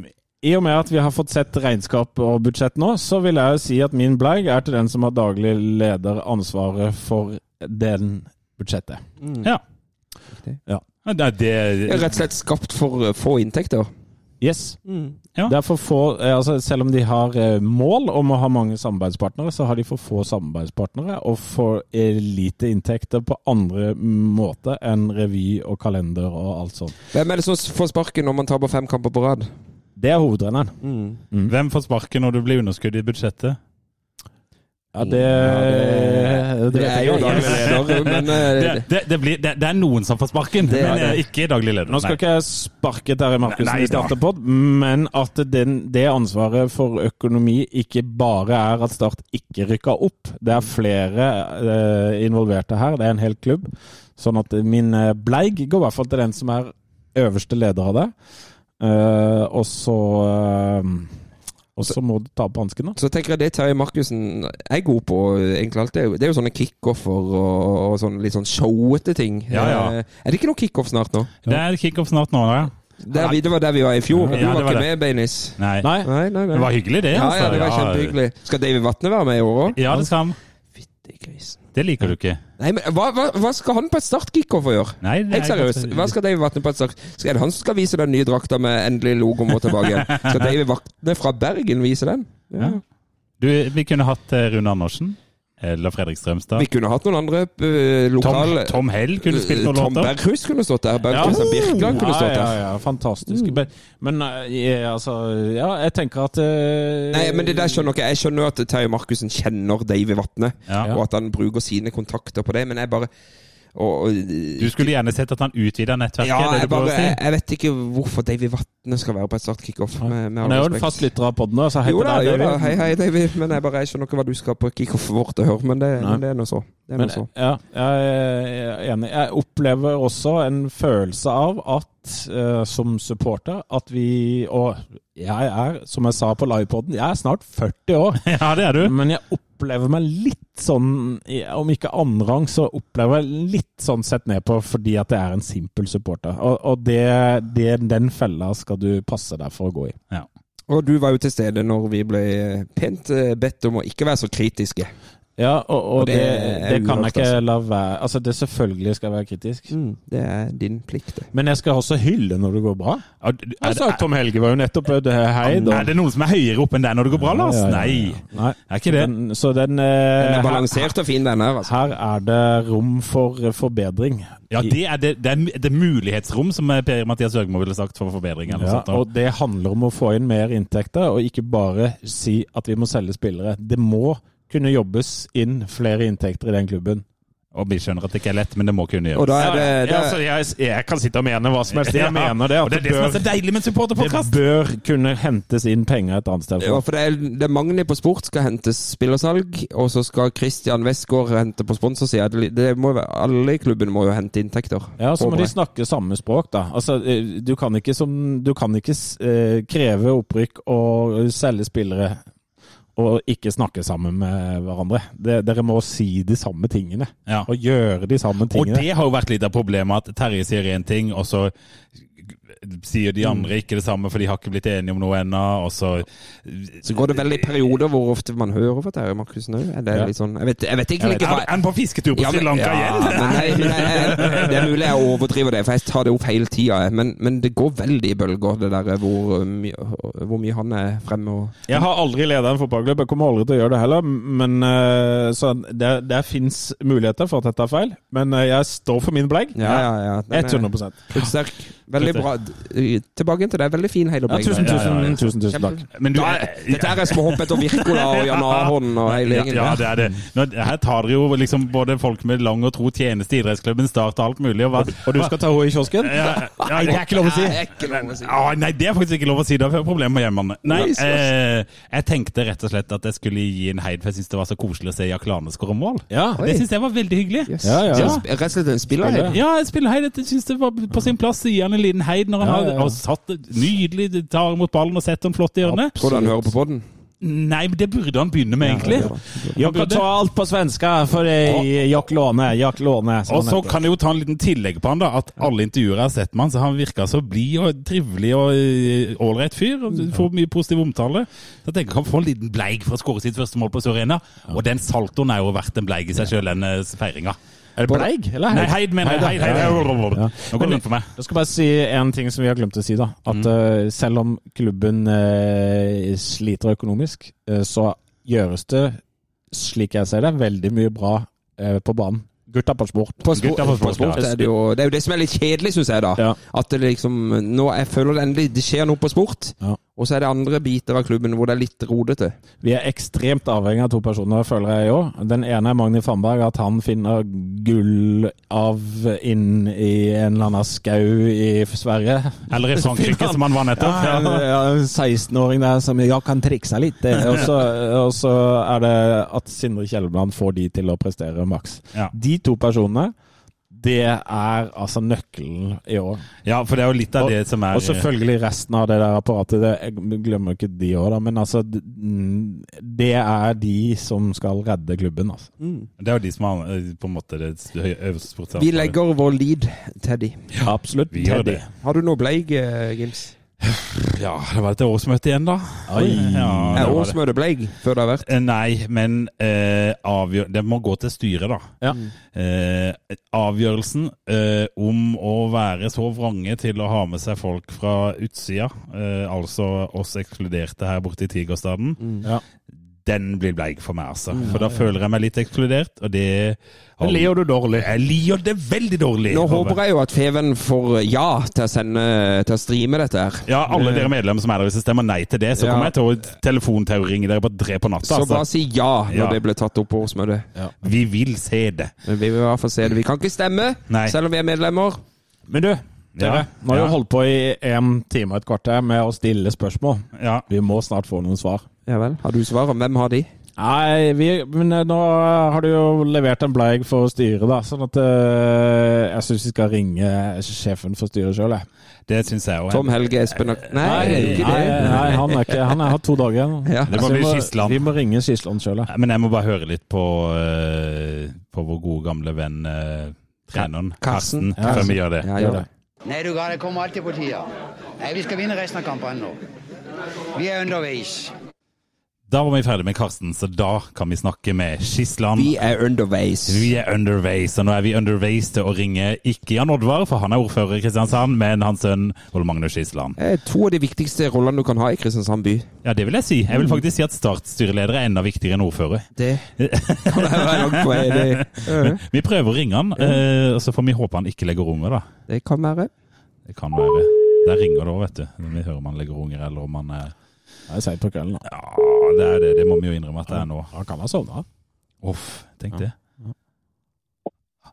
Speaker 5: I og med at vi har fått sett regnskap og budsjett nå, så vil jeg jo si at min bleig er til den som har daglig leder ansvaret for den budsjettet.
Speaker 3: Ja.
Speaker 4: Riktig.
Speaker 5: Ja.
Speaker 3: Ja, Det,
Speaker 4: Det er
Speaker 3: det,
Speaker 4: rett og slett skapt for eh, få inntekter.
Speaker 5: Yes.
Speaker 4: Mm.
Speaker 3: Ja.
Speaker 5: Det er for få, eh, altså selv om de har eh, mål om å ha mange samarbeidspartnere, så har de for få samarbeidspartnere og for eh, lite inntekter på andre måter enn revy og kalender og alt sånt.
Speaker 4: Hvem er det som får sparken når man taper fem kamper på rad?
Speaker 5: Det er hovedrenneren.
Speaker 3: hvem får sparken når det blir underskudd i budsjettet?
Speaker 5: Ja, det,
Speaker 4: Ja,
Speaker 5: det,
Speaker 4: Det
Speaker 5: vet
Speaker 4: er
Speaker 5: jeg
Speaker 4: jo
Speaker 5: ikke.
Speaker 4: daglig leder, (laughs) men eh,
Speaker 3: Det, det, det, blir, det, det er noen som får sparken,
Speaker 4: Det er
Speaker 3: men eh, ikke daglig leder.
Speaker 5: Nå skal
Speaker 3: Nei.
Speaker 5: ikke jeg sparke Terje Markussen
Speaker 3: Nei,
Speaker 5: i Starterpod, men at den, det ansvaret for økonomi ikke bare er at Start ikke rykka opp. Det er flere eh, involverte her, det er en hel klubb. Sånn at min eh, bleig går i hvert fall til den som er øverste leder av det. Eh, og så eh, Og så må du ta på hansken, da.
Speaker 4: så tenker jeg det Terje Markussen er god på, eh, egentlig alt. Det er jo, det er jo sånne kickoffer og, og sånne litt sånn showete ting.
Speaker 3: Ja, ja.
Speaker 4: Eh, Er det ikke noe kickoff snart nå?
Speaker 3: Det er kickoff snart nå, ja.
Speaker 4: Der vi, det var der vi var i fjor.
Speaker 3: Ja,
Speaker 4: du var
Speaker 3: det var det.
Speaker 4: ikke med, Beinis.
Speaker 3: Nei.
Speaker 5: Nei?
Speaker 4: Nei, nei, nei.
Speaker 3: Det var hyggelig, det.
Speaker 4: ja,
Speaker 3: altså.
Speaker 4: ja, det var kjempehyggelig. Skal David Vatne være med i år òg?
Speaker 3: Ja, det skal han.
Speaker 4: Fytti grisen.
Speaker 3: Det liker du ikke.
Speaker 4: Nei, men hva, hva, hva skal han på et startkick-off å gjøre?
Speaker 3: Nei, det er
Speaker 4: Helt seriøst,
Speaker 3: ikke-
Speaker 4: hva skal David Vatne på et start? Skal er det han som skal vise den nye drakta med endelig logoen vår
Speaker 3: (laughs)
Speaker 4: tilbake igjen? Skal David Vatne fra Bergen vise den? Ja.
Speaker 3: Du, vi kunne hatt eh, Rune Andersen. Eller Fredrik Strømstad.
Speaker 4: Vi kunne hatt noen andre eh,
Speaker 3: Tom,
Speaker 4: lokale
Speaker 3: Tom Hell kunne spilt noen
Speaker 4: Tom
Speaker 3: låter.
Speaker 4: Berghus kunne stått der. Bernt
Speaker 5: Ja.
Speaker 4: Kristian sånn Birkeland kunne stått Mm.
Speaker 5: ja,
Speaker 4: der.
Speaker 5: ja, fantastisk. Men- Men eh, jeg, altså Ja, jeg tenker at eh,
Speaker 4: Nei, men det der skjønner ikke jeg. Jeg skjønner jo at Terje Markussen kjenner David Vatne,
Speaker 3: Ja.
Speaker 4: og at han bruker sine kontakter på det, men jeg bare og, og,
Speaker 3: Du skulle gjerne sett at han utvida nettverket.
Speaker 4: Ja,
Speaker 3: er det
Speaker 4: jeg,
Speaker 3: du prøver
Speaker 4: bare,
Speaker 3: å si?
Speaker 4: jeg, jeg vet ikke hvorfor David Vatne skal være på et startkickoff. Med, med
Speaker 5: Han er
Speaker 4: all
Speaker 5: jo en
Speaker 4: respekt.
Speaker 5: fast lytter av podden, så hei
Speaker 4: Jo
Speaker 5: til
Speaker 4: da,
Speaker 5: deg,
Speaker 4: jo da.
Speaker 5: David.
Speaker 4: Hei, hei, David. Men jeg bare jeg skjønner ikke hva du skal på kickoffet vårt og høre, men det,
Speaker 5: Nei.
Speaker 4: men det er nå så. Det er
Speaker 5: Men
Speaker 4: nå så.
Speaker 5: ja, jeg er enig. Jeg opplever også en følelse av at eh, som supporter at vi Og jeg er, som jeg sa på livepoden, jeg er snart 40 år.
Speaker 3: (laughs) Ja, det
Speaker 4: Mm.
Speaker 3: er du.
Speaker 5: Men jeg opplever meg litt sånn, om ikke annenrang, så opplever jeg litt sånn sett ned på fordi at jeg er en simpel supporter. Og, og det, det, den fella skal du passe deg for å gå i.
Speaker 4: Og du var jo til stede når vi ble pent eh, bedt om å ikke være så kritiske.
Speaker 5: Ja, og, og,
Speaker 4: Og det
Speaker 5: det,
Speaker 4: er
Speaker 5: det, kan
Speaker 4: ulovlig,
Speaker 5: jeg ikke la være Altså, det selvfølgelig skal jeg være kritisk.
Speaker 4: Mm, Det er din plikt. det.
Speaker 5: Men jeg skal også hylle når det går bra.
Speaker 3: Ja, du-
Speaker 5: Jeg
Speaker 3: Er det,
Speaker 5: sa Tom Helge var jo nettopp eh, det her, hei
Speaker 3: (laughs)
Speaker 5: da.
Speaker 3: er det noen som er høyere oppe enn deg når det går bra, Lars?
Speaker 5: Ja, ja, ja, ja.
Speaker 3: Nei. Er ikke det?
Speaker 5: Den, så den, eh,
Speaker 4: Den er
Speaker 5: her,
Speaker 4: balansert og fin, den her. Altså.
Speaker 5: her er det rom for eh, forbedring.
Speaker 3: Ja, det er det, det, er det mulighetsrom, som eh, Per-Mathias Høgmo ville sagt, for forbedring. Eller
Speaker 5: Ja,
Speaker 3: noe sånt.
Speaker 5: og det handler om å få inn mer inntekter, og ikke bare si at vi må selge spillere. Det må kunne jobbes inn flere inntekter i den klubben.
Speaker 3: Og vi skjønner at det ikke er lett, men det må kunne
Speaker 4: Og
Speaker 3: gjøres.
Speaker 4: da er det, det
Speaker 3: altså,
Speaker 4: er,
Speaker 5: jeg, kan sitte og mene hva som helst.
Speaker 3: (laughs)
Speaker 5: Jeg mener det.
Speaker 3: og det er det som er så deilig med
Speaker 5: det
Speaker 3: supporterpodkast!
Speaker 5: bør kunne hentes inn penger et annet sted.
Speaker 4: ja, for det er, det er Magni på sport skal hente spillersalg, og så skal Christian Westgård hente på sponsorsida. Det, det må jo være- alle i klubben må jo hente inntekter.
Speaker 5: Ja, så må
Speaker 4: håper
Speaker 5: de
Speaker 4: jeg.
Speaker 5: snakke samme språk, da. Altså, eh, du kan ikke, som, du kan ikke eh, kreve opprykk og selge spillere og ikke snakke sammen med hverandre. Det, dere må si de samme tingene.
Speaker 3: Ja.
Speaker 5: Og gjøre de samme
Speaker 3: Og
Speaker 5: tingene.
Speaker 3: det har jo vært litt av problemet, at Terje sier én ting, og så sier de andre ikke det samme, for de har ikke blitt enige om noe ennå, og så
Speaker 4: Så går det vel i perioder hvor ofte man hører fra Terje Markussen òg. Er det
Speaker 5: Ja.
Speaker 4: litt sånn Jeg vet, jeg vet egentlig ikke
Speaker 3: Er
Speaker 4: hva
Speaker 3: han på fisketur på
Speaker 4: Ja, men-
Speaker 3: Sri Lanka
Speaker 4: ja,
Speaker 3: igjen?
Speaker 4: Men nei, men jeg, jeg, det er mulig jeg overdriver det, for jeg tar det opp hele tida. jeg. Men, men det går veldig i bølger, det der hvor, mye- hvor mye han er fremme og
Speaker 5: Jeg har aldri leda en fotballklubb, jeg kommer aldri til å gjøre det heller. Men eh, så det, det fins muligheter for at dette er feil, men eh, jeg står for min blegg.
Speaker 4: Ja, ja, ja. Den er
Speaker 5: 100
Speaker 4: Kruttsterk. Veldig bra. Tilbake igjen til deg. Veldig fin hele
Speaker 5: ja, tusen,
Speaker 4: oppleggen.
Speaker 5: tusen,
Speaker 3: ja, ja.
Speaker 5: tusen, tusen takk.
Speaker 3: Men du,
Speaker 4: Da er- Dette her er småhopp etter Wirkola og Jan Aron og hele
Speaker 3: ja,
Speaker 4: gjengen.
Speaker 3: ja, det er det. Nå, her tar dere jo liksom både folk med (laughs) lang og tro tjeneste i idrettsklubben, Start og alt mulig. Og, hva,
Speaker 5: Og du skal ta henne i kiosken?
Speaker 3: ja, ja, Det er ikke lov å si!
Speaker 4: Det er ikke lov å si.
Speaker 3: Ah, nei, det er faktisk ikke lov å si. Da får jeg problemer med hjemmene. Nei,
Speaker 4: Nei,
Speaker 3: eh, jeg tenkte rett og slett at jeg skulle gi en heid, for jeg syns det var så koselig å se Jack Lane skåre mål.
Speaker 5: Ja.
Speaker 4: Oi.
Speaker 3: Det syns jeg var veldig hyggelig.
Speaker 4: Yes.
Speaker 5: Ja, ja, ja.
Speaker 4: Så Rett og slett en spiller
Speaker 5: Spiller.
Speaker 4: her.
Speaker 3: Ja, jeg spiller heid. Jeg syns det var på sin plass å gi han en liten heid når han
Speaker 5: Ja, ja, ja.
Speaker 3: har og satt det nydelig, tar imot ballen og setter den flott i hjørnet.
Speaker 4: Tror du han hører på podden?
Speaker 3: Nei, men det burde han begynne med, egentlig. Han
Speaker 5: Jag kan
Speaker 3: burde-
Speaker 5: ta allt på svenska för dig, Jack Låne. Jack Låne som
Speaker 3: Og
Speaker 5: han
Speaker 3: så
Speaker 5: heter.
Speaker 3: kan jeg jo ta en liten tillegg på han, da. At alle intervjuer jeg har sett med han, så han virka så blid og trivelig og ålreit fyr. og Får mye positiv omtale. Så jeg tenker han får en liten bleig for å skåre sitt første mål på Sør Arena. Og den saltoen er jo verdt en bleig i seg sjøl, den eh, feiringa.
Speaker 5: Er det Bleig? Eller
Speaker 3: Nei, Heid mener jeg. Heid, heid, heid.
Speaker 5: Ja.
Speaker 3: Nå går det rundt for meg.
Speaker 5: Jeg skal bare si en ting som vi har glemt å si. da. At
Speaker 3: Mm.
Speaker 5: eh, Selv om klubben eh, sliter økonomisk, eh, så gjøres det, slik jeg ser det, veldig mye bra eh, på banen. Gutta på sport.
Speaker 4: På sport,
Speaker 3: Gutta på sport,
Speaker 4: på sport
Speaker 3: ja.
Speaker 4: eh, er det, jo, det er jo det som er litt kjedelig, syns jeg, da.
Speaker 5: Ja.
Speaker 4: At det liksom Nå jeg føler det endelig det skjer noe på sport,
Speaker 5: Ja.
Speaker 4: og så er det andre biter av klubben hvor det er litt rodete.
Speaker 5: Vi er ekstremt avhengig av to personer, føler jeg i år. Den ene er Magni Fannberg, at han finner gull av inn i en eller annen skau i Sverige.
Speaker 3: Eller i Frankrike, som han var nettopp.
Speaker 5: (laughs) Ja, en,
Speaker 3: Ja.
Speaker 5: ja, en 16-åring der som jeg kan trikse litt. eh, Og så, og så er det at Sindre Kjelleland får de til å prestere maks.
Speaker 3: Ja.
Speaker 5: De to personene, det er altså nøkkelen i år.
Speaker 3: Ja, for det er jo litt av det som er
Speaker 5: Og selvfølgelig resten av det der apparatet. Det, jeg glemmer jo ikke de òg, da. Men altså, d- mm, det er de som skal redde klubben, altså.
Speaker 3: Det er jo de som har eh, på en måte det høy- øverste sportsansvaret.
Speaker 4: Vi legger vår lead til de.
Speaker 5: Absolutt.
Speaker 3: Vi gjør
Speaker 5: Teddy.
Speaker 3: det.
Speaker 4: Har du noe bleig, eh, Gims?
Speaker 3: Ja, det var dette årsmøtet igjen, da.
Speaker 5: Oi.
Speaker 3: Ja, det
Speaker 4: Er
Speaker 3: var det.
Speaker 4: årsmøtet bleig før det har vært?
Speaker 3: Eh, Nei, men eh, avgjør... Det må gå til styret, da.
Speaker 5: Ja.
Speaker 3: Eh, avgjørelsen eh, om å være så vrange til å ha med seg folk fra utsida, eh, altså oss ekskluderte her borte i Tigerstaden,
Speaker 5: Ja.
Speaker 3: den blir bleik for meg, altså. For da føler jeg meg litt ekskludert, og det
Speaker 5: Det ler
Speaker 3: du dårlig. Jeg lir det veldig dårlig.
Speaker 4: Nå håper jeg jo at Feven får eh, ja til å, sende, eh, til å streame dette her.
Speaker 3: Ja, alle dere medlemmer som er der, hvis dere stemmer nei til det, så
Speaker 4: Eh. Ja.
Speaker 3: kommer jeg til å telefonterroringe dere på tre på natta.
Speaker 4: Så
Speaker 3: Altså.
Speaker 4: bare si ja når
Speaker 3: Ja.
Speaker 4: det blir tatt opp på årsmøtet.
Speaker 3: Vi vil se det.
Speaker 4: Men vi vil i hvert fall se det. Vi kan ikke stemme,
Speaker 3: Nei.
Speaker 4: selv om vi er medlemmer.
Speaker 5: Men du, dere.
Speaker 3: Ja.
Speaker 5: Nå har vi
Speaker 3: Ja.
Speaker 5: holdt på i en time og et kvarter med å stille spørsmål.
Speaker 3: Ja.
Speaker 5: Vi må snart få noen svar.
Speaker 4: Ja vel. Har du svar om hvem har de?
Speaker 5: Nei, vi, men eh, nå har du jo levert en bleig for styret, da. Sånn at eh, jeg syns vi skal ringe sjefen for styret sjøl, jeg.
Speaker 3: Det syns jeg òg.
Speaker 4: Tom Helge Espen og Nei, ikke
Speaker 5: nei,
Speaker 4: det.
Speaker 5: nei, han er ikke Han har hatt to dager igjen.
Speaker 4: Ja.
Speaker 3: Det må
Speaker 5: Så vi
Speaker 3: bli
Speaker 5: må-
Speaker 3: Skisland.
Speaker 5: Vi må ringe Skisland sjøl, ja.
Speaker 3: Men jeg må bare høre litt på, eh, på vår gode gamle venn eh, treneren, Karsten,
Speaker 4: Karsten.
Speaker 3: før vi gjør det.
Speaker 4: Ja, gjør det.
Speaker 6: Nei, du Gard, jeg kommer alltid på tida. Nei, vi skal vinne resten av kampene nå. Vi er underveis.
Speaker 3: Da var vi ferdig med Karsten, så da kan vi snakke med Skisland.
Speaker 4: Vi er underveis.
Speaker 3: Vi er underveis, og nå er vi underveis til å ringe ikke Jan Oddvar, for han er ordfører i Kristiansand, men hans sønn Ole Magnus Skisland.
Speaker 4: Eh, To av de viktigste rollene du kan ha i Kristiansand by.
Speaker 3: Ja, det vil jeg si. Jeg vil faktisk si at startstyreleder er enda viktigere enn ordfører.
Speaker 4: Det kan være langt på vei. Det, Ja,
Speaker 3: Vi prøver å ringe han, eh, og så får vi håpe han ikke legger unger, da.
Speaker 4: det kan være.
Speaker 3: Det kan være. Der ringer det òg, vet du. Vi hører om han legger unger, eller om han er
Speaker 5: Det er seint på kvelden. da.
Speaker 3: Ja, det er det. Det må vi jo innrømme at det er nå.
Speaker 5: Han kan ha sovna.
Speaker 3: Uff, tenk det.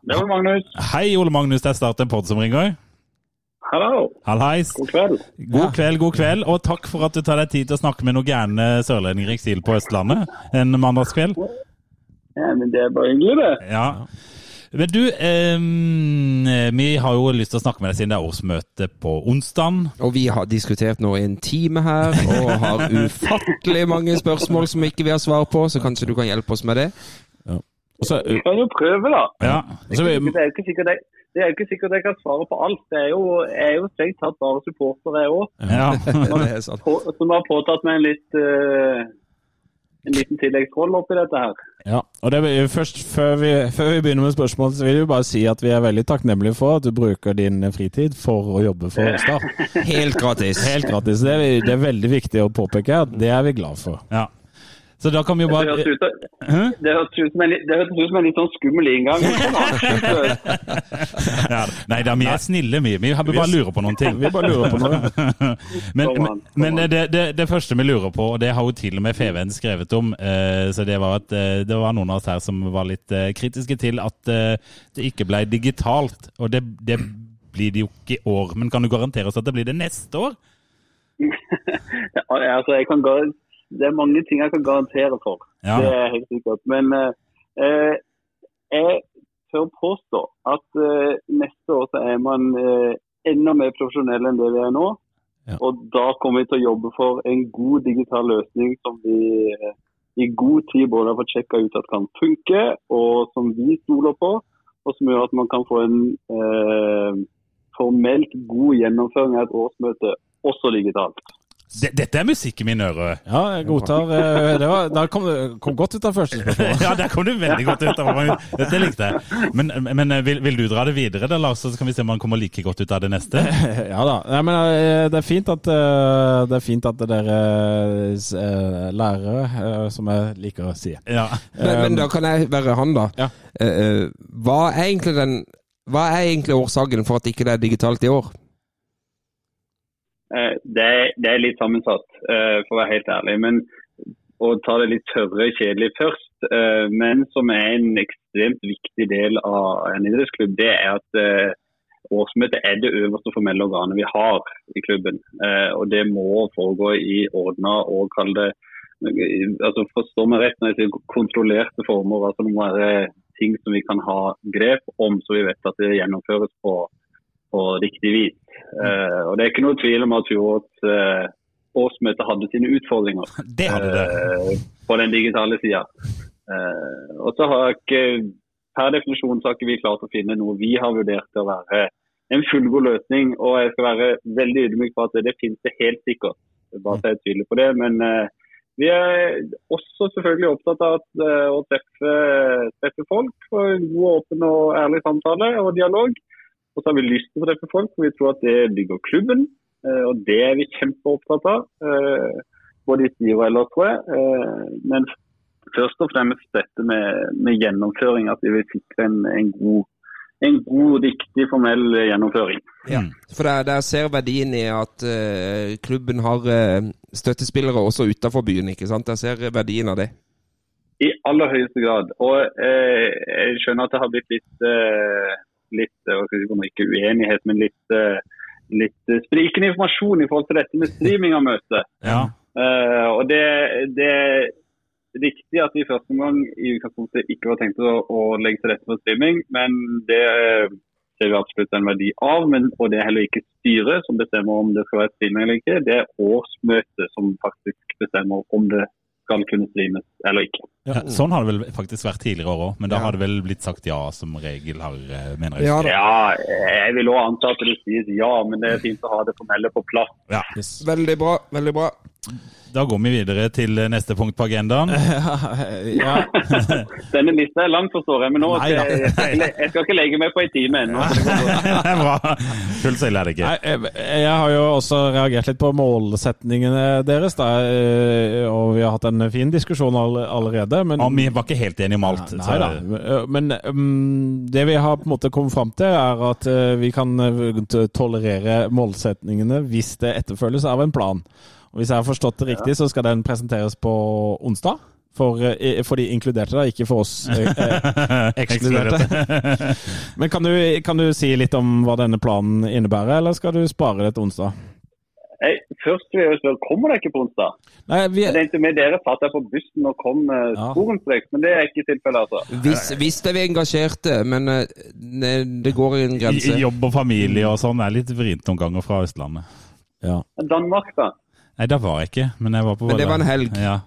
Speaker 7: Det var Magnus.
Speaker 3: Hei, Ole Magnus. Det er Start en podd som ringer.
Speaker 7: Hallo.
Speaker 3: Hallais.
Speaker 7: God kveld.
Speaker 3: God kveld, god kveld. Og takk for at du tar deg tid til å snakke med noen gærne sørlendinger i eksil på Østlandet en mandagskveld.
Speaker 7: Ja, men det er bare hyggelig, det.
Speaker 3: Ja. Men du, eh, vi har jo lyst til å snakke med deg siden det er årsmøte på onsdag.
Speaker 4: Og vi har diskutert nå i en time her, og har ufattelig mange spørsmål som ikke vi har svar på, så kanskje du kan hjelpe oss med det?
Speaker 5: Og så
Speaker 7: Vi kan jo prøve, da.
Speaker 3: Ja.
Speaker 5: og så vi-
Speaker 7: Det er jo ikke sikkert jeg, det er jo ikke sikkert jeg kan svare på alt. Det er jo, jeg er jo strengt tatt bare supporter, jeg òg.
Speaker 3: ja. (laughs)
Speaker 4: Det er sant.
Speaker 7: Som har påtatt meg en litt eh, en liten tilleggsrolle oppi dette her.
Speaker 5: Ja, og det, vil- først før vi, før vi begynner med spørsmål, så vil vi bare si at vi er veldig takknemlige for at du bruker din fritid for å jobbe for Start.
Speaker 4: Helt gratis.
Speaker 5: Helt gratis. Det er, vi- det er veldig viktig å påpeke at det er vi glad for.
Speaker 3: ja. Så da kan vi jo
Speaker 7: Det
Speaker 3: bare
Speaker 7: høres ut, det høres ut som en, litt- det høres ut som en litt sånn skummel inngang. Men kom an.
Speaker 3: ja. Nei da, vi er snille, vi. Vi bare lurer på noen ting.
Speaker 5: (laughs) Vi bare lurer på noe.
Speaker 3: (laughs) Men,
Speaker 7: Kom an, kom
Speaker 3: men, men
Speaker 7: an.
Speaker 3: det, det, det første vi lurer på, og det har jo til og med Feven skrevet om, eh, så det var at eh, det var noen av oss her som var litt eh, kritiske til at eh, det ikke ble digitalt. Og det, det blir det jo ikke i år, men kan du garantere oss at det blir det neste år?
Speaker 7: Ja, altså, jeg kan gar- det er mange ting jeg kan garantere for.
Speaker 3: Ja.
Speaker 7: Det er helt sikkert. Men eh, eh, jeg tør påstå at eh, neste år så er man eh, enda mer profesjonell enn det vi er nå.
Speaker 5: Ja.
Speaker 7: Og da kommer vi til å jobbe for en god digital løsning som vi eh, i god tid både har fått sjekka ut at kan funke, og som vi stoler på. Og som gjør at man kan få en eh, formelt god gjennomføring av et årsmøte, også digitalt.
Speaker 3: Det- Dette er musikken min,
Speaker 5: (laughs)
Speaker 3: Øre.
Speaker 5: Ja, jeg godtar eh, det. Var, da kom, det- kom godt ut av første spørsmål.
Speaker 3: Ja, der kom du veldig godt ut. av meg. Dette likte jeg. Men, men eh, vil, vil du dra det videre, da, Lars, så kan vi se om han kommer like godt ut av det neste?
Speaker 5: (laughs) Ja da. Nei, men eh, det er fint at, eh, det er fint at dere eh, s- eh, lærere, eh, som jeg liker å si
Speaker 3: Ja.
Speaker 4: Men, men da kan jeg være han, da.
Speaker 5: Ja.
Speaker 4: Eh, eh, hva, er egentlig den, hva er egentlig årsaken for at ikke det er digitalt i år?
Speaker 7: Eh, Det, det er litt sammensatt, eh, for å være helt ærlig. Men å ta det litt tørre kjedelig først, eh, men som er en ekstremt viktig del av en idrettsklubb, det er at eh, årsmøtet er det øverste formelle organet vi har i klubben. Eh, Og det må foregå i ordna og kall det altså Forstå meg rett når jeg sier kontrollerte former. altså Det må være ting som vi kan ha grep om, så vi vet at det gjennomføres på, på riktig vis. Eh, og Det er ikke noe tvil om at fjorårets eh, årsmøte hadde sine utfordringer
Speaker 3: Det hadde det.
Speaker 7: eh, på den digitale sida. og så har jeg ikke per definisjon så har ikke vi klart å finne noe vi har vurdert til å være en fullgod løsning. Og jeg skal være veldig ydmyk for at det finnes det helt sikkert. Bare så jeg tviler på det. Men eh, vi er også selvfølgelig opptatt av at, eh, å treffe, treffe folk for en god, åpen og ærlig samtale og dialog. Og så har vi lyst til å treffe folk, for vi tror at det bygger klubben. eh, og det er vi kjempeopptatt av. eh, både i styret og ellers, tror jeg. Eh, men først og fremst dette med, med gjennomføring, at vi vil sikre en, en, god, en god, riktig formell gjennomføring.
Speaker 4: Ja, for der, der ser verdien i at eh, klubben har eh, støttespillere også utenfor byen, ikke sant? Der ser verdien av det.
Speaker 7: I aller høyeste grad. Og eh, jeg skjønner at det har blitt litt, eh, litt eh, hva skal jeg si, for noe, ikke uenighet, men litt, eh, litt eh, sprikende informasjon i forhold til dette med streaming av møtet.
Speaker 3: Ja.
Speaker 7: Eh, og det, det er riktig at vi i første omgang i utgangspunktet ikke var tenkt å, å legge til rette for streaming, men det eh, ser vi absolutt en verdi av. Men, og det er heller ikke styret som bestemmer om det skal være streaming eller ikke. Det er årsmøtet som faktisk bestemmer om det skal kunne streames eller ikke.
Speaker 3: Ja, Sånn har det vel faktisk vært tidligere år òg, men da har det vel blitt sagt ja som regel, har, eh, mener jeg.
Speaker 4: Ja da.
Speaker 7: Ja, jeg vil òg anta at det sies ja, men det er fint å ha det formelle på plass.
Speaker 3: Ja.
Speaker 4: Veldig bra, veldig bra.
Speaker 3: Da går vi videre til eh, neste punkt på agendaen.
Speaker 5: ja.
Speaker 7: Denne lista er lang, forstår jeg, men nå
Speaker 5: Nei
Speaker 7: skal
Speaker 5: da.
Speaker 7: jeg, jeg, skal ikke le- jeg skal ikke legge meg på en time ennå.
Speaker 3: det er bra. Full seil er det ikke.
Speaker 5: Nei, jeg, jeg har jo også reagert litt på målsetningene deres, da, eh, og vi har hatt en fin diskusjon all, allerede. Men,
Speaker 3: Ja, vi var ikke helt enige om alt.
Speaker 5: Nei
Speaker 3: så- eh,
Speaker 5: da. Men mm, det vi har på en måte kommet fram til, er at eh, vi kan eh, t- tolerere målsetningene hvis det etterfølges av en plan. Og Hvis jeg har forstått det riktig, så skal den presenteres på onsdag. For, eh, for de inkluderte, da, ikke for (laughs) oss eh, eh, ekskluderte. Men kan du, kan du si litt om hva denne planen innebærer, eller skal du spare det til onsdag?
Speaker 7: Jeg- Først vil jeg jo spørre, kommer dere ikke på onsdag?
Speaker 5: Nei, vi,
Speaker 7: Jeg tenkte med dere satt jeg på bussen og kom eh,
Speaker 5: Ja.
Speaker 7: sporenstreks, men det er ikke tilfellet, altså.
Speaker 4: Hvis, hvis det er vi engasjerte, men eh, ne, det går i en
Speaker 3: I-
Speaker 4: grense.
Speaker 3: i Jobb og familie og sånn er litt vrient noen ganger fra Østlandet.
Speaker 5: ja.
Speaker 7: Men Danmark, da?
Speaker 3: Nei, der var jeg ikke, men jeg var på
Speaker 4: Men det var en
Speaker 3: Vålerenga.
Speaker 4: helg.
Speaker 3: Ja.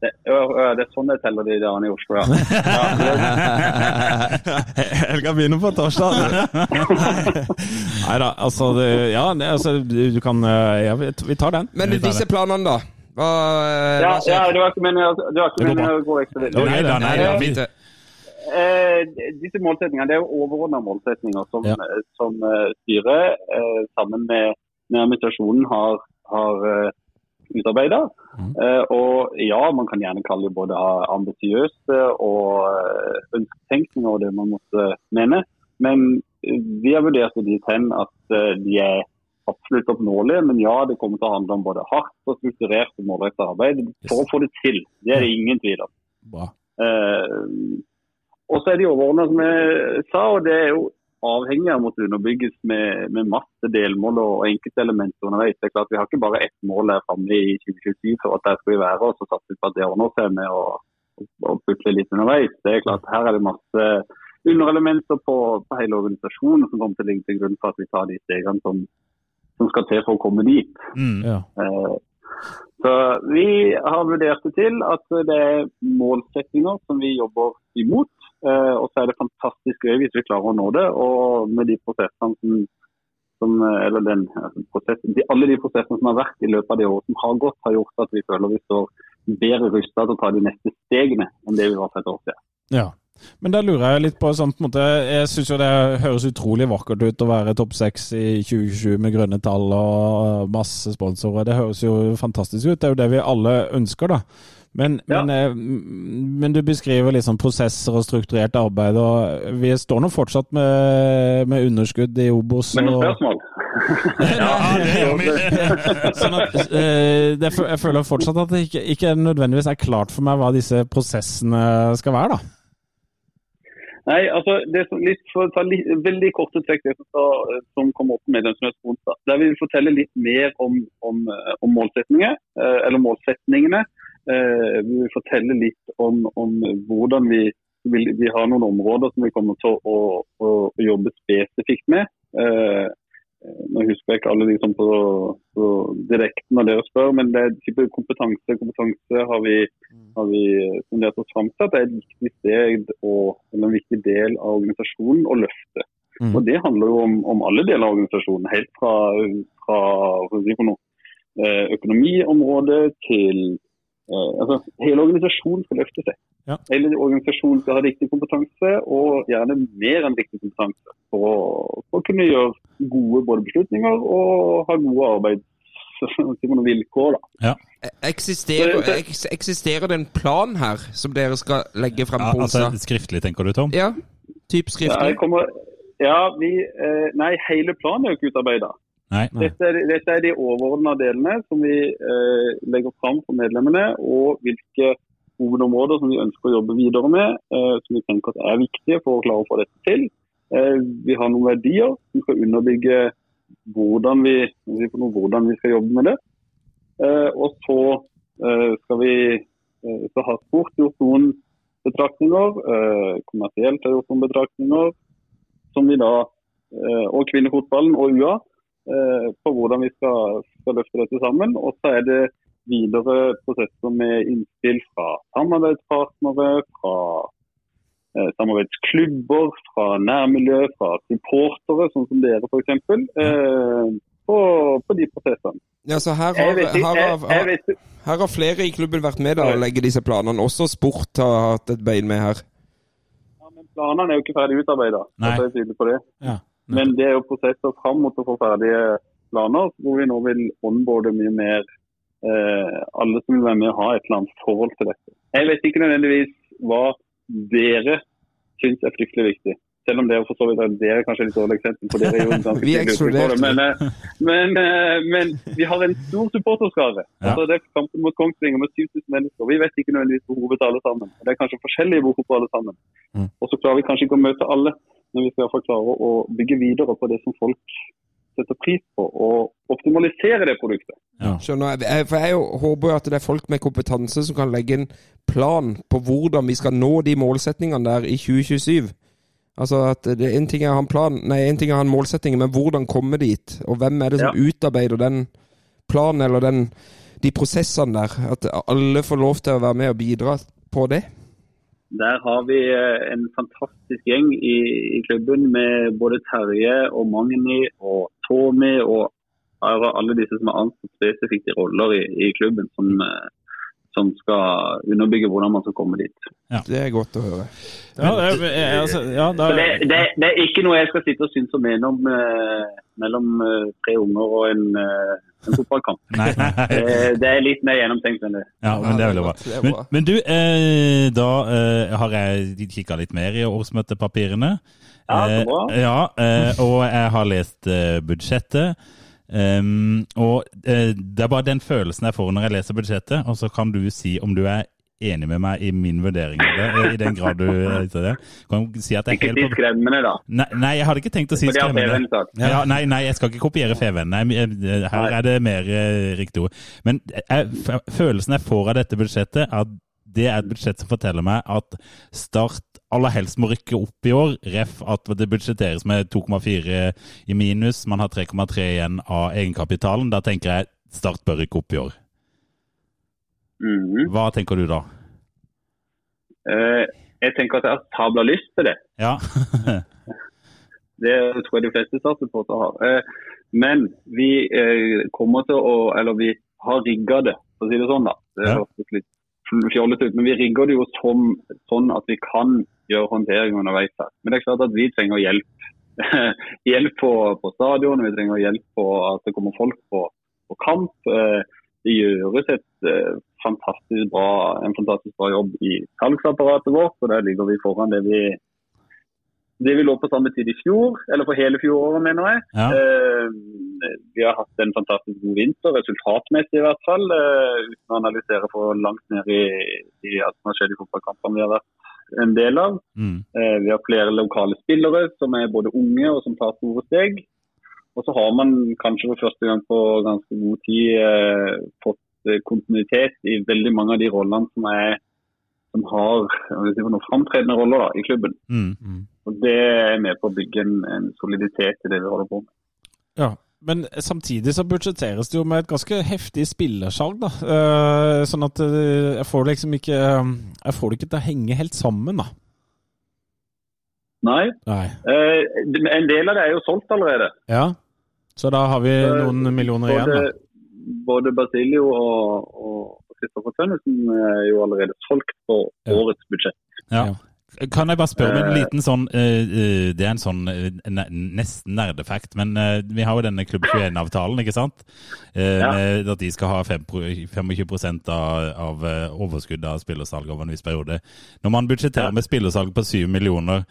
Speaker 7: Det, ø, ø, det er sånn jeg teller de dagene i Oslo, ja. ja men-
Speaker 5: Helga begynner på
Speaker 3: (laughs)
Speaker 5: torsdag. Nei da, altså det, Ja, det, altså, du du kan eh, ja, vi- Vi tar den.
Speaker 4: Men disse planene, da? Hva, eh,
Speaker 7: ja,
Speaker 4: hva
Speaker 7: ja,
Speaker 4: skjer?
Speaker 7: det var ikke meningen det var ikke
Speaker 3: Det går
Speaker 7: meningen å gå ekstra vidt.
Speaker 3: Nei da, nei da.
Speaker 4: Ja,
Speaker 3: Vi,
Speaker 4: fint, det.
Speaker 7: Eh, disse målsetningene det er jo overordnede målsetninger som,
Speaker 5: Ja.
Speaker 7: som eh, styret eh, sammen med, med administrasjonen har, har eh, utarbeidet. Eh, og ja, man kan gjerne kalle det både ambisiøse og eh, ønsketenkning over det man måtte mene. Men eh, vi har vurdert det dit hen at eh, de er absolutt oppnåelige. Men ja, det kommer til å handle om både hardt og strukturert og målrettet arbeid for å få det til. Det er det ingen tvil om.
Speaker 5: Bra.
Speaker 7: Eh, og så er de overordna, som jeg sa, og det er jo avhengig av å måtte underbygges med, med masse delmål og enkeltelementer underveis. Det er klart Vi har ikke bare ett mål her framme i 2027 for at der skal vi være, og så satser vi på at det ordner seg med å, å putle litt underveis. Det er klart Her er det masse underelementer på, på hele organisasjonen som kommer til å ligge til grunn for at vi tar de stegene som, som skal til for å komme dit.
Speaker 3: mm.
Speaker 5: Ja.
Speaker 7: Eh, Så vi har vurdert det til at det er målsettinger som vi jobber imot. eh, Og så er det fantastisk gøy hvis vi klarer å nå det. Og med de prosessene som, som eh, eller den, altså, prosess, de, alle de prosessene som har vært i løpet av det året som har gått, har gjort at vi føler vi står bedre rusta til å ta de neste stegene enn det vi var for et år siden.
Speaker 5: ja. Men da lurer jeg litt på sånn på en måte Jeg syns jo det høres utrolig vakkert ut å være topp seks i 2027 med grønne tall og masse sponsorer. Det høres jo fantastisk ut. Det er jo det vi alle ønsker, da. Men,
Speaker 7: Ja.
Speaker 5: men, eh, men du beskriver liksom prosesser og strukturert arbeid, og vi står nå fortsatt med, med underskudd i Obos.
Speaker 7: Men
Speaker 5: (laughs)
Speaker 7: noen
Speaker 5: og-
Speaker 7: spørsmål?
Speaker 3: Ja, det gjør vi.
Speaker 5: (laughs) Sånn at, eh, det, fø- jeg føler fortsatt at det ikke, ikke nødvendigvis er klart for meg hva disse prosessene skal være, da.
Speaker 7: Nei, altså, det som, litt, for å ta litt, veldig korte trekk det som, skal, som kommer opp med medlemsmøtet på onsdag. Der vil vi fortelle litt mer om, om, eh, om målsetninger, eh, eller målsetningene. Eh, Vi vil fortelle litt om, om hvordan vi vil, vi har noen områder som vi kommer til å, å, å jobbe spesifikt med. Eh, nå husker jeg ikke alle liksom på, på direkten når dere spør, men det er type kompetanse. Kompetanse har vi, har vi fundert oss fram til at det er et viktig steg og, eller en viktig del av organisasjonen å løfte.
Speaker 5: Mm.
Speaker 7: Og Det handler jo om, om alle deler av organisasjonen, helt fra, fra hva skal jeg si for noe, eh, økonomiområdet til eh, altså, Hele organisasjonen skal løfte seg.
Speaker 5: Ja.
Speaker 7: Hele organisasjonen skal ha riktig kompetanse, og gjerne mer enn riktig kompetanse. For å, for å kunne gjøre gode både beslutninger og ha gode (laughs) arbeidsvilkår. Da.
Speaker 4: Eksisterer, eks- eksisterer det en plan her som dere skal legge frem
Speaker 3: Ja,
Speaker 4: på
Speaker 3: altså
Speaker 4: onsdag?
Speaker 3: skriftlig, tenker du, Tom?
Speaker 4: Ja, typ
Speaker 7: Ja, jeg
Speaker 4: skriftlig.
Speaker 7: kommer, ja, vi, eh, nei, hele planen er jo ikke utarbeida.
Speaker 3: Nei.
Speaker 7: Dette, er- dette er de overordna delene som vi eh, legger fram for medlemmene, og hvilke hovedområder som vi ønsker å jobbe videre med, eh, som vi tenker at er viktige for å klare å få dette til. Eh, vi har noen verdier som skal underbygge hvordan vi, vi får noe, hvordan vi skal jobbe med det. Eh, og så eh, skal vi eh, så har sport gjort noen betraktninger, eh, kommersielt har gjort noen betraktninger, som vi da, eh, og kvinnefotballen og UA, eh, på hvordan vi skal, skal løfte dette sammen. Og så er det videre prosesser med innspill fra samarbeidspartnere, fra eh, samarbeidsklubber, fra nærmiljø, fra supportere, sånn som dere f.eks. Eh, på, på de prosessene.
Speaker 4: Ja, så her
Speaker 7: Jeg
Speaker 4: har,
Speaker 7: vet,
Speaker 4: her,
Speaker 7: ikke- jeg,
Speaker 4: har,
Speaker 7: jeg
Speaker 4: her,
Speaker 7: vet,
Speaker 4: har flere i klubben vært med da og legge disse planene. Også sport har hatt et bein med her.
Speaker 7: Ja, men Planene er jo ikke ferdig utarbeida.
Speaker 3: Nei.
Speaker 5: Ja,
Speaker 7: men det er jo prosesser fram mot å få ferdige planer, hvor vi nå vil onboarde mye mer eh, alle som vil være med og ha et eller annet forhold til dette. Jeg vet ikke nødvendigvis hva dere syns er fryktelig viktig. Selv om dere for så vidt er dere kanskje er litt dårlig eksempel på dere.
Speaker 4: (laughs)
Speaker 7: er jo ganske
Speaker 4: Vi er
Speaker 7: tidlig ute på det,
Speaker 4: ekskludert.
Speaker 7: Men, eh, men, eh, men vi har en stor supporterskare.
Speaker 3: Ja.
Speaker 7: Altså, det er kampen mot Kongsvinger med 7000 mennesker. Vi vet ikke nødvendigvis behovet til alle sammen. Det er kanskje forskjellige behov for alle sammen.
Speaker 5: Mm.
Speaker 7: Og så klarer vi kanskje ikke å møte alle, men vi skal i hvert fall klare å bygge videre på det som folk setter pris på, og optimalisere det produktet.
Speaker 4: Skjønner jeg. jeg. For jeg jo håper jo at det er folk med kompetanse som kan legge en plan på hvordan vi skal nå de målsetningene der i 2027. Altså at det er en ting er å ha en plan, nei, en ting er å ha en målsetning, men hvordan komme dit? Og hvem er det som utarbeider den planen eller den, de prosessene der? At alle får lov til å være med og bidra på det?
Speaker 7: Der har vi eh, en fantastisk gjeng i, i klubben med både Terje og Magni og Tommy og her er alle disse som er ansatt spesifikt i roller i, i klubben, som, eh, som skal underbygge hvordan man skal komme dit.
Speaker 4: Det er godt å høre.
Speaker 5: ja, det, er- jeg- altså, ja, da,
Speaker 7: Så det, det, det er ikke noe jeg skal sitte og synes og mene om eh, mellom eh, tre unger og en, eh, en fotballkamp.
Speaker 3: Nei, nei.
Speaker 7: Eh, det er litt mer gjennomtenkt enn det.
Speaker 3: Ja, men det er veldig
Speaker 4: Det
Speaker 3: bra.
Speaker 4: er
Speaker 3: Men,
Speaker 4: bra.
Speaker 3: men du, eh, da eh, har jeg kikka litt mer i årsmøtepapirene.
Speaker 7: Ja, så
Speaker 3: Eh,
Speaker 7: bra.
Speaker 3: ja, eh, og jeg har lest eh, budsjettet. Ehm, og eh, det er bare den følelsen jeg får når jeg leser budsjettet, og så kan du si om du er enig med meg i min vurdering av det, eh, i den grad du leser det. Kan du si at jeg er
Speaker 7: Ikke
Speaker 3: helt
Speaker 7: si
Speaker 3: på...
Speaker 7: skremmende, da.
Speaker 3: Nei, nei, jeg hadde ikke tenkt å si
Speaker 7: For det har
Speaker 3: skremmende.
Speaker 7: PV-en sagt.
Speaker 3: Ja. Ja, nei, nei, jeg skal ikke kopiere Feven. Nei, jeg- jeg- her er det mer eh, riktig ord. Men jeg, f- følelsen jeg får av dette budsjettet, er at det er et budsjett som forteller meg at Start aller helst må rykke opp i år. Ref at det budsjetteres med 2,4 i minus. Man har 3,3 igjen av egenkapitalen. Da tenker jeg Start bør rykke opp i år.
Speaker 7: Mhm.
Speaker 3: Hva tenker du da?
Speaker 7: Eh, jeg tenker at jeg har sabla lyst til det.
Speaker 3: Ja. (laughs)
Speaker 7: Det tror jeg de fleste statssupportere har. Eh, Men vi eh, kommer til å Eller vi har rigga det, for å si det sånn. da. Det
Speaker 3: Ja.
Speaker 7: høres litt fjollete ut, men vi rigger det jo som, sånn at vi kan gjøre håndtering underveis her. Men det er klart at vi trenger hjelp. (laughs) hjelp på, på stadion, vi trenger hjelp på at det kommer folk på, på kamp. Eh, Det gjøres et eh, fantastisk bra, en fantastisk bra jobb i salgsapparatet vårt, og der ligger vi foran det vi det vi lå på samme tid i fjor, eller for hele fjoråret, mener jeg.
Speaker 3: ja.
Speaker 7: Eh, vi har hatt en fantastisk god vinter, resultatmessig i hvert fall. eh, uten å analysere for langt ned i, i alt som har skjedd i fotballkampene vi har vært en del av.
Speaker 3: Mm.
Speaker 7: Eh, vi har flere lokale spillere som er både unge og som tar store steg. Og så har man kanskje for første gang på ganske god tid eh, fått eh, kontinuitet i veldig mange av de rollene som er som har hva skal jeg si for noe, framtredende roller da, i klubben.
Speaker 3: Mm.
Speaker 7: Og Det er med på å bygge en, en soliditet i det vi holder på med.
Speaker 5: Ja, men samtidig så budsjetteres det jo med et ganske heftig spillersalg, da. Eh, Sånn at eh, jeg får liksom ikke Jeg får det ikke til å henge helt sammen, da.
Speaker 7: Nei,
Speaker 5: Nei.
Speaker 7: eh, en del av det er jo solgt allerede.
Speaker 5: Ja. Så da har vi
Speaker 7: Eh,
Speaker 5: noen millioner igjen,
Speaker 7: Både,
Speaker 5: da.
Speaker 7: både Basilio og, og Kristoffer Tønnesen er jo allerede solgt på
Speaker 5: Ja.
Speaker 7: årets budsjett.
Speaker 3: Kan jeg bare spørre om en liten sånn eh, eh, Det er en sånn eh, ne- nesten nerdefakt, men eh, vi har jo denne Klubb 21-avtalen, ikke sant? Eh,
Speaker 7: Ja.
Speaker 3: med At de skal ha fem pro- 25 av, av eh, overskuddet av spillersalg over en viss periode. Når man budsjetterer
Speaker 7: Ja.
Speaker 3: med spillersalg på 7 millioner,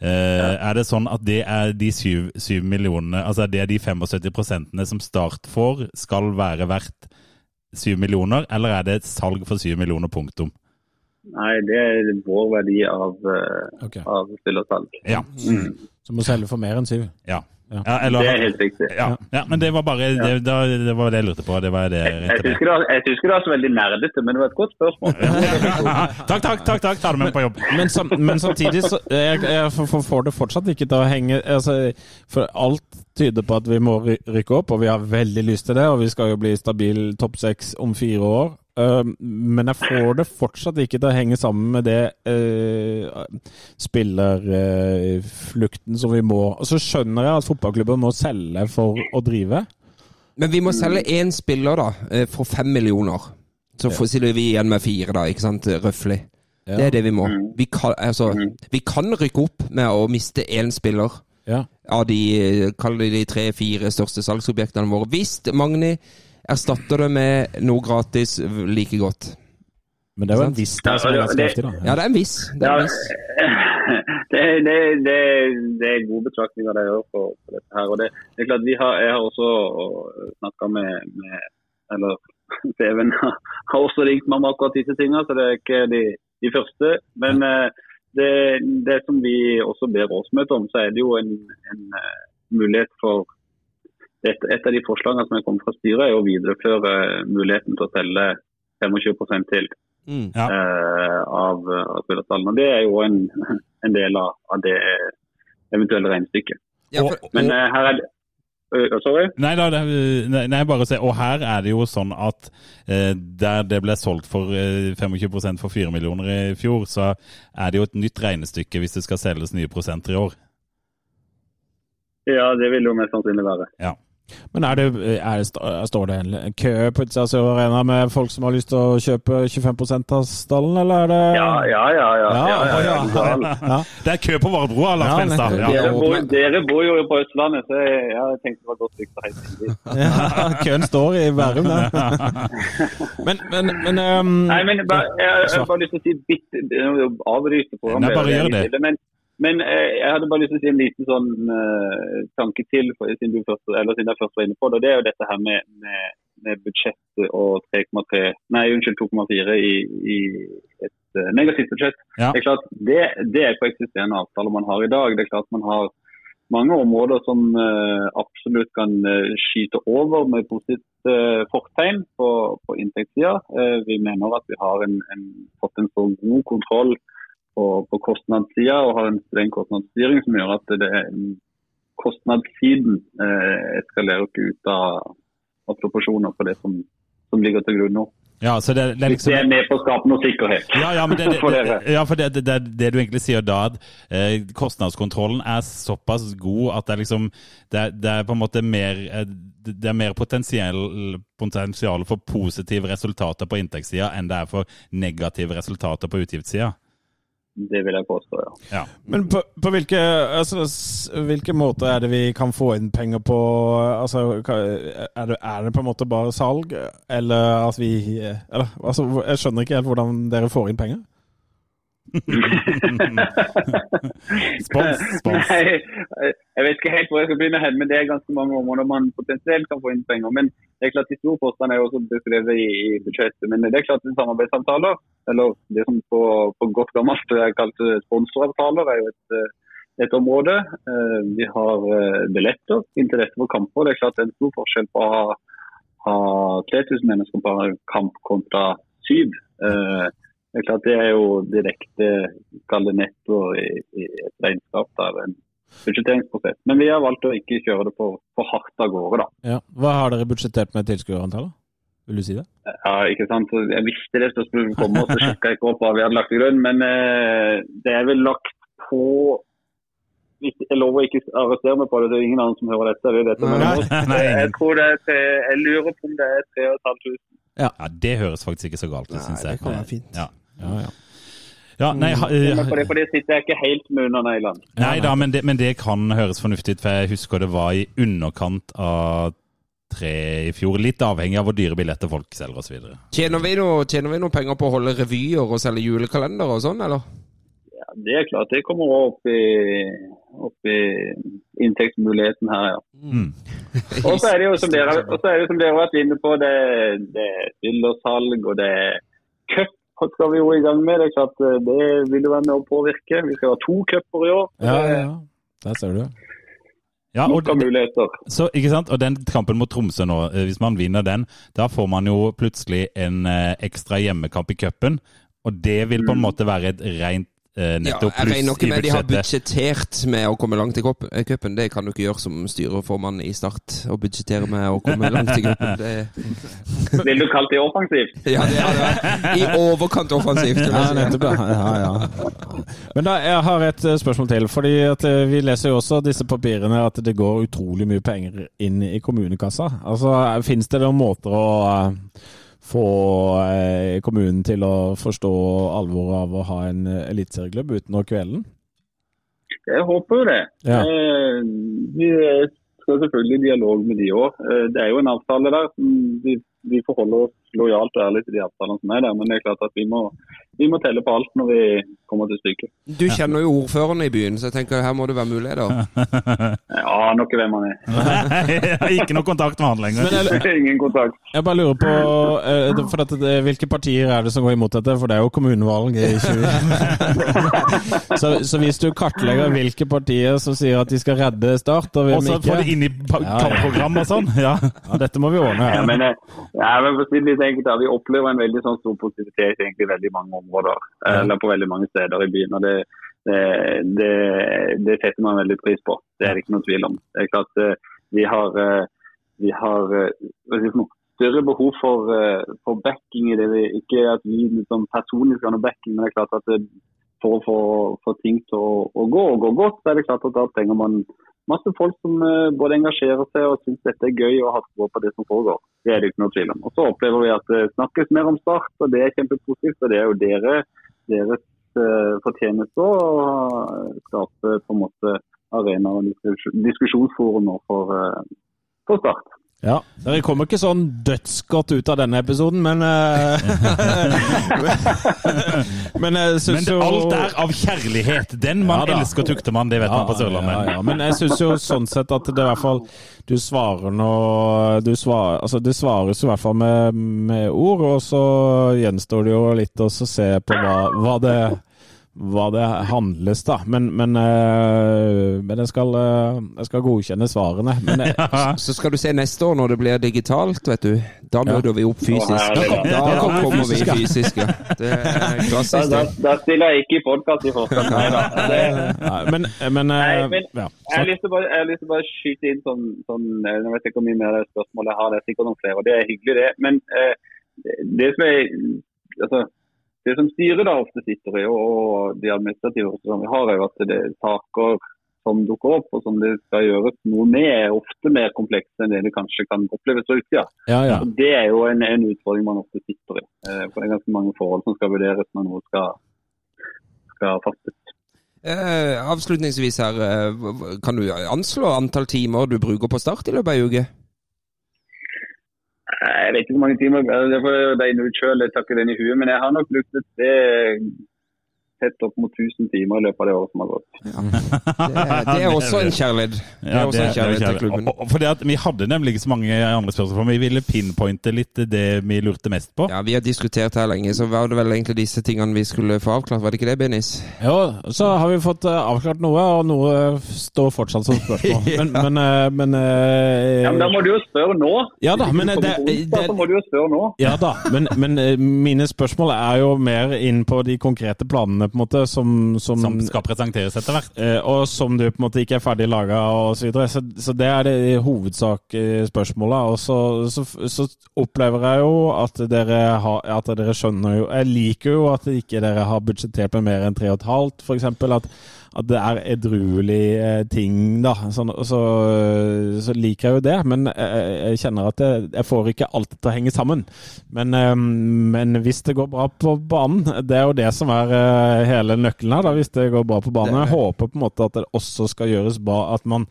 Speaker 3: eh, er det sånn at det er de 7, millionene Altså det er de 75 som Start får, skal være verdt 7 millioner, eller er det et salg for 7 millioner, punktum?
Speaker 7: Nei, det er vår verdi av, eh,
Speaker 5: Ok.
Speaker 7: av spillersalg.
Speaker 3: Ja.
Speaker 5: Så må selge for mer enn syv.
Speaker 3: ja.
Speaker 5: Ja.
Speaker 3: ja eller,
Speaker 7: Det er helt riktig.
Speaker 3: Ja, ja men det var bare det, da, det var det jeg lurte på. Det var det jeg (laughs)
Speaker 7: Jeg
Speaker 3: ringte
Speaker 7: syns ikke det var- jeg syns ikke det var så veldig nerdete, men det var et godt spørsmål.
Speaker 3: med. takk, takk, takk, takk. Ta det med på jobb.
Speaker 5: Men, sam, men samtidig så jeg, jeg får- får- får det fortsatt ikke til å henge altså, For alt tyder på at vi må ry- rykke opp, og vi har veldig lyst til det. Og vi skal jo bli stabil topp seks om fire år. Um, men jeg får det fortsatt ikke til å henge sammen med det øh, spillerflukten øh, som vi må. Og så skjønner jeg at fotballklubben må selge for å drive.
Speaker 4: Men vi må
Speaker 7: Mm.
Speaker 4: selge én spiller, da, eh, for fem millioner. Så får- sitter vi igjen med fire, da, ikke sant, røftlig.
Speaker 5: Ja.
Speaker 4: Det er det vi må.
Speaker 7: Mm.
Speaker 4: Vi kan, altså, vi kan rykke opp med å miste én spiller
Speaker 5: Ja.
Speaker 4: av de, eh, kall det de tre-fire største salgsobjektene våre. Hvis Magni erstatter det med noe gratis like godt.
Speaker 5: Men det er jo en
Speaker 4: Sant.
Speaker 5: viss der som er
Speaker 7: Ja,
Speaker 5: ganske
Speaker 7: det-
Speaker 5: heftig, da.
Speaker 4: Ja, det er en viss. Det er en viss.
Speaker 7: det, det, det, det er gode betraktninger de gjør på, på dette her. Og det, det er klart, vi har, Jeg har også snakka med, med Eller (laughs) Steven har har også ringt meg om akkurat disse tingene, så det er ikke de, de første. Men eh, det, det som vi også ber årsmøtet om, så er det jo en, en eh, mulighet for et, et av de forslagene som er kommet fra styret, er å videreføre eh, muligheten til å selge 25 til
Speaker 4: Mm.
Speaker 3: Ja.
Speaker 7: eh, av, av spillerstallen. Og det er jo en, (laughs) en del av, av det eh, eventuelle regnestykket.
Speaker 4: Ja, for-
Speaker 7: Men eh, her er det Ø, ø, Sorry?
Speaker 3: Nei, da, det, nei, nei, bare se. Og her er det jo sånn at eh, der det ble solgt for eh, 25 for 4 millioner i fjor, så er det jo et nytt regnestykke hvis det skal selges nye prosenter i år.
Speaker 7: Ja, det vil jo mest sannsynlig være.
Speaker 5: Men er det, er det, står det en kø på utsida av Sør Arena med folk som har lyst til å kjøpe 25 av stallen, eller er det
Speaker 7: Ja, ja, ja. ja, ja, ja, ja,
Speaker 5: ja,
Speaker 7: ja, ja.
Speaker 5: ja.
Speaker 3: Det er kø på Varebroa, Lars
Speaker 5: Ja,
Speaker 3: Benstad!
Speaker 5: nettopp.
Speaker 3: Ja.
Speaker 7: Dere bor, dere bor jo på Østlandet, så jeg, ja, jeg tenkte det var godt stygt å heise (laughs) inn dit.
Speaker 5: (laughs) Ja, køen står i Bærum, det.
Speaker 7: (laughs)
Speaker 5: Men, men, men ehm,
Speaker 7: Nei, men bare, jeg, jeg, har bare lyst til å si bitte det er jo å avbryte programmet.
Speaker 3: Nei, bare gjør det.
Speaker 7: Men, men eh, jeg hadde bare lyst til å si en liten sånn eh, tanke til, for, siden, du først, eller siden jeg først var inne på det. og Det er jo dette her med, med, med budsjettet og 3,3 Nei, unnskyld, 2,4 i, i et eh, negativt budsjett.
Speaker 3: Ja.
Speaker 7: Det er klart, det, det er på eksisterende avtaler man har i dag. Det er klart man har mange områder som eh, absolutt kan eh, skyte over med positivt eh, fortegn på, på inntektssida. Eh, vi mener at vi har en, en, fått en så god kontroll på, på kostnadssida og har en streng kostnadsstyring som gjør at det, kostnadssiden eh, eskalerer ikke ut av, av proporsjoner på det som, som ligger til grunn nå.
Speaker 3: ja, så det, det er
Speaker 7: Hvis
Speaker 3: liksom
Speaker 7: det er med på å skape noe sikkerhet.
Speaker 3: Ja, ja, men det, det,
Speaker 7: For dere.
Speaker 3: det, ja, for det, det, det, er det du egentlig sier da, at eh, kostnadskontrollen er såpass god at det er liksom Det, er- det er på en måte mer eh, Det det er mer potensiell, potensial for positive resultater på inntektssida enn det er for negative resultater på utgiftssida.
Speaker 7: Det vil jeg påstå,
Speaker 3: Ja.
Speaker 7: ja.
Speaker 5: Men på, på hvilke, altså, s- hvilke måter er det vi kan få inn penger på? Altså, hva- er, det, er det på en måte bare salg, eller at vi eller, altså, Jeg skjønner ikke helt hvordan dere får inn penger.
Speaker 3: Spons, spons.
Speaker 7: (laughs) Nei, jeg vet ikke helt hvor jeg skal begynne hen, men det er ganske mange områder man potensielt kan få inn penger. Men det er klart de store postene er jo også beskrevet i, i budsjettet. Men det er klart at samarbeidsavtaler, eller det som på, på godt gammelt er kalt eh, sponsoravtaler, er jo et, eh, et område. Eh, Vi har eh, billetter interesse for kamper. Det er klart det er en stor forskjell på å ha, ha 3000 mennesker på en kamp kontra syv. Eh, Det er klart det er jo direkte kall det netto i, i et regnskap. Der, en budsjetteringsprosess. Men vi har valgt å ikke kjøre det for, for hardt av gårde, da.
Speaker 5: Ja. Hva har dere budsjettert med tilskuerantallet? Vil du si det?
Speaker 7: Ja, ikke sant. Så Jeg visste det spørsmålet skulle komme, og så sjekka jeg ikke opp hva vi hadde lagt til grunn. Men eh, det er vel lagt på Hvis- Jeg lover å ikke arrestere meg på det, det er ingen andre som hører dette. Det er dette mellom oss.
Speaker 3: Nei,
Speaker 7: Jeg tror det er tre, jeg lurer på om det er 3500.
Speaker 3: ja, det høres faktisk ikke så galt ut, syns
Speaker 4: Nei,
Speaker 3: jeg.
Speaker 4: det kan være fint.
Speaker 3: Ja,
Speaker 5: Ja, ja.
Speaker 3: ja nei, ha- eh,
Speaker 7: Men for det, for det sitter jeg ikke helt med under neglene.
Speaker 3: Nei da, men det, men det kan høres fornuftig ut, for jeg husker det var i underkant av tre i fjor. Litt avhengig av hvor dyre billetter folk selger osv.
Speaker 4: Tjener vi noe- tjener vi noen penger på å holde revyer og selge julekalender og sånn, eller?
Speaker 7: Ja, det er klart, det kommer også opp i, opp i inntektsmuligheten her, ja.
Speaker 3: Mm.
Speaker 4: Mm.
Speaker 7: Og så er det jo som dere, og så er det jo som dere har vært inne på, det, det er fyllersalg og det er cup skal vi jo i gang med. Det er klart eh, det vil jo være med å påvirke. Vi skal ha to cuper i år. Eh,
Speaker 5: Ja,
Speaker 7: så det
Speaker 5: ja,
Speaker 7: er
Speaker 5: ja. Der ser du.
Speaker 3: Ja, og,
Speaker 7: Nok av
Speaker 5: (laughs)
Speaker 7: muligheter.
Speaker 3: så, ikke sant? og den kampen mot Tromsø nå, eh, hvis man vinner den, da får man jo plutselig en eh, ekstra hjemmekamp i cupen. Og det vil på en måte være et rent eh,
Speaker 4: Mm. Ja,
Speaker 3: netto
Speaker 4: jeg regner
Speaker 3: pluss
Speaker 4: ikke
Speaker 3: i
Speaker 4: med de har
Speaker 3: (laughs) budsjettet.
Speaker 4: budsjettert med å komme langt i kopp- eh, cupen. Det kan du ikke gjøre som styreformann i Start, å budsjettere med å komme langt i cupen. Det,
Speaker 7: Vil du kalle det offensivt?
Speaker 4: ja, det hadde vært i overkant offensivt. vil jeg
Speaker 5: Ja,
Speaker 4: si.
Speaker 5: nettopp. Ja, ja, ja. Men da, jeg har et eh, spørsmål til. Fordi at eh, Vi leser jo også disse papirene at det går utrolig mye penger inn i kommunekassa. Altså, eh, Finnes det noen måter å eh, få eh, kommunen til å forstå alvoret av å ha en eh, eliteserieklubb uten å kvele den?
Speaker 7: Jeg håper jo det.
Speaker 5: Ja.
Speaker 7: Eh, Vi eh, skal selvfølgelig i dialog med de òg. Det er jo en avtale der. som Vi, vi forholder oss lojalt og ærlig til de avtalene som er der. Men det er klart at vi må, vi må telle på alt når vi kommer til stykket.
Speaker 4: Du kjenner jo ordføreren i byen, så jeg tenker her må det være muligheter.
Speaker 7: Jeg aner ikke hvem han er.
Speaker 3: ikke noe kontakt med han
Speaker 4: (laughs)
Speaker 3: lenger.
Speaker 5: eh,
Speaker 7: (laughs) Ingen kontakt.
Speaker 5: Jeg bare lurer på eh, det- for at, det- Hvilke partier er det som går imot dette? For det er jo kommunevalg i 20... (laughs) så, så hvis du kartlegger hvilke partier som sier at de skal redde Start og hvem
Speaker 3: Og så
Speaker 5: ikke
Speaker 3: får de inn i pa-
Speaker 5: Ja, ja.
Speaker 3: kampprogram og
Speaker 4: (laughs)
Speaker 3: sånn. Ja.
Speaker 5: Ja, dette må vi ordne.
Speaker 7: Ja,
Speaker 5: Ja.
Speaker 7: men, eh, ja, men for å si det litt enkelt, da, Vi opplever en veldig sånn stor positivitet egentlig i veldig mange områder, eh, eller på veldig mange steder i byen. og det, det, det, det setter man veldig pris på. Det er det ikke noen tvil om. Det er klart eh, Vi har, eh, vi har eh, hva skal jeg si for noe, større behov for, eh, for backing i det. vi- Ikke at vi liksom, personlig skal ha noe backing, men det er klart at eh, for å få få ting til å, å gå og gå godt, så er det klart at da trenger man masse folk som eh, både engasjerer seg og syns dette er gøy og har tro på det som foregår. Det er det ikke noe tvil om. Og Så opplever vi at det snakkes mer om Start, og det er kjempepositivt. og Det er jo dere, deres eh, fortjeneste å eh, skape på en måte arena og diskus- diskusjonsforum nå for, eh, for Start.
Speaker 5: Ja. Dere kommer ikke sånn dødsgodt ut av denne episoden, men
Speaker 3: (laughs)
Speaker 5: eh, (laughs) Men jeg
Speaker 3: Men
Speaker 5: syns
Speaker 3: det,
Speaker 5: jo
Speaker 3: alt er av kjærlighet. Den man
Speaker 5: Ja da.
Speaker 3: elsker, tukter man. Det vet man på Sørlandet.
Speaker 5: Ja, ja, Men jeg syns jo sånn sett at det i hvert fall Du svarer nå du svarer, altså Det svares jo i hvert fall med, med ord, og så gjenstår det jo litt å så se på hva, hva det hva det handles, da. Men, men, eh, men jeg, skal, eh, jeg skal godkjenne svarene. Men eh,
Speaker 3: (laughs)
Speaker 5: jeg,
Speaker 4: Så skal du se neste år når det blir digitalt, vet du. Da møter vi opp fysisk.
Speaker 7: Å, herlig, da.
Speaker 4: Da kommer vi fysisk, ja. Det er klassisk. det.
Speaker 7: Da, da stiller jeg ikke i podkast i forkant, nei da. Det,
Speaker 5: Nei, men, men,
Speaker 7: Nei, men-
Speaker 5: ja,
Speaker 7: Jeg
Speaker 5: så,
Speaker 7: har lyst til å bare, jeg har lyst til å bare skyte inn sånn, sånn eh, Jeg vet ikke hvor mye mer spørsmål jeg har, det er sikkert noen flere, og det er hyggelig, det. Men eh, det som er altså, det som styret da ofte sitter i, og- og de administrative ressursene vi har, er jo at det er saker som dukker opp, og som det skal gjøres noe med, er ofte mer komplekse enn det det kanskje kan oppleves fra utsida.
Speaker 5: ja, ja.
Speaker 7: Og Det er jo en, en utfordring man ofte sitter i. eh, For det er ganske mange forhold som skal vurderes når noe skal, skal fattes.
Speaker 4: Eh, avslutningsvis her, eh, hva- hva- kan du anslå antall timer du bruker på Start i løpet av ei uke?
Speaker 7: Nei, Jeg vet ikke hvor mange timer, altså, det får jeg regne ut selv, jeg tar ikke den i huet, men jeg har nok brukt et sted tett opp mot 1000 timer i løpet av det året som har gått.
Speaker 4: Det, er- det er også en kjærlighet. Det er
Speaker 3: Ja,
Speaker 4: også en kjærlighet til
Speaker 3: kjærlighet.
Speaker 4: klubben.
Speaker 3: Og- og- Fordi at Vi hadde nemlig ikke så mange andre spørsmål, for vi ville pinpointe litt det vi lurte mest på.
Speaker 4: Ja, Vi har diskutert her lenge, så var det vel egentlig disse tingene vi skulle få avklart? Var det ikke det, Benis?
Speaker 5: Jo, så har vi fått eh, avklart noe, og noe eh, står fortsatt som
Speaker 3: (laughs)
Speaker 5: spørsmål. Men, men, eh, men, eh,
Speaker 7: Ja, men da må du jo spørre nå.
Speaker 5: Ja da, men, eh, det-
Speaker 7: Hvis du kommer på onsdag,
Speaker 5: det-
Speaker 7: så må du jo spørre nå.
Speaker 5: Ja da, men, men eh, mine spørsmål er jo mer inn på de konkrete planene, på en måte, som, som,
Speaker 3: Som skal presenteres etter hvert.
Speaker 5: eh, Og som du på en måte ikke er ferdig laga, og så videre. Så, så det er det hovedsakspørsmåla. Og så, så, så opplever jeg jo at dere, har, at dere skjønner jo Jeg liker jo at ikke dere har budsjettert med mer enn 3,5, f.eks. At, at det er edruelig eh, ting, da. Sånn, og så, så liker jeg jo det, men jeg, jeg kjenner at jeg, jeg får ikke alt til å henge sammen. Men, eh, men hvis det går bra på banen, det er jo det som er eh, hele nøkkelen her. da, Hvis det går bra på banen. Jeg håper på en måte at det også skal gjøres bra. At man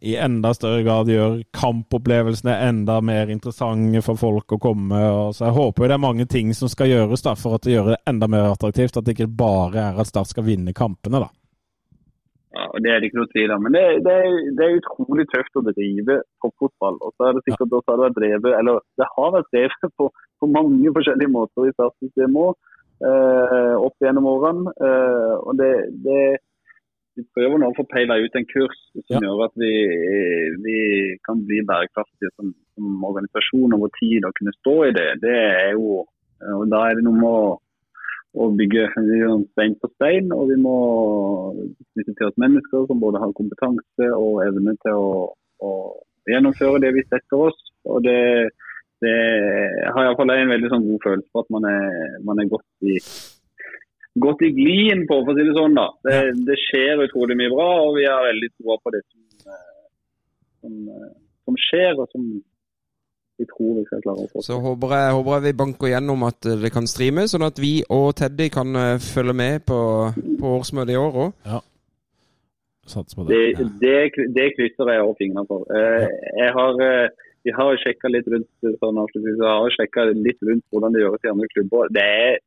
Speaker 5: i enda større grad gjør kampopplevelsene enda mer interessante for folk å komme. Og så Jeg håper jo det er mange ting som skal gjøres da, for at det gjør det enda mer attraktivt. At det ikke bare er at Start skal vinne kampene. da.
Speaker 7: Ja, og Det er det ikke noe tvil om. Men det, det, er- det er utrolig tøft å drive toppfotball. Og så er det sikkert også har det vært drevet, eller det har vært drevet på, på mange forskjellige måter i statssystemet òg, eh, opp gjennom årene. Eh, og det, det vi prøver nå å få peila ut en kurs som
Speaker 5: Ja.
Speaker 7: gjør at vi, vi kan bli bærekraftige som, som organisasjon over tid og kunne stå i det. Det er jo Eh, Og da er det noe med å å bygge liksom, stein på stein, og vi må knytte til oss mennesker som både har kompetanse og evne til å, å gjennomføre det vi setter oss. Og det, det har iallfall en veldig sånn god følelse på at man er, man er godt i godt i glien på, for å si det sånn. da. Det, det skjer utrolig mye bra, og vi har veldig troa på det som, eh, som, eh, som skjer, og som vi tror vi skal klare å få
Speaker 4: Så håper jeg, håper jeg vi banker gjennom at eh, det kan streame, sånn at vi og Teddy kan eh, følge med på, på årsmøtet i år òg.
Speaker 5: Satser på det.
Speaker 7: Det, det, det krysser jeg over fingrene for. Eh, jeg har, eh, vi har sjekka litt rundt eh, sånn avslutningsvis, jeg har sjekket litt rundt hvordan det gjøres i andre klubber. Det er,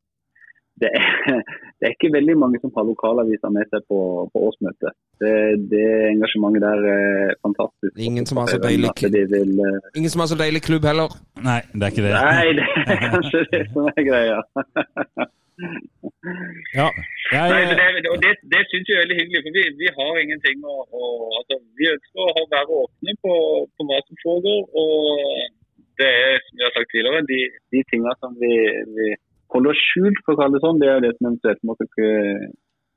Speaker 7: det er, (laughs) det er ikke veldig mange som har lokalaviser med seg på, på årsmøtet. Det, det engasjementet der er fantastisk.
Speaker 4: Ingen som har så deilig-
Speaker 7: At de vil, eh,
Speaker 4: Ingen som har så deilig klubb heller.
Speaker 3: Nei, det er ikke det.
Speaker 7: Nei, det er kanskje det som er greia.
Speaker 5: Ja, jeg,
Speaker 3: Eh,
Speaker 7: Nei, men det, og det, det syns jeg er veldig hyggelig. for Vi, vi har ingenting å, å altså, Vi ønsker å ha- være åpne på, på hva som foregår. Og eh, det er, som jeg har sagt tidligere, de, de tingene som vi, vi holder skjult, for å kalle det sånn, det er jo det som eventuelt måtte ikke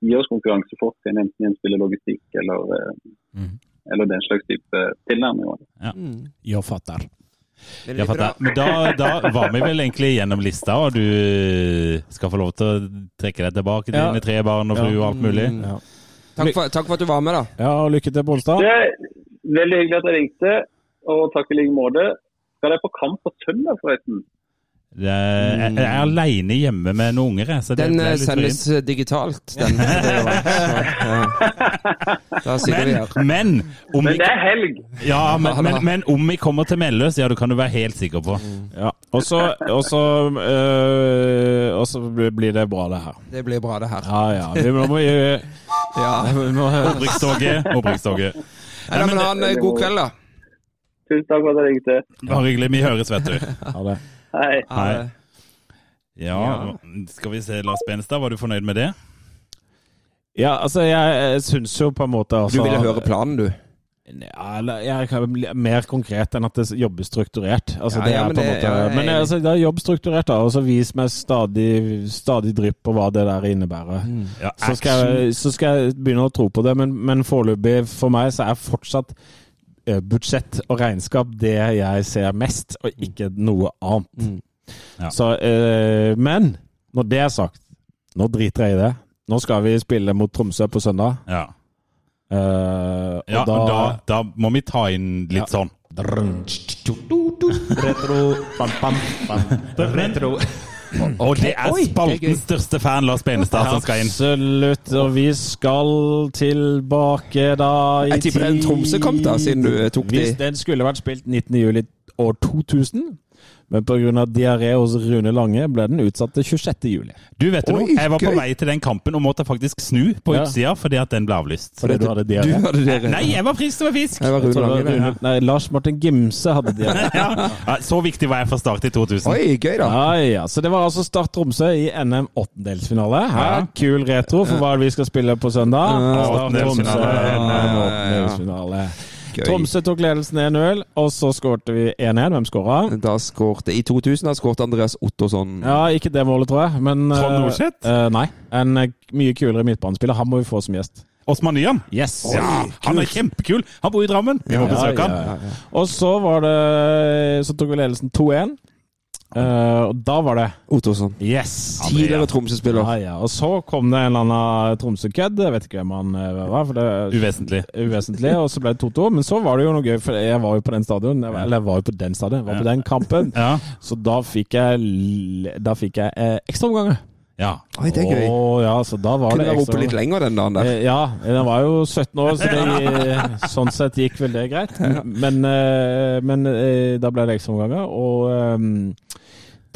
Speaker 7: gi oss konkurransefortrinn, enten gjennom spill og logistikk eller, eh,
Speaker 3: Mhm.
Speaker 7: eller den slags type tilnærminger.
Speaker 5: jeg fatter.
Speaker 4: Det er
Speaker 3: Ja,
Speaker 4: litt
Speaker 3: for
Speaker 4: bra.
Speaker 3: da, men da, da var vi vel egentlig gjennom lista, og du eh, skal få lov til å trekke deg tilbake til
Speaker 5: Ja.
Speaker 3: dine tre barn og
Speaker 5: Ja.
Speaker 3: fru og alt mulig.
Speaker 4: Mm. Takk, for, takk for at du var med, da.
Speaker 5: Ja, og lykke til på onsdag.
Speaker 7: Det er veldig hyggelig at dere ringte, og takk i like måte. Skal dere på kamp på søndag, forresten?
Speaker 3: Det er- Jeg, jeg er aleine hjemme med noen unger, jeg, så det
Speaker 4: Den
Speaker 3: ble
Speaker 4: eh,
Speaker 3: litt
Speaker 4: sendes
Speaker 3: vrient.
Speaker 4: eh, digitalt, den. Det er jo- så, ja. Da sitter vi her.
Speaker 3: Men, men, om
Speaker 7: Men
Speaker 3: vi,
Speaker 7: det er helg!
Speaker 3: ja, men, men, men om vi kommer til Melløs, ja, du kan du være helt sikker på.
Speaker 5: Ja. Og så og så, øh, og så blir det bra, det her.
Speaker 4: Det blir bra, det her.
Speaker 5: Ja, ja. Vi må, må, (laughs) gjøre-
Speaker 4: Ja.
Speaker 5: vi må
Speaker 3: Opprikstoget, opprikstoget.
Speaker 4: Nei, men ha en eh, god kveld, da.
Speaker 7: Tusen takk for at dere ringte.
Speaker 3: Bare hyggelig. Vi høres, vet du.
Speaker 5: ha det.
Speaker 7: Hei.
Speaker 4: Ha
Speaker 3: Hei.
Speaker 4: det.
Speaker 3: Ja, skal vi se, Lars Benstad, var du fornøyd med det?
Speaker 5: Ja, altså, jeg eh, syns jo på en måte altså,
Speaker 4: Du ville høre planen, du.
Speaker 5: Ja, eller, jeg kan bli mer konkret enn at det jobbes strukturert. Altså,
Speaker 4: Ja,
Speaker 5: det
Speaker 4: ja,
Speaker 5: er
Speaker 4: men
Speaker 5: på en
Speaker 4: det-
Speaker 5: måte,
Speaker 4: ja, jeg er
Speaker 5: men
Speaker 4: enig.
Speaker 5: altså, det er jobb strukturert, da. Og så vis meg stadig, stadig drypp på hva det der innebærer.
Speaker 4: Mm.
Speaker 3: Ja,
Speaker 5: så, skal jeg, så skal jeg begynne å tro på det, men, men foreløpig for meg så er fortsatt eh, budsjett og regnskap det jeg ser mest, og ikke noe annet.
Speaker 3: Mm. Ja.
Speaker 5: Så, eh, men når det er sagt, nå driter jeg i det. Nå skal vi spille mot Tromsø på søndag.
Speaker 3: Ja,
Speaker 5: eh, og
Speaker 3: ja da,
Speaker 5: da,
Speaker 3: da, må vi ta inn litt sånn.
Speaker 5: Retro, bam, bam, bam. Retro.
Speaker 3: Og det er
Speaker 5: Oi, det er gøy.
Speaker 3: spaltens største fan, Lars Benestad, som skal inn.
Speaker 5: Absolutt. Og vi skal tilbake da i
Speaker 4: Jeg tipper det er en Tromsø-kamp da, siden du eh, tok de.
Speaker 5: Hvis den skulle vært spilt 19. juli år 2000, men pga. diaré hos Rune Lange ble den utsatt til 26. juli.
Speaker 3: Du vet du
Speaker 4: Oi,
Speaker 3: noe, jeg var på
Speaker 4: gøy.
Speaker 3: vei til den kampen og måtte faktisk snu på
Speaker 5: Ja.
Speaker 3: utsida fordi at den ble avlyst.
Speaker 5: Fordi du hadde
Speaker 4: Du
Speaker 5: diaré?
Speaker 4: hadde dere.
Speaker 3: Nei, jeg var frisk som en fisk!
Speaker 4: Jeg var
Speaker 5: Jeg
Speaker 4: Rune
Speaker 5: tror det var
Speaker 4: Lange. det.
Speaker 5: Rune- Nei, Lars Martin Gimse hadde
Speaker 4: (laughs)
Speaker 5: diaré.
Speaker 3: Ja. Ja, Så viktig var jeg fra start i 2000.
Speaker 4: Oi, gøy, da.
Speaker 5: Ja, ja. Så det var altså Start Tromsø i NM åttendelsfinale. Hæ? Kul retro for hva er det vi skal spille på søndag. Start Tromsø
Speaker 3: åttendelsfinale.
Speaker 5: NM
Speaker 4: Ja, ja, ja.
Speaker 5: åttendelsfinale.
Speaker 4: Gøy.
Speaker 5: Tromsø tok ledelsen 1-0, og så skårte vi 1-1. Hvem skåra?
Speaker 4: Da skårte, I 2000 da skårte Andreas Ottosson.
Speaker 5: Ja, ikke det målet, tror jeg. Men,
Speaker 3: Trond
Speaker 5: eh,
Speaker 3: Norseth?
Speaker 5: eh, nei. En eh, mye kulere midtbanespiller. Han må vi få som gjest.
Speaker 3: Osman Nyan.
Speaker 5: Yes!
Speaker 3: Ja, han er kjempekul! Han bor i Drammen. Vi må besøke han.
Speaker 5: Og så var det Så tok vi ledelsen 2-1. Eh, og da var det
Speaker 4: Ottosson.
Speaker 5: Yes!
Speaker 4: Tidligere Tromsø-spiller.
Speaker 5: Ja, ja. Og så kom det en eller annen Tromsø-kødd. Jeg vet ikke hvem han eh, var, for det er
Speaker 3: Uvesentlig.
Speaker 5: uvesentlig. Og så ble det 2-2. Men så var det jo noe gøy, for jeg var jo på den stadion. Jeg var, eller jeg var jo på den stadion, jeg var på den kampen.
Speaker 3: (laughs) Ja.
Speaker 5: Så da fikk jeg, l- da fikk jeg eh, ekstraomganger.
Speaker 3: ja.
Speaker 4: Oi, det er gøy.
Speaker 5: Å, ja, så da var
Speaker 4: Kunne
Speaker 5: det
Speaker 4: være oppe
Speaker 5: ekstra...
Speaker 4: litt lenger den dagen der.
Speaker 5: Eh, Ja, den var jo 17 år, så det, sånn sett gikk vel det greit. Men, eh, men eh, da ble det ekstraomganger, og eh,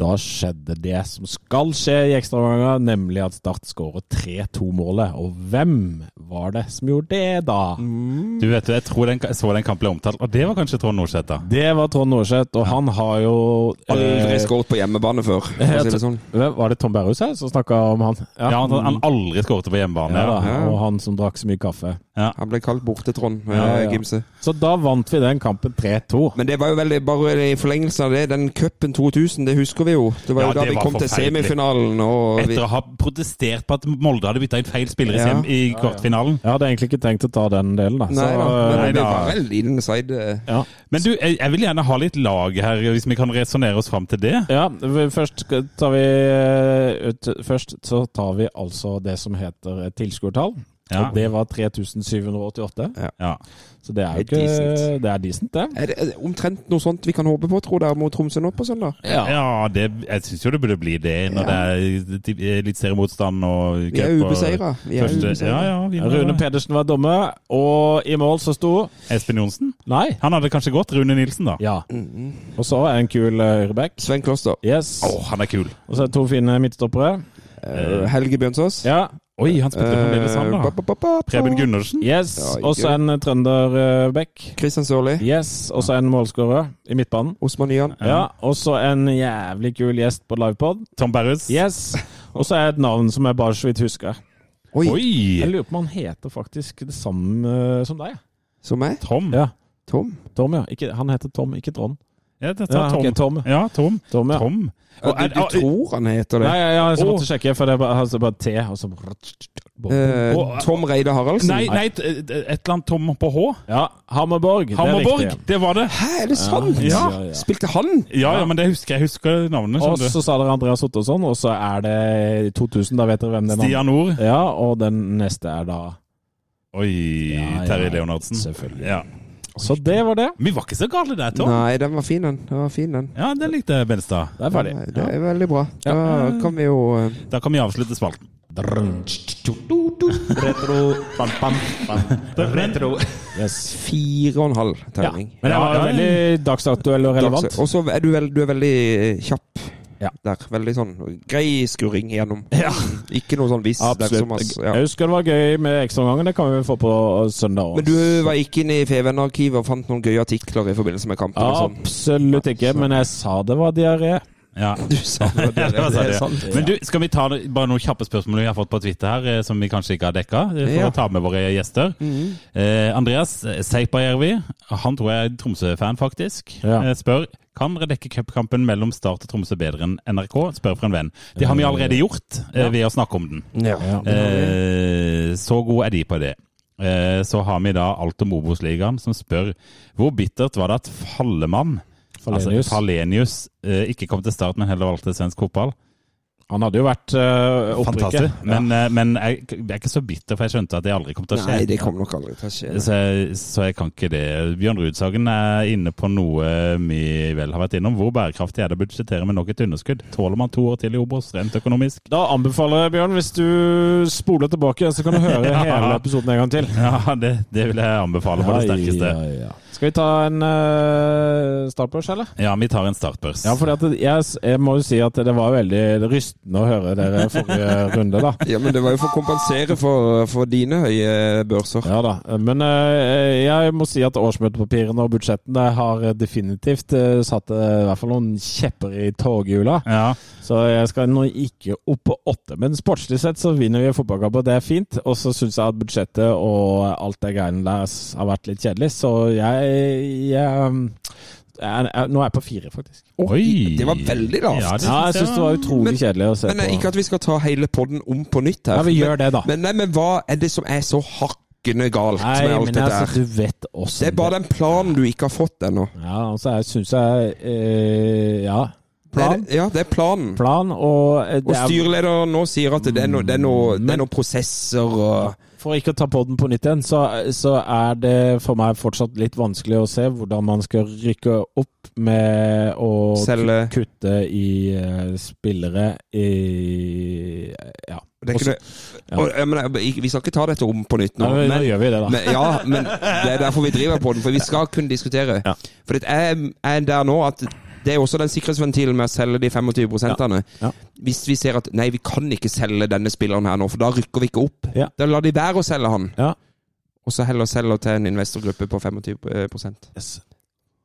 Speaker 5: da skjedde det som skal skje i ekstraomganger, nemlig at Start skårer 3-2-målet. Og hvem var det som gjorde det, da?
Speaker 4: Mm.
Speaker 3: Du vet, Jeg tror den, jeg så den kampen ble omtalt, og det var kanskje Trond Norseth, da.
Speaker 5: Det var Trond Norseth, og han har jo eh,
Speaker 4: Aldri skåret på hjemmebane før, for å si det sånn.
Speaker 5: Hvem- Var det Tom Berrhus her som snakka om han?
Speaker 3: Ja, han, han aldri skåret på hjemmebane.
Speaker 5: ja, da,
Speaker 3: Ja,
Speaker 5: og han som drakk så mye kaffe.
Speaker 4: Han ble kalt Borte-Trond.
Speaker 5: Ja, ja.
Speaker 4: Gimse.
Speaker 5: Så da vant vi den kampen 3-2.
Speaker 4: Men det var jo veldig bare i forlengelsen av det. Den cupen 2000, det husker vi jo. Det var
Speaker 3: Ja,
Speaker 4: jo da
Speaker 3: det
Speaker 4: vi
Speaker 3: var
Speaker 4: kom til
Speaker 3: forferdelig.
Speaker 4: semifinalen. Og vi,
Speaker 3: Etter å ha protestert på at Molde hadde bytta ut feil spillere
Speaker 4: Ja.
Speaker 3: hjem i kvartfinalen.
Speaker 5: Jeg hadde egentlig ikke tenkt å ta den delen, da.
Speaker 4: nei da,
Speaker 5: så,
Speaker 4: men
Speaker 3: nei
Speaker 4: det
Speaker 3: da.
Speaker 4: var en liten side eh,
Speaker 5: ja.
Speaker 3: Men du, jeg, jeg vil gjerne ha litt lag her, hvis vi kan resonnere oss fram til det.
Speaker 5: ja, vi- først skal- tar vi eh, ut- Først så tar vi altså det som heter et tilskuertall.
Speaker 3: Ja.
Speaker 5: Og det var 3788.
Speaker 3: Ja.
Speaker 5: Så det er
Speaker 4: Det er
Speaker 5: jo ikke
Speaker 4: decent.
Speaker 5: Det er decent, det.
Speaker 4: Er det er det omtrent noe sånt vi kan håpe på, tror dere, mot Tromsø nå på søndag?
Speaker 3: Ja, det, jeg syns jo det burde bli det, når det er eh, litt seriemotstand og
Speaker 4: Vi
Speaker 3: cup
Speaker 4: er
Speaker 3: og-
Speaker 4: ubeseiret. Vi er
Speaker 3: første-
Speaker 4: ubeseiret.
Speaker 3: Ja, ja, vi må
Speaker 5: Rune
Speaker 3: det.
Speaker 5: Pedersen var dommer, og i mål så sto
Speaker 3: Espen Johnsen?
Speaker 5: Nei.
Speaker 3: Han hadde kanskje gått. Rune Nilsen, da.
Speaker 5: Ja.
Speaker 4: Mm-hmm.
Speaker 5: Og så en kul eh, høyreback.
Speaker 4: Svein Kloster.
Speaker 5: Yes.
Speaker 3: Å, han er kul.
Speaker 5: Og så to fine midtstoppere.
Speaker 4: Eh, Helge Bjønsås.
Speaker 5: Ja.
Speaker 3: Oi, han spilte fremdeles han,
Speaker 4: Eh, ba,
Speaker 3: da.
Speaker 4: ba, ba, ba.
Speaker 3: Preben Gundersen.
Speaker 5: Yes.
Speaker 4: Ja,
Speaker 5: Og så
Speaker 4: gøy.
Speaker 5: en trønderback.
Speaker 4: Christian Sørli.
Speaker 5: Yes. Og så en målskårer i midtbanen.
Speaker 4: Osman Nyan.
Speaker 5: Ja, og så en jævlig kul gjest på livepod.
Speaker 3: Tom Berrus.
Speaker 5: (laughs) Yes. Og så er et navn som jeg bare så vidt husker.
Speaker 4: Oi,
Speaker 5: Jeg
Speaker 3: Oi!
Speaker 5: lurer på om han heter faktisk det samme eh, som deg.
Speaker 4: som meg?
Speaker 3: Tom.
Speaker 5: Ja,
Speaker 4: Tom?
Speaker 5: Tom, ja. Ikke, han heter Tom, ikke Trond.
Speaker 3: Ja, det
Speaker 5: Ja,
Speaker 3: tar Tom.
Speaker 5: ok, Tom.
Speaker 3: Ja, Tom.
Speaker 5: Tom, ja.
Speaker 3: Tom.
Speaker 4: Ja,
Speaker 3: Og
Speaker 4: du,
Speaker 3: er- ah,
Speaker 4: du tror han heter det?
Speaker 5: Nei, ja, ja, jeg
Speaker 3: Å.
Speaker 5: måtte sjekke, for det er bare, altså bare T, og så
Speaker 4: Eh,
Speaker 3: og-
Speaker 4: Tom Reide Haraldsen?
Speaker 3: Nei, nei, et et eller annet Tom på H.
Speaker 5: Ja, Hammerborg. det er
Speaker 3: Hammerborg!
Speaker 5: riktig.
Speaker 3: Det var det.
Speaker 4: Hæ, er det sant?
Speaker 5: Ja, ja, ja.
Speaker 4: Spilte han?
Speaker 3: Ja, ja, men det husker jeg husker navnet.
Speaker 5: Og
Speaker 3: skjønner du.
Speaker 5: så sa dere Andreas Ottosson, og så er det 2000, da vet dere hvem den andre
Speaker 3: Stian Nord.
Speaker 5: Ja, og den neste er da
Speaker 3: Oi,
Speaker 5: Ja, ja,
Speaker 3: Terje Leonardsen.
Speaker 5: Selvfølgelig.
Speaker 3: Ja.
Speaker 5: Så det var det.
Speaker 3: Vi var ikke så gale der, Tom.
Speaker 4: Nei, den var fin, den. Den var fin, den.
Speaker 3: Ja, den likte jeg, Benstad.
Speaker 5: Det er ferdig.
Speaker 4: Nei, Det er veldig bra. Da kan vi jo eh,
Speaker 3: Da kan vi avslutte spalten.
Speaker 5: Yes.
Speaker 4: fire og en halv
Speaker 5: Ja.
Speaker 4: terning.
Speaker 5: Men det
Speaker 3: Ja,
Speaker 5: var
Speaker 3: ja, ja.
Speaker 5: veldig dagsaktuell og relevant.
Speaker 4: Og så er du, veld, du er veldig eh, kjapp.
Speaker 5: Ja.
Speaker 4: Der, veldig sånn grei skurring gjennom. Ikke noe sånn viss
Speaker 5: Absolutt.
Speaker 4: dersom, altså,
Speaker 5: Jeg
Speaker 4: ja.
Speaker 5: husker det var gøy med ekstraomgangen. Det kan vi vel få på søndag også.
Speaker 4: Men du var ikke inne i Feven-arkivet og fant noen gøye artikler i forbindelse med kampen? og sånn?
Speaker 5: Absolutt ikke, men jeg sa det var diaré. (laughs)
Speaker 3: Ja.
Speaker 4: Du sa det,
Speaker 3: Ja, det var sant, ja.
Speaker 5: sant, ja.
Speaker 3: Men du, skal vi ta det- bare noen kjappe spørsmål vi har fått på Twitter her, eh, som vi kanskje ikke har dekka, eh, for
Speaker 4: Ja.
Speaker 3: å ta med våre gjester.
Speaker 5: Mhm.
Speaker 3: eh, Andreas Seipajärvi, han tror jeg er Tromsø-fan, faktisk,
Speaker 5: Ja.
Speaker 3: eh, spør kan dere dekke cupkampen mellom Start og Tromsø bedre enn NRK? Spør fra en venn. Det har vi allerede gjort eh, ved å snakke om den.
Speaker 4: Ja.
Speaker 3: Eh, så god er de på det. Eh, så har vi da alt om Obos-ligaen, som spør hvor bittert var det at Fallemann,
Speaker 5: Fallenius.
Speaker 3: altså Fallenius, eh, ikke kom til start, men heller valgte svensk fotball?
Speaker 5: Han hadde jo vært uh, opprykket.
Speaker 3: Fantastisk. Men, eh, men jeg, jeg er ikke så bitter, for jeg skjønte at det aldri kom til å skje.
Speaker 4: Nei, det kommer nok aldri til å skje.
Speaker 3: Så jeg, så jeg kan ikke det. Bjørn Rudsagen er inne på noe vi vel har vært innom. Hvor bærekraftig er det å budsjettere med nok et underskudd? Tåler man to år til i Obos, rent økonomisk?
Speaker 5: Da anbefaler jeg, Bjørn, hvis du spoler tilbake, så kan du
Speaker 3: (laughs)
Speaker 5: høre
Speaker 3: Ja.
Speaker 5: hele episoden en gang til.
Speaker 3: (laughs) Ja, det, det vil jeg anbefale på det sterkeste.
Speaker 5: Ja, ja, ja. Skal vi ta en uh, startbørs, eller?
Speaker 3: Ja, vi tar en startbørs.
Speaker 5: Ja, for jeg, jeg må jo si at det var veldig rystende å høre dere forrige runde, da.
Speaker 4: (laughs) Ja, men det var jo for å kompensere for, for dine høye børser.
Speaker 5: Ja da, men eh, jeg må si at årsmøtepapirene og budsjettene har definitivt eh, satt eh, i hvert fall noen kjepper i toghjula.
Speaker 3: Ja.
Speaker 5: Så jeg skal nå ikke opp på åtte, men sportslig sett så vinner vi fotballkampen, det er fint. Og så syns jeg at budsjettet og alt det greiene der s- har vært litt kjedelig, så jeg, jeg, mm, jeg, jeg Nå er jeg på fire, faktisk.
Speaker 3: Oi!
Speaker 4: Det var veldig lavt.
Speaker 3: Ja, det
Speaker 5: Ja, jeg
Speaker 3: synes
Speaker 5: syns det var utrolig
Speaker 4: Men-
Speaker 5: kjedelig å se
Speaker 4: Men eh, ikke
Speaker 5: på.
Speaker 4: at vi skal ta hele podden om på nytt her.
Speaker 5: Ja, vi gjør det, da.
Speaker 4: Men, nei, men hva er det som er så hakkende galt
Speaker 5: Nei,
Speaker 4: med alt
Speaker 5: men
Speaker 4: det
Speaker 5: altså,
Speaker 4: der?
Speaker 5: du vet åssen
Speaker 4: Det er bare den planen du ikke har fått ennå.
Speaker 5: Ja, altså, jeg syns jeg eh, Ja.
Speaker 4: Det er
Speaker 5: Plan.
Speaker 4: det- Ja, det er planen.
Speaker 5: plan, og eh,
Speaker 4: Og
Speaker 5: det er, Mm,
Speaker 4: styrelederen nå sier at det er noen no, det er noe prosesser og
Speaker 5: for ikke å ta podden på nytt igjen, så, så er det for meg fortsatt litt vanskelig å se hvordan man skal rykke opp med å
Speaker 4: Selge.
Speaker 5: ku- kutte i eh, spillere i Ja.
Speaker 4: det er ikke
Speaker 5: Også-
Speaker 4: det. Og, ja, men, jeg- Vi skal ikke ta dette om på nytt nå.
Speaker 5: Nå, nå
Speaker 4: Men,
Speaker 5: gjør vi det, da.
Speaker 4: men, ja, men det er derfor vi driver på den, for vi skal kunne diskutere.
Speaker 5: Ja.
Speaker 4: For det er, er der nå at det er også den sikkerhetsventilen med å selge de 25
Speaker 5: Ja. Ja.
Speaker 4: Hvis vi ser at nei, vi kan ikke selge denne spilleren her nå, for da rykker vi ikke opp.
Speaker 5: Ja.
Speaker 4: Da lar de være å selge han,
Speaker 5: Ja.
Speaker 4: og så heller selger til en investorgruppe på 25
Speaker 5: Yes.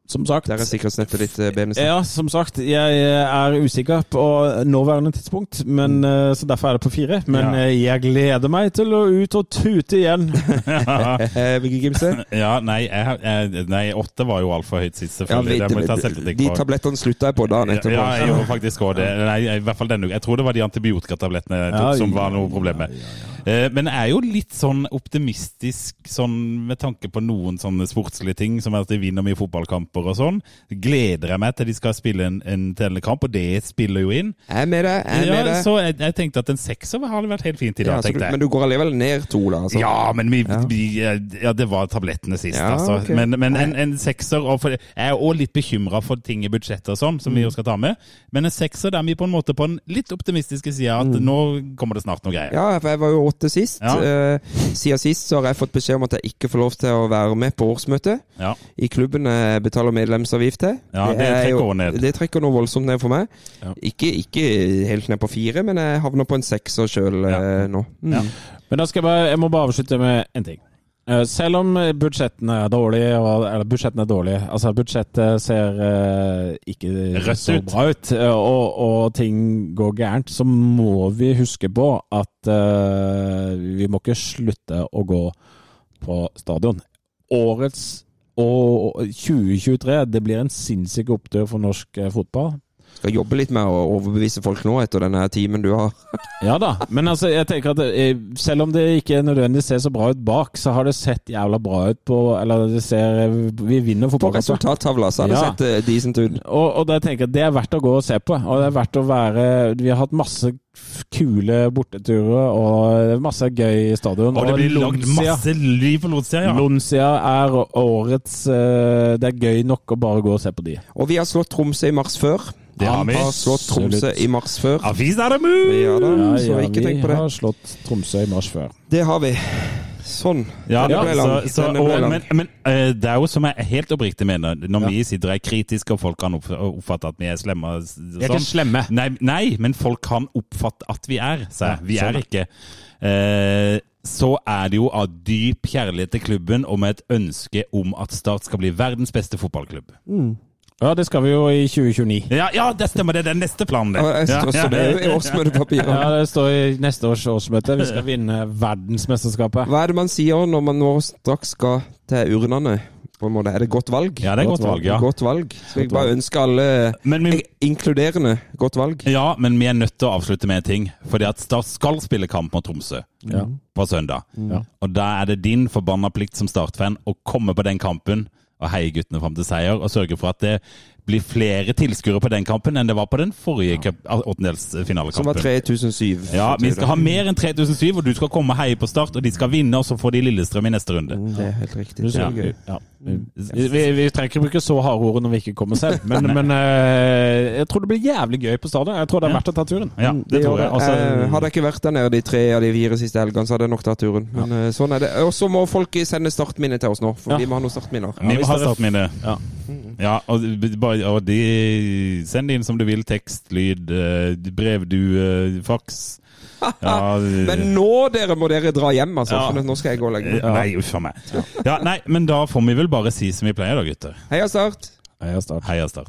Speaker 5: Som sagt
Speaker 4: Der er sikkerhetsnettet ditt, eh, Benesen.
Speaker 5: ja, som sagt, jeg eh, er usikker på nåværende tidspunkt, men,
Speaker 4: Mm.
Speaker 5: eh, så derfor er det på fire.
Speaker 3: Ja.
Speaker 5: Men eh, jeg gleder meg til å ut og tute igjen.
Speaker 4: Eh, Vigge Gimse?
Speaker 3: Ja, nei, jeg, jeg, nei, åtte var jo altfor høyt sist,
Speaker 4: Ja,
Speaker 3: selvfølgelig. det må vi ta selvkritikk
Speaker 4: de
Speaker 3: på.
Speaker 4: tablettene slutta jeg på da nettopp.
Speaker 3: Ja, jeg gjorde faktisk også det. Nei, jeg- i hvert fall denne uka. Jeg tror det var de antibiotikatablettene jeg tok
Speaker 5: Ja,
Speaker 3: som var
Speaker 5: ja,
Speaker 3: noe problemet. Eh, Men jeg er jo litt sånn optimistisk sånn, med tanke på noen sånne sportslige ting, som at de vinner mye fotballkamper og sånn. Gleder jeg meg til de skal spille en, en tellende kamp, og det spiller jo inn.
Speaker 4: Jeg er med deg, jeg er
Speaker 3: Ja,
Speaker 4: med deg.
Speaker 3: så jeg, jeg tenkte at en sekser hadde vært helt fint i
Speaker 4: Ja,
Speaker 3: dag,
Speaker 4: så du,
Speaker 3: tenkte jeg.
Speaker 4: men du går allikevel ned to, da? Altså.
Speaker 3: Ja, men vi,
Speaker 4: Ja.
Speaker 3: vi eh, Ja, det var tablettene sist,
Speaker 4: Ja,
Speaker 3: altså.
Speaker 4: ok.
Speaker 3: Men, men en, en sekser og for, Jeg er òg litt bekymra for ting i budsjettet og sånn,
Speaker 4: Mm.
Speaker 3: som vi jo skal ta med. Men en sekser der er vi på en måte på den litt optimistiske sida at nå kommer det snart noe greier.
Speaker 4: Mm. Ja, for jeg var jo åtte sist.
Speaker 3: Ja.
Speaker 4: Eh, siden sist så har jeg fått beskjed om at jeg ikke får lov til å være med på årsmøtet
Speaker 3: Ja.
Speaker 4: i klubben jeg betaler medlemsavgift til.
Speaker 3: Ja, det
Speaker 4: er
Speaker 3: trekker
Speaker 4: jo-
Speaker 3: også ned.
Speaker 4: Det trekker noe voldsomt ned for meg.
Speaker 5: Ja.
Speaker 4: Ikke, ikke helt ned på fire, men jeg havner på en sekser sjøl eh, nå. Mm.
Speaker 3: Ja.
Speaker 5: Men da skal jeg bare, jeg må bare avslutte med en ting. Eh, Selv om budsjettene er dårlige, og- eller budsjettene er dårlige, altså budsjettet ser eh, ikke
Speaker 3: Rødt
Speaker 5: så
Speaker 3: ut.
Speaker 5: bra ut, eh, og, og ting går gærent, så må vi huske på at eh, vi må ikke slutte å gå på stadion. Årets og 2023, det blir en sinnssyk opptur for norsk eh, fotball.
Speaker 4: Skal jobbe litt med å overbevise folk nå etter denne timen du har.
Speaker 5: Ja da, men altså, jeg tenker at eh, selv om det ikke nødvendigvis ser så bra ut bak, så har det sett jævla bra ut på Eller det ser eh, Vi vinner
Speaker 4: På
Speaker 5: fotballkampen.
Speaker 4: resultattavla så har det
Speaker 5: Ja.
Speaker 4: sett eh, decent ut.
Speaker 5: Og, og da tenker jeg at det er verdt å gå og se på. Og det er verdt å være Vi har hatt masse kule borteturer og det er masse gøy i stadion.
Speaker 3: Og det blir lagd
Speaker 5: Lonsia-
Speaker 3: masse liv på Lotsia, ja.
Speaker 5: Lonsia er årets eh, Det er gøy nok å bare gå og se på de.
Speaker 4: Og vi har slått Tromsø i mars før.
Speaker 3: Det har
Speaker 4: Han
Speaker 3: vi.
Speaker 4: har slått Tromsø
Speaker 5: Absolutt.
Speaker 4: i mars før.
Speaker 3: Avis er det mu!
Speaker 4: Ja da, så ikke
Speaker 5: vi
Speaker 4: tenk på det.
Speaker 5: har slått Tromsø i mars før.
Speaker 4: Det har vi. Sånn.
Speaker 3: Ja,
Speaker 4: Den ble lang.
Speaker 3: så, så,
Speaker 4: Den
Speaker 3: og,
Speaker 4: ble lang.
Speaker 3: men, men eh, det er jo som jeg helt oppriktig mener, når vi sitter og er kritiske, og folk kan opp- oppfatte at vi er slemme og s- sånn.
Speaker 5: slemme.
Speaker 3: Nei, nei, men folk kan oppfatte at vi er, sa jeg. Vi
Speaker 5: sånn,
Speaker 3: er ikke. Eh, så er det jo av dyp kjærlighet til klubben og med et ønske om at Start skal bli verdens beste fotballklubb.
Speaker 5: Ja, det skal vi jo i 2029.
Speaker 3: Ja, ja det stemmer, det er den neste planen, det.
Speaker 4: Ja, jeg
Speaker 3: Ja,
Speaker 4: står- står det
Speaker 3: ja.
Speaker 4: jo i årsmøtepapirene.
Speaker 5: Ja, det står i neste års årsmøte. Vi skal vinne verdensmesterskapet.
Speaker 4: Hva er det man sier når man nå straks skal til urnene? På en måte. Er det godt valg?
Speaker 3: Ja, det er godt valg, ja.
Speaker 4: Godt valg. Skal jeg bare ønske alle
Speaker 3: Men vi-
Speaker 4: eh, inkluderende godt valg.
Speaker 3: Ja, men vi er nødt til å avslutte med en ting. Fordi at Start skal spille kamp mot Tromsø
Speaker 5: Ja. Mm.
Speaker 3: på søndag.
Speaker 5: Ja.
Speaker 3: Og da er det din forbanna plikt som Start-fan å komme på den kampen og heie guttene fram til seier, og sørge for at det bli flere tilskuere på den kampen enn det var på den forrige cup- al-
Speaker 4: Som var
Speaker 3: åttendelsfinalekampen.
Speaker 4: 3007.
Speaker 3: Ja, vi skal ha
Speaker 4: sånn.
Speaker 3: mer enn 3007, og du skal komme og heie på Start, og de skal vinne, og så får de Lillestrøm i neste runde.
Speaker 4: Det er helt riktig.
Speaker 5: Du
Speaker 4: Det
Speaker 5: ser
Speaker 4: er
Speaker 5: gøy.
Speaker 4: gøy.
Speaker 5: Ja. Vi, vi trenger ikke bruke så harde ord når vi ikke kommer selv, men, men eh, jeg tror det blir jævlig gøy på stadion. Jeg tror det er verdt å ta turen.
Speaker 3: Ja, det tror jeg.
Speaker 5: Altså,
Speaker 4: eh, hadde jeg ikke vært der nede de tre av de fire siste helgene, så hadde jeg nok tatt turen. Men eh, sånn er det. Og så må folk sende startminne til oss nå, for
Speaker 5: Ja.
Speaker 4: vi må ha noen startminner.
Speaker 3: Vi må ha startminne.
Speaker 5: Ja.
Speaker 3: Ja, og, b- bare- og de Send inn som du vil. Tekst, lyd, eh, brev, du, eh, faks. Ja, eh,
Speaker 4: Men nå, dere, må dere dra hjem, altså. For nå skal jeg gå og legge meg.
Speaker 3: ja. Nei, uff a meg. Ja, nei, men da får vi vel bare si som vi pleier, da, gutter.
Speaker 4: Heia Start!
Speaker 5: Heia Start.
Speaker 3: Heia Start.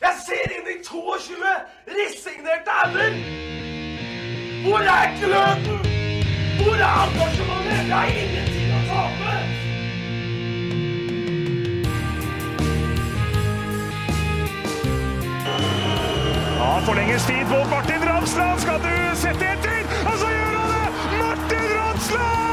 Speaker 1: Jeg ser inn i 22 resignerte ender! Hvor er gløden? Hvor er engasjementet? Jeg har ingenting å tape!
Speaker 2: Ja, forlenges tid på Martin Ramsland. Skal du sette etter? Og så gjør han det! Martin Ramsland!